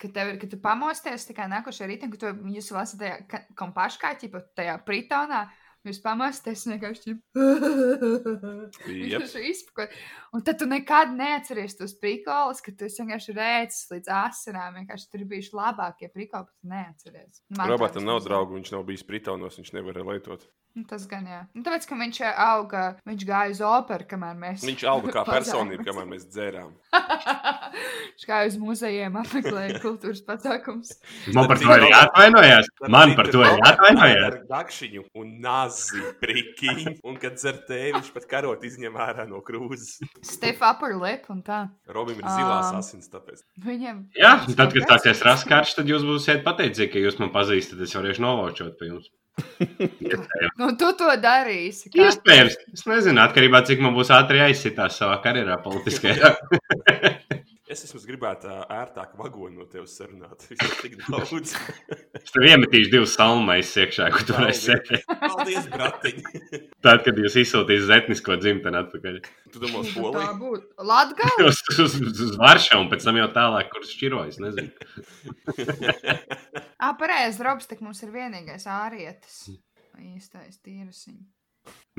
Speaker 2: Kad tev ir, kad tu pamosties, tā kā nākošais rītā, kad tu, jūs lasat tajā ka- kompaškā, ķipa tajā pritonā, jūs pamosties un vienkārši [LAUGHS] ķip.
Speaker 1: Jep.
Speaker 2: Vienkārši izpakot. Un tad tu nekad neatceries tos prikālus, ka tu esi vienkārši rēcis līdz asinām. Vienkārši tur bija labākie prikāli, bet tu neatceries. Man tā
Speaker 1: Robotam nav
Speaker 2: vismaz
Speaker 1: draugu, viņš nav bijis Britānos, viņš nevar lietot.
Speaker 2: Nu, tas gan jā. Nu, tāpēc, ka viņš ā, auga, viņš gāja uz operu, kamēr mēs.
Speaker 1: Viņš auga
Speaker 2: [LAUGHS]
Speaker 1: kā personība, kamēr mēs dzērām.
Speaker 2: Viņš gāja uz muzejiem, apmeklēja kultūras pasākums.
Speaker 3: Man par to ir jāatvainojas. Man par to ir jāatvainojas.
Speaker 1: Ar dakšiņu un nazi prikiņu, un kad dzer tēvi, viņš pat karot izņem ārā no krūzes.
Speaker 2: Stef upper lip un tā. Nu,
Speaker 1: Robim ir zilās
Speaker 2: Ā.
Speaker 1: asins, tāpēc.
Speaker 2: Viņam.
Speaker 3: Jā, un tad, kad sāksies raskārš, tad jūs būsiet pateicīgi, ka jūs man pazīstat. Es varēšu novaučot pie jums. Iespējams.
Speaker 2: Nu, tu to darīsi. kā?
Speaker 3: Iespējams. Es nezinu, atkarībā no cik man būs ātri aizsitās savā karjerā,
Speaker 2: [LAUGHS]
Speaker 3: politiskajā.
Speaker 1: Es esmu gribētu ā, ērtāk vagonu no tevis sarunāt. [LAUGHS] Viņš ir
Speaker 3: [LAUGHS]
Speaker 1: tik daudz.
Speaker 3: Es tev iemetīšu divus salmais iekšā, ko tu varēsi sekot.
Speaker 1: Paldies, bratiņi!
Speaker 3: Tad, kad jūs izsūtīsiet uz etnisko dzimteni atpakaļ.
Speaker 1: Tu domā,
Speaker 2: Nu,
Speaker 1: polī?
Speaker 2: Tā būtu. Latgā?
Speaker 3: Uz, uz, uz Varšavu un pēc tam jau tālāk, kurš šķirojas. Nezinu.
Speaker 2: Ā, pareizi, Robs, tik mums ir vienīgais ārietis. Īstais tīrusiņš.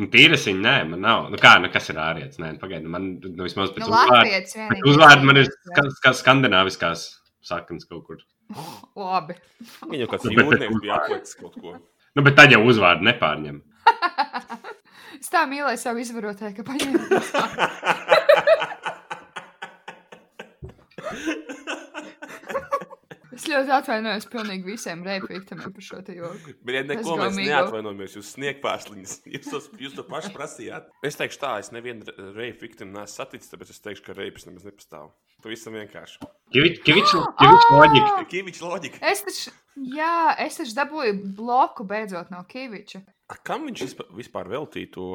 Speaker 3: Nu, Tīrasiņa, nē, man nav. Nu, kā, nu, kas ir ārietis? Nē, pagaidi, man nu, vismaz pēc
Speaker 2: Nu,
Speaker 3: uzvārda.
Speaker 2: Latvijas
Speaker 3: Pēc
Speaker 2: vienīgais.
Speaker 3: uzvārda man ir
Speaker 2: ārietis, jā.
Speaker 3: ska, ska, skandināviskās saknes kaut kur.
Speaker 2: Labi.
Speaker 1: Viņam
Speaker 3: [LAUGHS]
Speaker 1: kāds jūrnieks bija atlicis kaut ko.
Speaker 3: Nu, bet tad jau uzvārdu nepārņem.
Speaker 2: Es tā mīlēju savu izvarotāju, ka paņēmu. Es ļoti atvainojos pilnīgi visiem reipīktamiem par šo te joku.
Speaker 1: Bet, ja neko
Speaker 2: Es
Speaker 1: mēs
Speaker 2: domīgu.
Speaker 1: neatvainojamies, jūs sniegpārsliņas. [LAUGHS] Jūs, tos- jūs to pašu prasījāt. Es teikšu tā, es nevienu reibu viktimu neesmu saticis, tāpēc es teikšu, ka reipas nemaz nepastāv. Pavisam vienkārši.
Speaker 2: [GASPS]
Speaker 3: Kivičs
Speaker 2: Ah!
Speaker 3: loģika.
Speaker 1: Kīviča
Speaker 2: [LAUGHS]
Speaker 1: loģika.
Speaker 2: Es taču, jā, es taču dabūju bloku beidzot no Kaviča.
Speaker 1: A, kam viņš vispa- vispār veltīja to,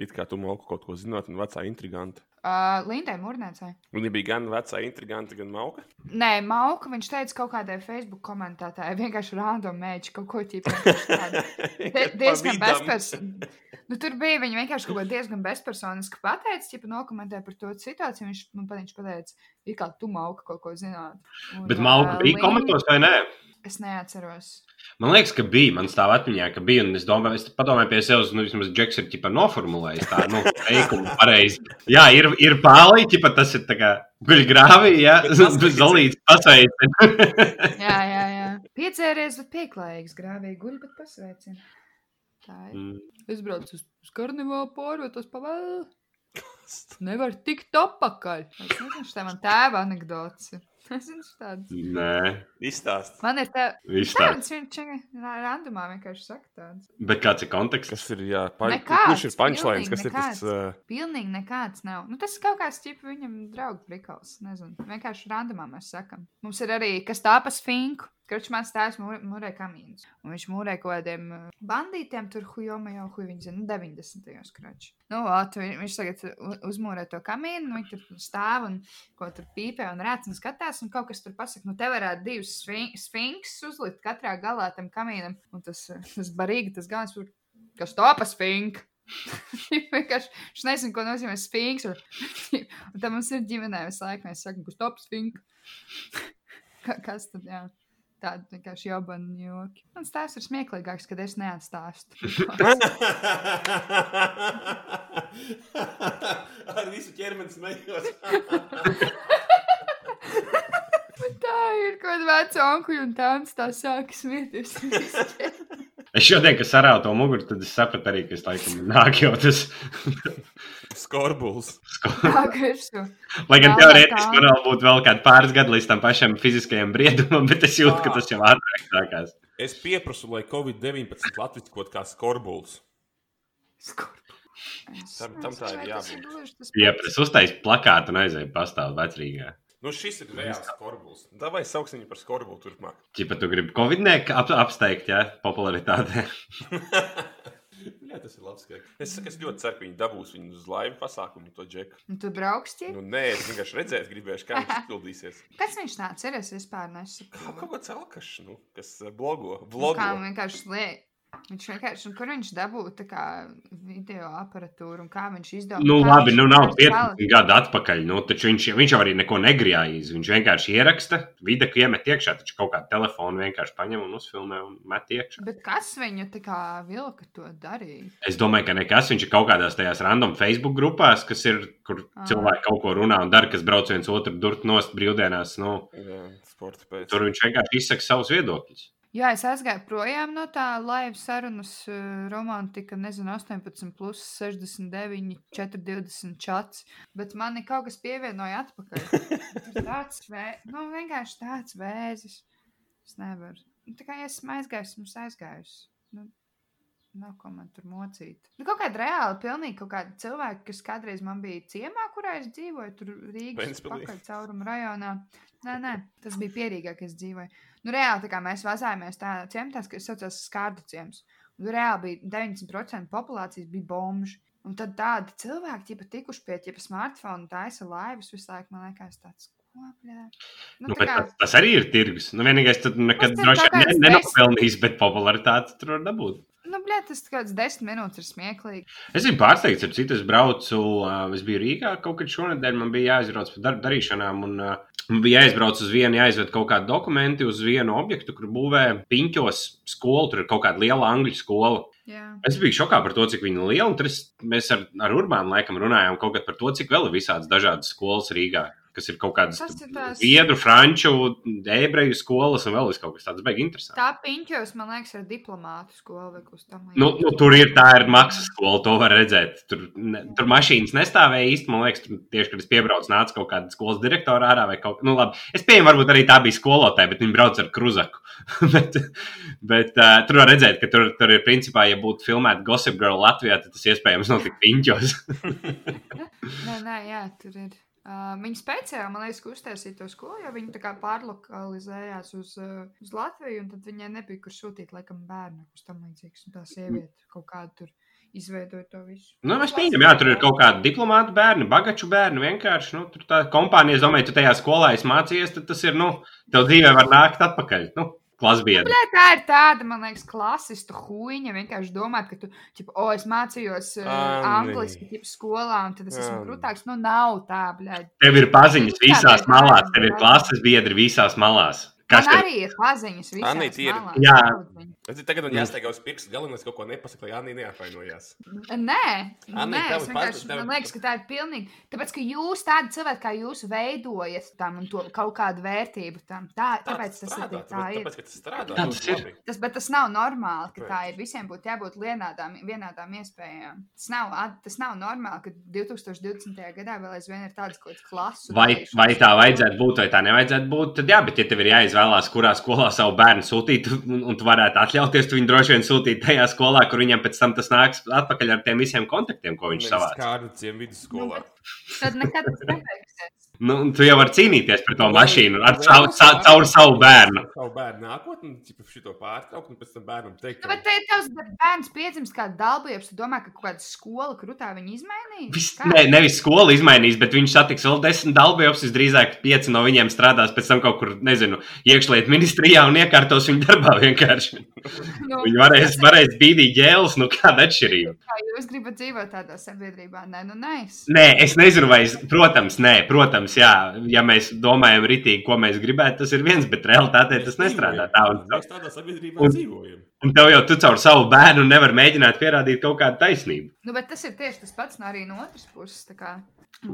Speaker 1: it kā tu malku kaut ko zināt, un vecā intriganta?
Speaker 2: Uh, Lindai Mūrnēcai.
Speaker 1: Viņa bija gan vecā intriganta, gan malka.
Speaker 2: Nē, Mauka, viņš teica kaut kādai Facebook komentētājai, vienkārši random mēģi kaut ko tīpa. tādu. Die- Diezgan bezpersoniski. Nu, tur bija viņa vienkārši kaut ko diezgan bezpersoniski pateica, ja nokomentēja par to situāciju. Viņš man pat- viņš pateica, it kā tu mauka kaut ko zināt. Un,
Speaker 3: Bet malka
Speaker 2: ā,
Speaker 3: bija
Speaker 2: Linda-
Speaker 3: komentos vai nē?
Speaker 2: Es neatceros.
Speaker 3: Man liekas, ka bija. Man stāv atmiņā, ka bija. Un es domāju, es padomāju pie sevis, nu, vismaz džeks ir ķipa noformulējis tā, nu, teikumu pareizi. Jā, ir, ir pāli, ķipa tas ir tā kā guļ grāvī, jā,
Speaker 1: Bet
Speaker 3: [LAUGHS]
Speaker 1: tas-
Speaker 3: zolīts pasveicis.
Speaker 2: Jā, jā, jā. Piedzēries, bet pieklājīgs, grāvīgi guļ, bet pasveicina. Tā ir. Es braucu uz, uz karnevālu pārvietos pavēlu. Nevar tikt apakaļ. Es nezinu, šitā man tēva anekdots. ir. Es zinu, tāds.
Speaker 3: Nē,
Speaker 1: Izstāst.
Speaker 2: Man ir tā,
Speaker 3: viss tā.
Speaker 2: tāds viņš vienkārši randumā vienkārši saka tāds.
Speaker 3: Bet kāds ir konteksts?
Speaker 1: Kas ir, jā, paņ...
Speaker 2: Nekāds,
Speaker 1: kurš ir punčlines,
Speaker 2: pilnīgi
Speaker 1: kas ir tas? Uh,
Speaker 2: Pilnīgi nekāds nav. Nu, tas ir kaut kāds tips viņam draugu prikals. Nezinu. Vienkārši randumā mēs sakam. Mums ir arī kas tāpas finku. Kručmāns stājas mūrē, mūrē kamīnus. Un viņš mūrē kaut kādiem uh, bandītiem tur hujoma jau huj, viņi zina, 90. kruč. Nu, ot, vi- viņš tagad u- uzmūrē to kamīnu, un viņi tur stāv un ko tur pīpē un rēc un skatās, un kaut kas tur pasaka, nu, te varētu divus sfin- sfinksus uzlikt katrā galā tam kamīnam. Un tas, uh, tas barīgi, tas galvenais, tur, kas tāpas fink. [LAUGHS] Vienkārši Viņš nezina, ko nozīmē spīgs. Un, [LAUGHS] un tam mums ir ģimenē visu laiku. Mēs sakām, kurš top [LAUGHS] spīgs. Kas tad? Jā. Tāda vienkārši jobana joki. Mans tēvs ir smieklīgāks, kad es
Speaker 1: [LAUGHS]
Speaker 2: neatstāstu.
Speaker 1: Ar visu ķermeni smējos.
Speaker 2: Bet tā ir kaut kāda veca onkuļa un tāds tā sāk smieties. [LAUGHS]
Speaker 3: Es šodien, kad sarāvu to muguru, tad es sapratu arī, ka es laikam nāk jau tas. [LAUGHS]
Speaker 1: Skorbuls.
Speaker 2: Tā kā ir šo.
Speaker 3: Lai gan
Speaker 2: Jā,
Speaker 3: teorētiski
Speaker 2: tā.
Speaker 3: man vēl būtu vēl kādi pāris gadi līdz tam pašam fiziskajam briedumam, bet es jūtu, ka tas jau ātrāk sākās.
Speaker 1: Es pieprasu, lai Covid-19 Latvijas kaut kā skorbuls.
Speaker 2: Skorp. Es
Speaker 1: Tam- tam tā
Speaker 2: nezinu,
Speaker 1: ir
Speaker 2: vai tas
Speaker 1: jābūt.
Speaker 2: gluži tas
Speaker 3: Jā,
Speaker 2: pats.
Speaker 3: es uztaisīju plakātu un aizēju pastāvēt vecrīgā.
Speaker 1: Nu, šis ir reāls skorbuls. Davai sauks viņu par skorbulu turpmāk.
Speaker 3: Čipa, tu gribi covidnieku ap, apsteigt, jā, popularitāte.
Speaker 1: Jā, tas ir labs skats. Es, saku, es ļoti ceru, ka viņi dabūs viņu uz laivu pasākumu, to džeku.
Speaker 2: Un tu brauks tie?
Speaker 1: Nu, nē, es vienkārši redzēju, gribēju, kā viņš izpildīsies.
Speaker 2: Kas viņš nāc? Ir es vispār nesaku.
Speaker 1: Kaut, kaut kāds alkašs, nu, kas eh, blogo.
Speaker 2: Nu, Kā
Speaker 1: blogo.
Speaker 2: vienkārši liek. Viņš vienkārši, un kur viņš dabūja tā kā video aparatūru un kā viņš izdomāja.
Speaker 3: Nu, labi, nu nav 15 gadu atpakaļ. Nu, taču viņš, viņš jau arī neko negrājīs. Viņš vienkārši ieraksta, vide iemet iekšā, taču kaut kādu telefonu vienkārši paņem un uzfilmē un met iekšā.
Speaker 2: Bet kas viņu tā kā vilka to darīja?
Speaker 3: Es domāju, ka nekas. Viņš ir kaut kādās tajās random Facebook grupās, kas ir, kur
Speaker 2: Ā.
Speaker 3: cilvēki kaut ko runā un dara, kas brauc viens otru durt nost brīvdienās. Nu,
Speaker 1: Jā, sporta pēc.
Speaker 3: tur viņš vienkārši izsaka savus viedokļus.
Speaker 2: Jā, es aizgāju projām no tā laiva sarunas eh, romantika, nezinu, 18, plus 69, 424. Bet man ir kaut kas pievienoja atpakaļ. Tas tāds vē... nu, vienkārši tāds vēzis. Es nevaru. Nu, tā kā ja esmu aizgājis, esmu aizgājis. Nu, nav ko man tur mocīt. Nu, kaut kāda reāla, pilnīgi kaut kāda cilvēka, kas kādreiz man bija ciemā, kurā es dzīvoju, tur Rīgas
Speaker 1: Ventspilī.
Speaker 2: pakaļ cauruma rajonā. Nē, nē, tas bija pierīgāk, kas dzīvoja. Nu, reāli tā kā mēs vazājāmies tādā ciematā, kas saucās Skārdu ciems. Un Nu, reāli bija 90% populācijas bija bomži. Un tad tādi cilvēki, tie pat tikuši pie tiem smartphone, taisa laivas visu laiku, man liekas, tāds kopļā.
Speaker 3: Nu, nu, kā... tas, tas arī ir tirgus. Nu, vienīgais, kas nekad
Speaker 2: Tas ir
Speaker 3: droši
Speaker 2: kaut kāds
Speaker 3: vien ne- nenopelnīs, bet popularitāti tur var dabūt.
Speaker 2: Nu, blē, tas kaut kāds desmit minūtes ir smieklīgi.
Speaker 3: Es biju pārsteigts, ar citu es braucu, ā, es biju Rīgā kaut kad šonadēļ, man bija jāizbrauc par darba darīšanām. Un, ā, Man bija jāizbrauc uz vienu, jāizved kaut kādi dokumenti uz vienu objektu, kur būvē piņķos skolu. Tur ir kaut kāda liela angļu skola.
Speaker 2: Jā,
Speaker 3: Es biju šokā par to, cik viņa ir liela. un Tur es, mēs ar, ar Urbānu laikam runājām kaut kad par to, cik vēl ir visādas dažādas skolas Rīgā, kas ir kaut kādas
Speaker 2: Tas ir tās-
Speaker 3: viedru, franču, ebreju skolas un vēl es kaut kas tāds beigas interesants.
Speaker 2: tā piņķos, man liekas, ar diplomātu skolu vai kaut kas tam
Speaker 3: Nu, nu, tur ir tā ir maksas skola, to var redzēt. Tur, ne, tur mašīnas nestāvēja īsti. Man liekas, tur tieši kad es piebraucu, nāca kaut kāda skolas direktora ārā vai kaut kas nu, tāds. Es pieņemu, varbūt arī tā bija skolotāja, bet viņi brauc ar kruzaku. [LAUGHS] bet bet uh, tur var redzēt, ka tur, tur ir principā, ja būtu filmēta Gossip Girl Latvijā, tad tas iespējams notika piņķos. [LAUGHS]
Speaker 2: Nē, nē, jā, tur ir. Uh, viņa speciāli, man liekas, ka uztaisīja to skolu, jo viņa tā kā pārlokalizējās uz, uh, uz Latviju, un tad viņai nebija, kur sūtīt, laikam, bērnu, kas tam līdzīgs. Un tā sieviete kaut kā tur izveidoja to visu.
Speaker 3: nu, mēs pieņemam, jā, tur ir kaut kādi diplomāti bērni, bagaču bērni. Vienkārši nu, tur tā kompānija, es domāju, tu tajā skolā esi mācījies, tad tas ir, nu, tev dzīvē var nākt atpakaļ. Nu, Klasbiedri.
Speaker 2: Nē, tā ir tāda, man liekas, klasista huīņa. Vienkārši domāt, ka tu, tipo, o, es mācījos uh,
Speaker 1: Anni.
Speaker 2: angliski, tipu skolā, un tad es esmu
Speaker 1: Anni.
Speaker 2: krūtāks. Nu, nav tā, blēd.
Speaker 3: Tev ir paziņas
Speaker 2: Vispār
Speaker 3: visās
Speaker 2: ir
Speaker 3: malās,
Speaker 2: paziņas,
Speaker 3: tev ir
Speaker 2: jā.
Speaker 3: klases biedri visās malās. Kas
Speaker 2: Man
Speaker 3: tev
Speaker 2: arī ir paziņas visās
Speaker 1: Anni, tie ir-
Speaker 2: malās,
Speaker 3: Jā.
Speaker 2: daudz viņu.
Speaker 4: Es zinu, tagad man
Speaker 3: Jā.
Speaker 4: jāsteigā uz pirkstu galvenais, kaut ko nepasaka, lai Anī neapvainojās.
Speaker 2: Nē,
Speaker 4: Anī,
Speaker 2: Anni, nē
Speaker 4: tev
Speaker 2: es vienkārši
Speaker 4: ir pati- tev ir-
Speaker 2: man liekas, ka tā ir pilnīgi. Tāpēc, ka jūs tādi cilvēki, kā jūs veidojat tam un to kaut kādu vērtību tam, tā, tāpēc tas ir tik- tā ir.
Speaker 4: Tāpēc, ka tas
Speaker 3: Tā
Speaker 4: strādā. ļoti
Speaker 3: tas ir.
Speaker 4: labi.
Speaker 2: Tas, bet tas nav normāli, ka tā
Speaker 4: Tāpēc.
Speaker 2: ir. Visiem būtu jābūt vienādām, vienādām iespējām. Tas nav, at- tas nav normāli, ka 2020. gadā vēl aizvien ir tāds kaut kāds klases.
Speaker 3: Vai, vai tā vajadzētu būt, vai tā nevajadzētu būt? Tad jā, bet ja tev ir jāizvēlās, kurā skolā savu bērnu sūtīt, un, un tu varētu atļauties, tu viņu droši vien sūtīt tajā skolā, kur viņam pēc tam tas nāks atpakaļ ar tiem visiem kontaktiem, ko viņš
Speaker 4: Nevis
Speaker 3: savāca.
Speaker 4: Kādu ciemu vidusskolā.
Speaker 2: Tad nekad tas nebeigsies.
Speaker 3: Nu, un tu jau vari cīnīties par to
Speaker 4: Vai-
Speaker 3: Nu, mašīnu, ar
Speaker 4: vai-
Speaker 3: savu, savu, caur savu bērnu.
Speaker 4: Savu bērnu nākotni, tipu šito pārtraukt, un pēc tam bērnam teikt,
Speaker 2: Nu, bet te ir tavs bērns piedzimst kā dalībnieks, tu domā, ka kaut kāda skola krutā viņu izmainīs?
Speaker 3: Vis,
Speaker 2: Kā?
Speaker 3: ne, nevis skola izmainīs, bet viņš satiks vēl desmit dalībniekus. Visdrīzāk pieci no viņiem strādās pēc tam kaut kur, nezinu, iekšlietu ministrijā un iekārtos viņu darbā vienkārši.
Speaker 2: Nu,
Speaker 3: Viņi varēs, varēs bīdīt ģēles, nu kāda atšķirība.
Speaker 2: Kā jūs gribat dzīvot tādā sabiedrībā? Nē, nu nē, es.
Speaker 3: Nē, es nezinu, vai es, protams, nē, protams, jā, ja mēs domājam ritīgi, ko mēs gribētu, tas ir viens, bet realitātē tas nestrādā tā. Un,
Speaker 4: Mēs tādā sabiedrībā
Speaker 3: Un-
Speaker 4: dzīvojam.
Speaker 3: un tev jau tu caur savu bērnu nevar mēģināt pierādīt kaut kādu taisnību.
Speaker 2: Nu, bet tas ir tieši tas pats no arī no otras puses. Tā kā,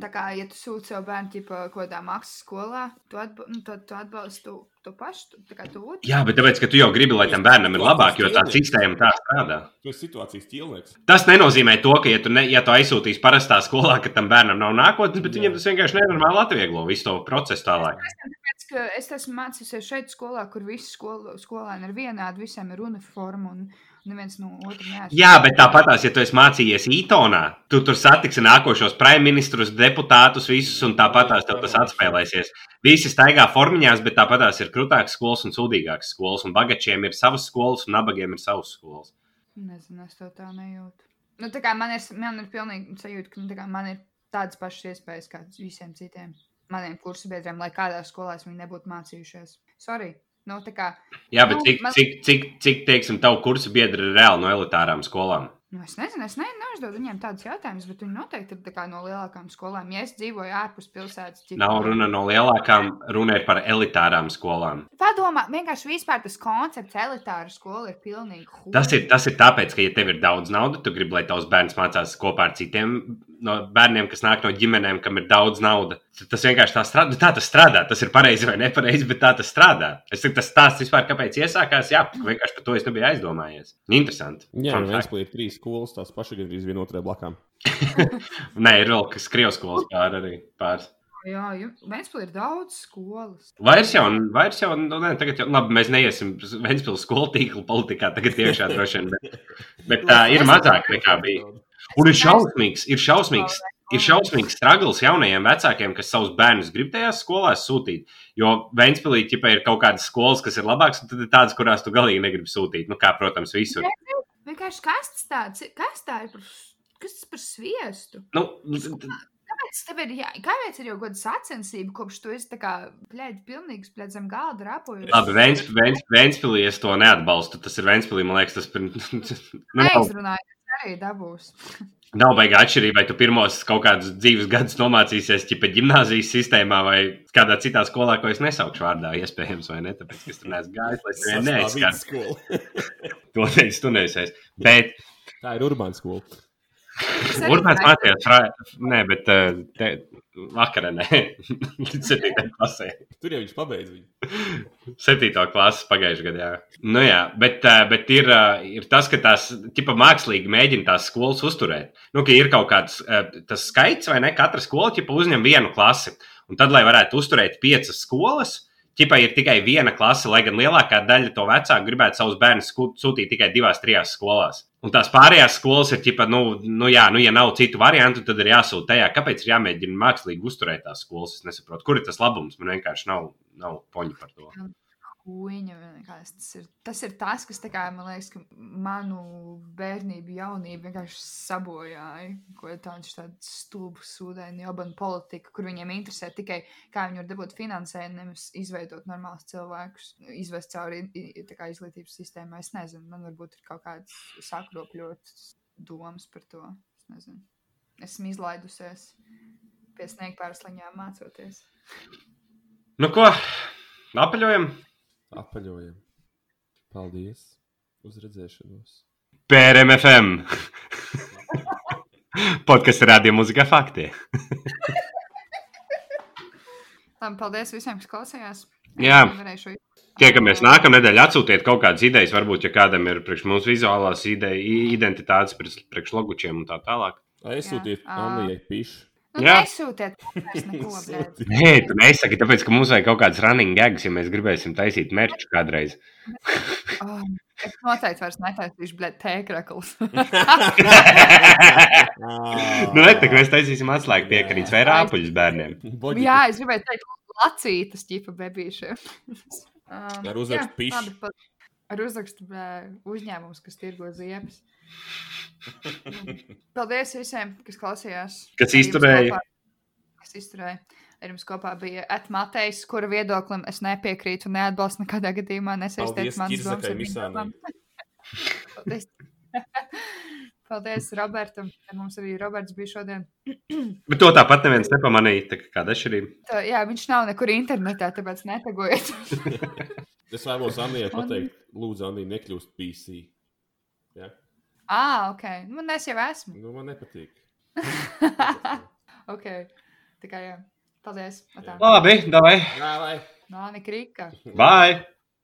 Speaker 2: tā kā ja tu sūti savu bērnu ķipa, kaut kādā maksas skolā, tu, atba nu, tad tu atbalsti to, to pašu. Tu, tā kā tu ūdeni.
Speaker 3: Jā, bet tāpēc, ka tu jau gribi, lai tam bērnam ir labāk, jo tā sistēma tā strādā.
Speaker 4: Tu esi situācijas ķīlnieks.
Speaker 3: Tas nenozīmē to, ka, ja tu, ne, ja tu aizsūtīsi parastā skolā, ka tam bērnam nav nākotnes, bet
Speaker 4: Jā.
Speaker 3: viņam tas vienkārši nenormāli atvieglo visu to procesu tālāk.
Speaker 2: Tāpēc, ka es esmu mācījusies šeit skolā, kur visi skol, skolēni ir vienādi, visiem ir uniforma un neviens no otra neatšķiras.
Speaker 3: Jā, bet tāpatās, ja tu esi mācījies Ītonā, tu tur satiksi nākošos premjerministrus, deputātus, visus, un tāpatās tev tas atspēlēsies. Visi staigā formiņās, bet tāpatās ir krūtākas skolas un sūdīgākas skolas, un bagačiem ir savas skolas, un nabagiem ir savas skolas.
Speaker 2: Nezinu, es to tā nejūtu. Nu, tā kā man ir, man ir pilnīgi sajūta, ka nu, tā kā man ir tādas pašas iespējas kā visiem citiem maniem kursabiedriem, lai kādā skolā es viņu nebūtu mācījušies. Sorry. Nu, tā kā,
Speaker 3: Jā, bet
Speaker 2: Nu,
Speaker 3: cik,
Speaker 2: man-
Speaker 3: cik, cik, cik teiksim, tavu kursu biedri ir reāli no elitārām skolām?
Speaker 2: nu, es nezinu, es ne, neuzdodu viņiem tādus jautājumus, bet viņi noteikti ir tā kā, no lielākām skolām. Ja es dzīvoju ārpus pilsētas, tad
Speaker 3: Nav runa no lielākām, runa ir par elitārām skolām.
Speaker 2: Padomā, vienkārši vispār tas koncepts elitāra skola ir pilnīgi huligāns.
Speaker 3: Tas ir, tas ir tāpēc, ka, ja tev ir daudz naudas, tu gribi, lai tavs bērns mācās kopā ar citiem no bērniem, kas nāk no ģimenēm, kam ir daudz naudas. Tas vienkārši tā strādā. Tā tas strādā. Tas ir pareizi vai nepareizi, bet tā tas strādā. Es saku, tas stāsts vispār, kāpēc iesākās, jā, vienkārši par to es nebiju aizdomājies. Interesanti.
Speaker 4: Jā,
Speaker 3: Fun
Speaker 4: no
Speaker 3: fact.
Speaker 4: Vēnspilī ir trīs skolas, tās pašas gandrīz viena otrai blakām.
Speaker 3: Nē, ir vēl kas krievs skolas pār arī pāris.
Speaker 2: Jā, Vēnspils ir daudz skolas.
Speaker 3: Vairs jau, vairs jau, nu, nē, tagad jau, labi, mēs neiesim Ventspils skolu tīklu politikā tagad iekšā droši vien, bet, bet tā ir mazāk nekā bija. Un ir šausmīgs, ir šausmīgs, ir šausmīgs stragls jaunajiem vecākiem, kas savus bērnus grib tajās skolās sūtīt. Jo Ventspilī ķipa ir kaut kādas skolas, kas ir labākas, un tad ir tādas, kurās tu galīgi negribi sūtīt. Nu, kā, protams, visur.
Speaker 2: Vienkārši kas tāds ir? Kas tā ir par, kas tas par sviestu?
Speaker 3: Nu,
Speaker 2: Kāpēc tev ir, jā, kāpēc ir jau goda sacensība, kopš tu esi tā kā, pļēģi, pilnīgs, pļēģi zem galda rapojies?
Speaker 3: labi, Vents- Vents- Ventspilī es to neatbalstu. Tas ir Ventspilī, man liekas, tas ir. [LAUGHS] Nu, nav-
Speaker 2: Aizrunāju, tas arī dabūs.
Speaker 3: Nav baigā atšķirība, vai tu pirmos kaut kādus dzīves gadus nomācīsies ķipa gimnāzijas sistēmā vai kādā citā skolā, ko es nesaukšu vārdā, iespējams, vai ne? Tāpēc, ka es tur neesmu gājis, lai es tevi neaizskatu.
Speaker 4: skola.
Speaker 3: To teicu, tu neesies. Bet
Speaker 4: [LAUGHS] Tā ir urbāna skola.
Speaker 2: Es arī
Speaker 3: Urbāns
Speaker 2: tā-
Speaker 3: mācījās, frā... nē, bet eh, te... vakarā [LAUGHS] nē, līdz 7. klasē.
Speaker 4: Tur jau viņš pabeidz viņu.
Speaker 3: 7. klases pagājušajā gadā. jā. Nu, jā, bet, eh, bet ir, eh, ir tas, ka tās tipa, mākslīgi mēģina tās skolas uzturēt. Nu, ka ir kaut kāds eh, tas skaits, vai ne? Katra skola tipa, uzņem vienu klasi. Un tad, lai varētu uzturēt piecas skolas, ķipa, ir tikai viena klase, lai gan lielākā daļa to vecāku gribētu savus bērnus sku- sūtīt tikai divās, trijās skolās. Un tās pārējās skolas ir, ķipa, nu, nu, jā, nu, ja nav citu variantu, tad ir jāsūta tajā. Kāpēc ir jāmēģina mākslīgi uzturēt tās skolas? Es nesaprotu, kur ir tas labums. Man vienkārši nav, nav poņa par to.
Speaker 2: Kuņa, vienkārši tas ir, tas ir tas, kas tā kā, man liekas, ka manu bērnību, jaunību vienkārši sabojāja. Ko ir tāds tāds stulbs, sūdaini, jobana politika, kur viņiem interesē tikai, kā viņi var dabūt finansējumu, nevis izveidot normālus cilvēkus, izvest cauri i- i- tā kā izglītības sistēmai. Es nezinu, man varbūt ir kaut kāds sakropļots domas par to. Es nezinu. Esmu izlaidusies pie sniegpārsliņām mācoties.
Speaker 3: Nu, ko? Apaļojam!
Speaker 4: Apaļojam. Paldies! Uz redzēšanos!
Speaker 3: PRMFM! [LAUGHS] Podkāsts Rādio Mūzika Fakti.
Speaker 2: Labi, paldies visiem, kas klausījās.
Speaker 3: Jā.
Speaker 2: Es nevarēšu
Speaker 3: Tiekamies nākamā nedēļa. Atsūtiet kaut kādas idejas, varbūt, ja kādam ir priekš mums vizuālās idejas, identitātes, priekš, priekš logučiem un tā tālāk.
Speaker 4: Aizsūtiet
Speaker 2: Ā.
Speaker 4: Anijai pišu.
Speaker 2: Nu,
Speaker 3: Jā.
Speaker 2: nesūtiet vairs neko, blēd.
Speaker 4: Sūtiet.
Speaker 3: Nē, tu nesaki, tāpēc, ka mums vajag kaut kādas running gags, ja mēs gribēsim taisīt mērķu kādreiz. [LAUGHS]
Speaker 2: Oh, es noteikti vairs netaisīšu, blēd, tēkraklus.
Speaker 3: nu, ne, tā kā mēs taisīsim atslēgu piekarītes vai rāpuļus bērniem.
Speaker 4: Boģi,
Speaker 2: jā, es gribēju teikt lacītas ķipa [LAUGHS] bebīšiem. Um,
Speaker 4: Ar uzrakstu
Speaker 2: jā,
Speaker 4: piš.
Speaker 2: labi, pa- Ar uzrakstu blē, uzņēmums, kas tirgo
Speaker 4: [LAUGHS]
Speaker 2: ziepes. Paldies visiem, kas klausījās.
Speaker 3: Kas
Speaker 2: Ar jums
Speaker 3: izturēja.
Speaker 2: kopā- Kas izturēja. Ar jums kopā bija Etmatejs, kura viedoklim es nepiekrītu un neatbalstu nekādā gadījumā. Nesaistīt
Speaker 4: Paldies,
Speaker 2: manas domas ar
Speaker 4: Kirzakai
Speaker 2: viņa domām.
Speaker 4: Misānai.
Speaker 2: [LAUGHS] Paldies. Paldies Robertam. Ar Mums arī Roberts bija šodien.
Speaker 3: Bet to tāpat neviens nepamanīja, tā kā kāda atšķirība.
Speaker 2: Tā, jā, viņš nav nekur internetā, tāpēc netagojiet.
Speaker 4: Es vēlos Anijai
Speaker 2: Un-
Speaker 4: pateikt, lūdzu, Anija, nekļūst PC. Ja?
Speaker 2: [LAUGHS] Ā, ok. Man es jau esmu.
Speaker 4: Nu, man nepatīk.
Speaker 2: ok. Tā kā jā. Paldies. Atā.
Speaker 3: Labi, davai!
Speaker 4: Jā, lai!
Speaker 2: Nāni Krika.
Speaker 3: Bye!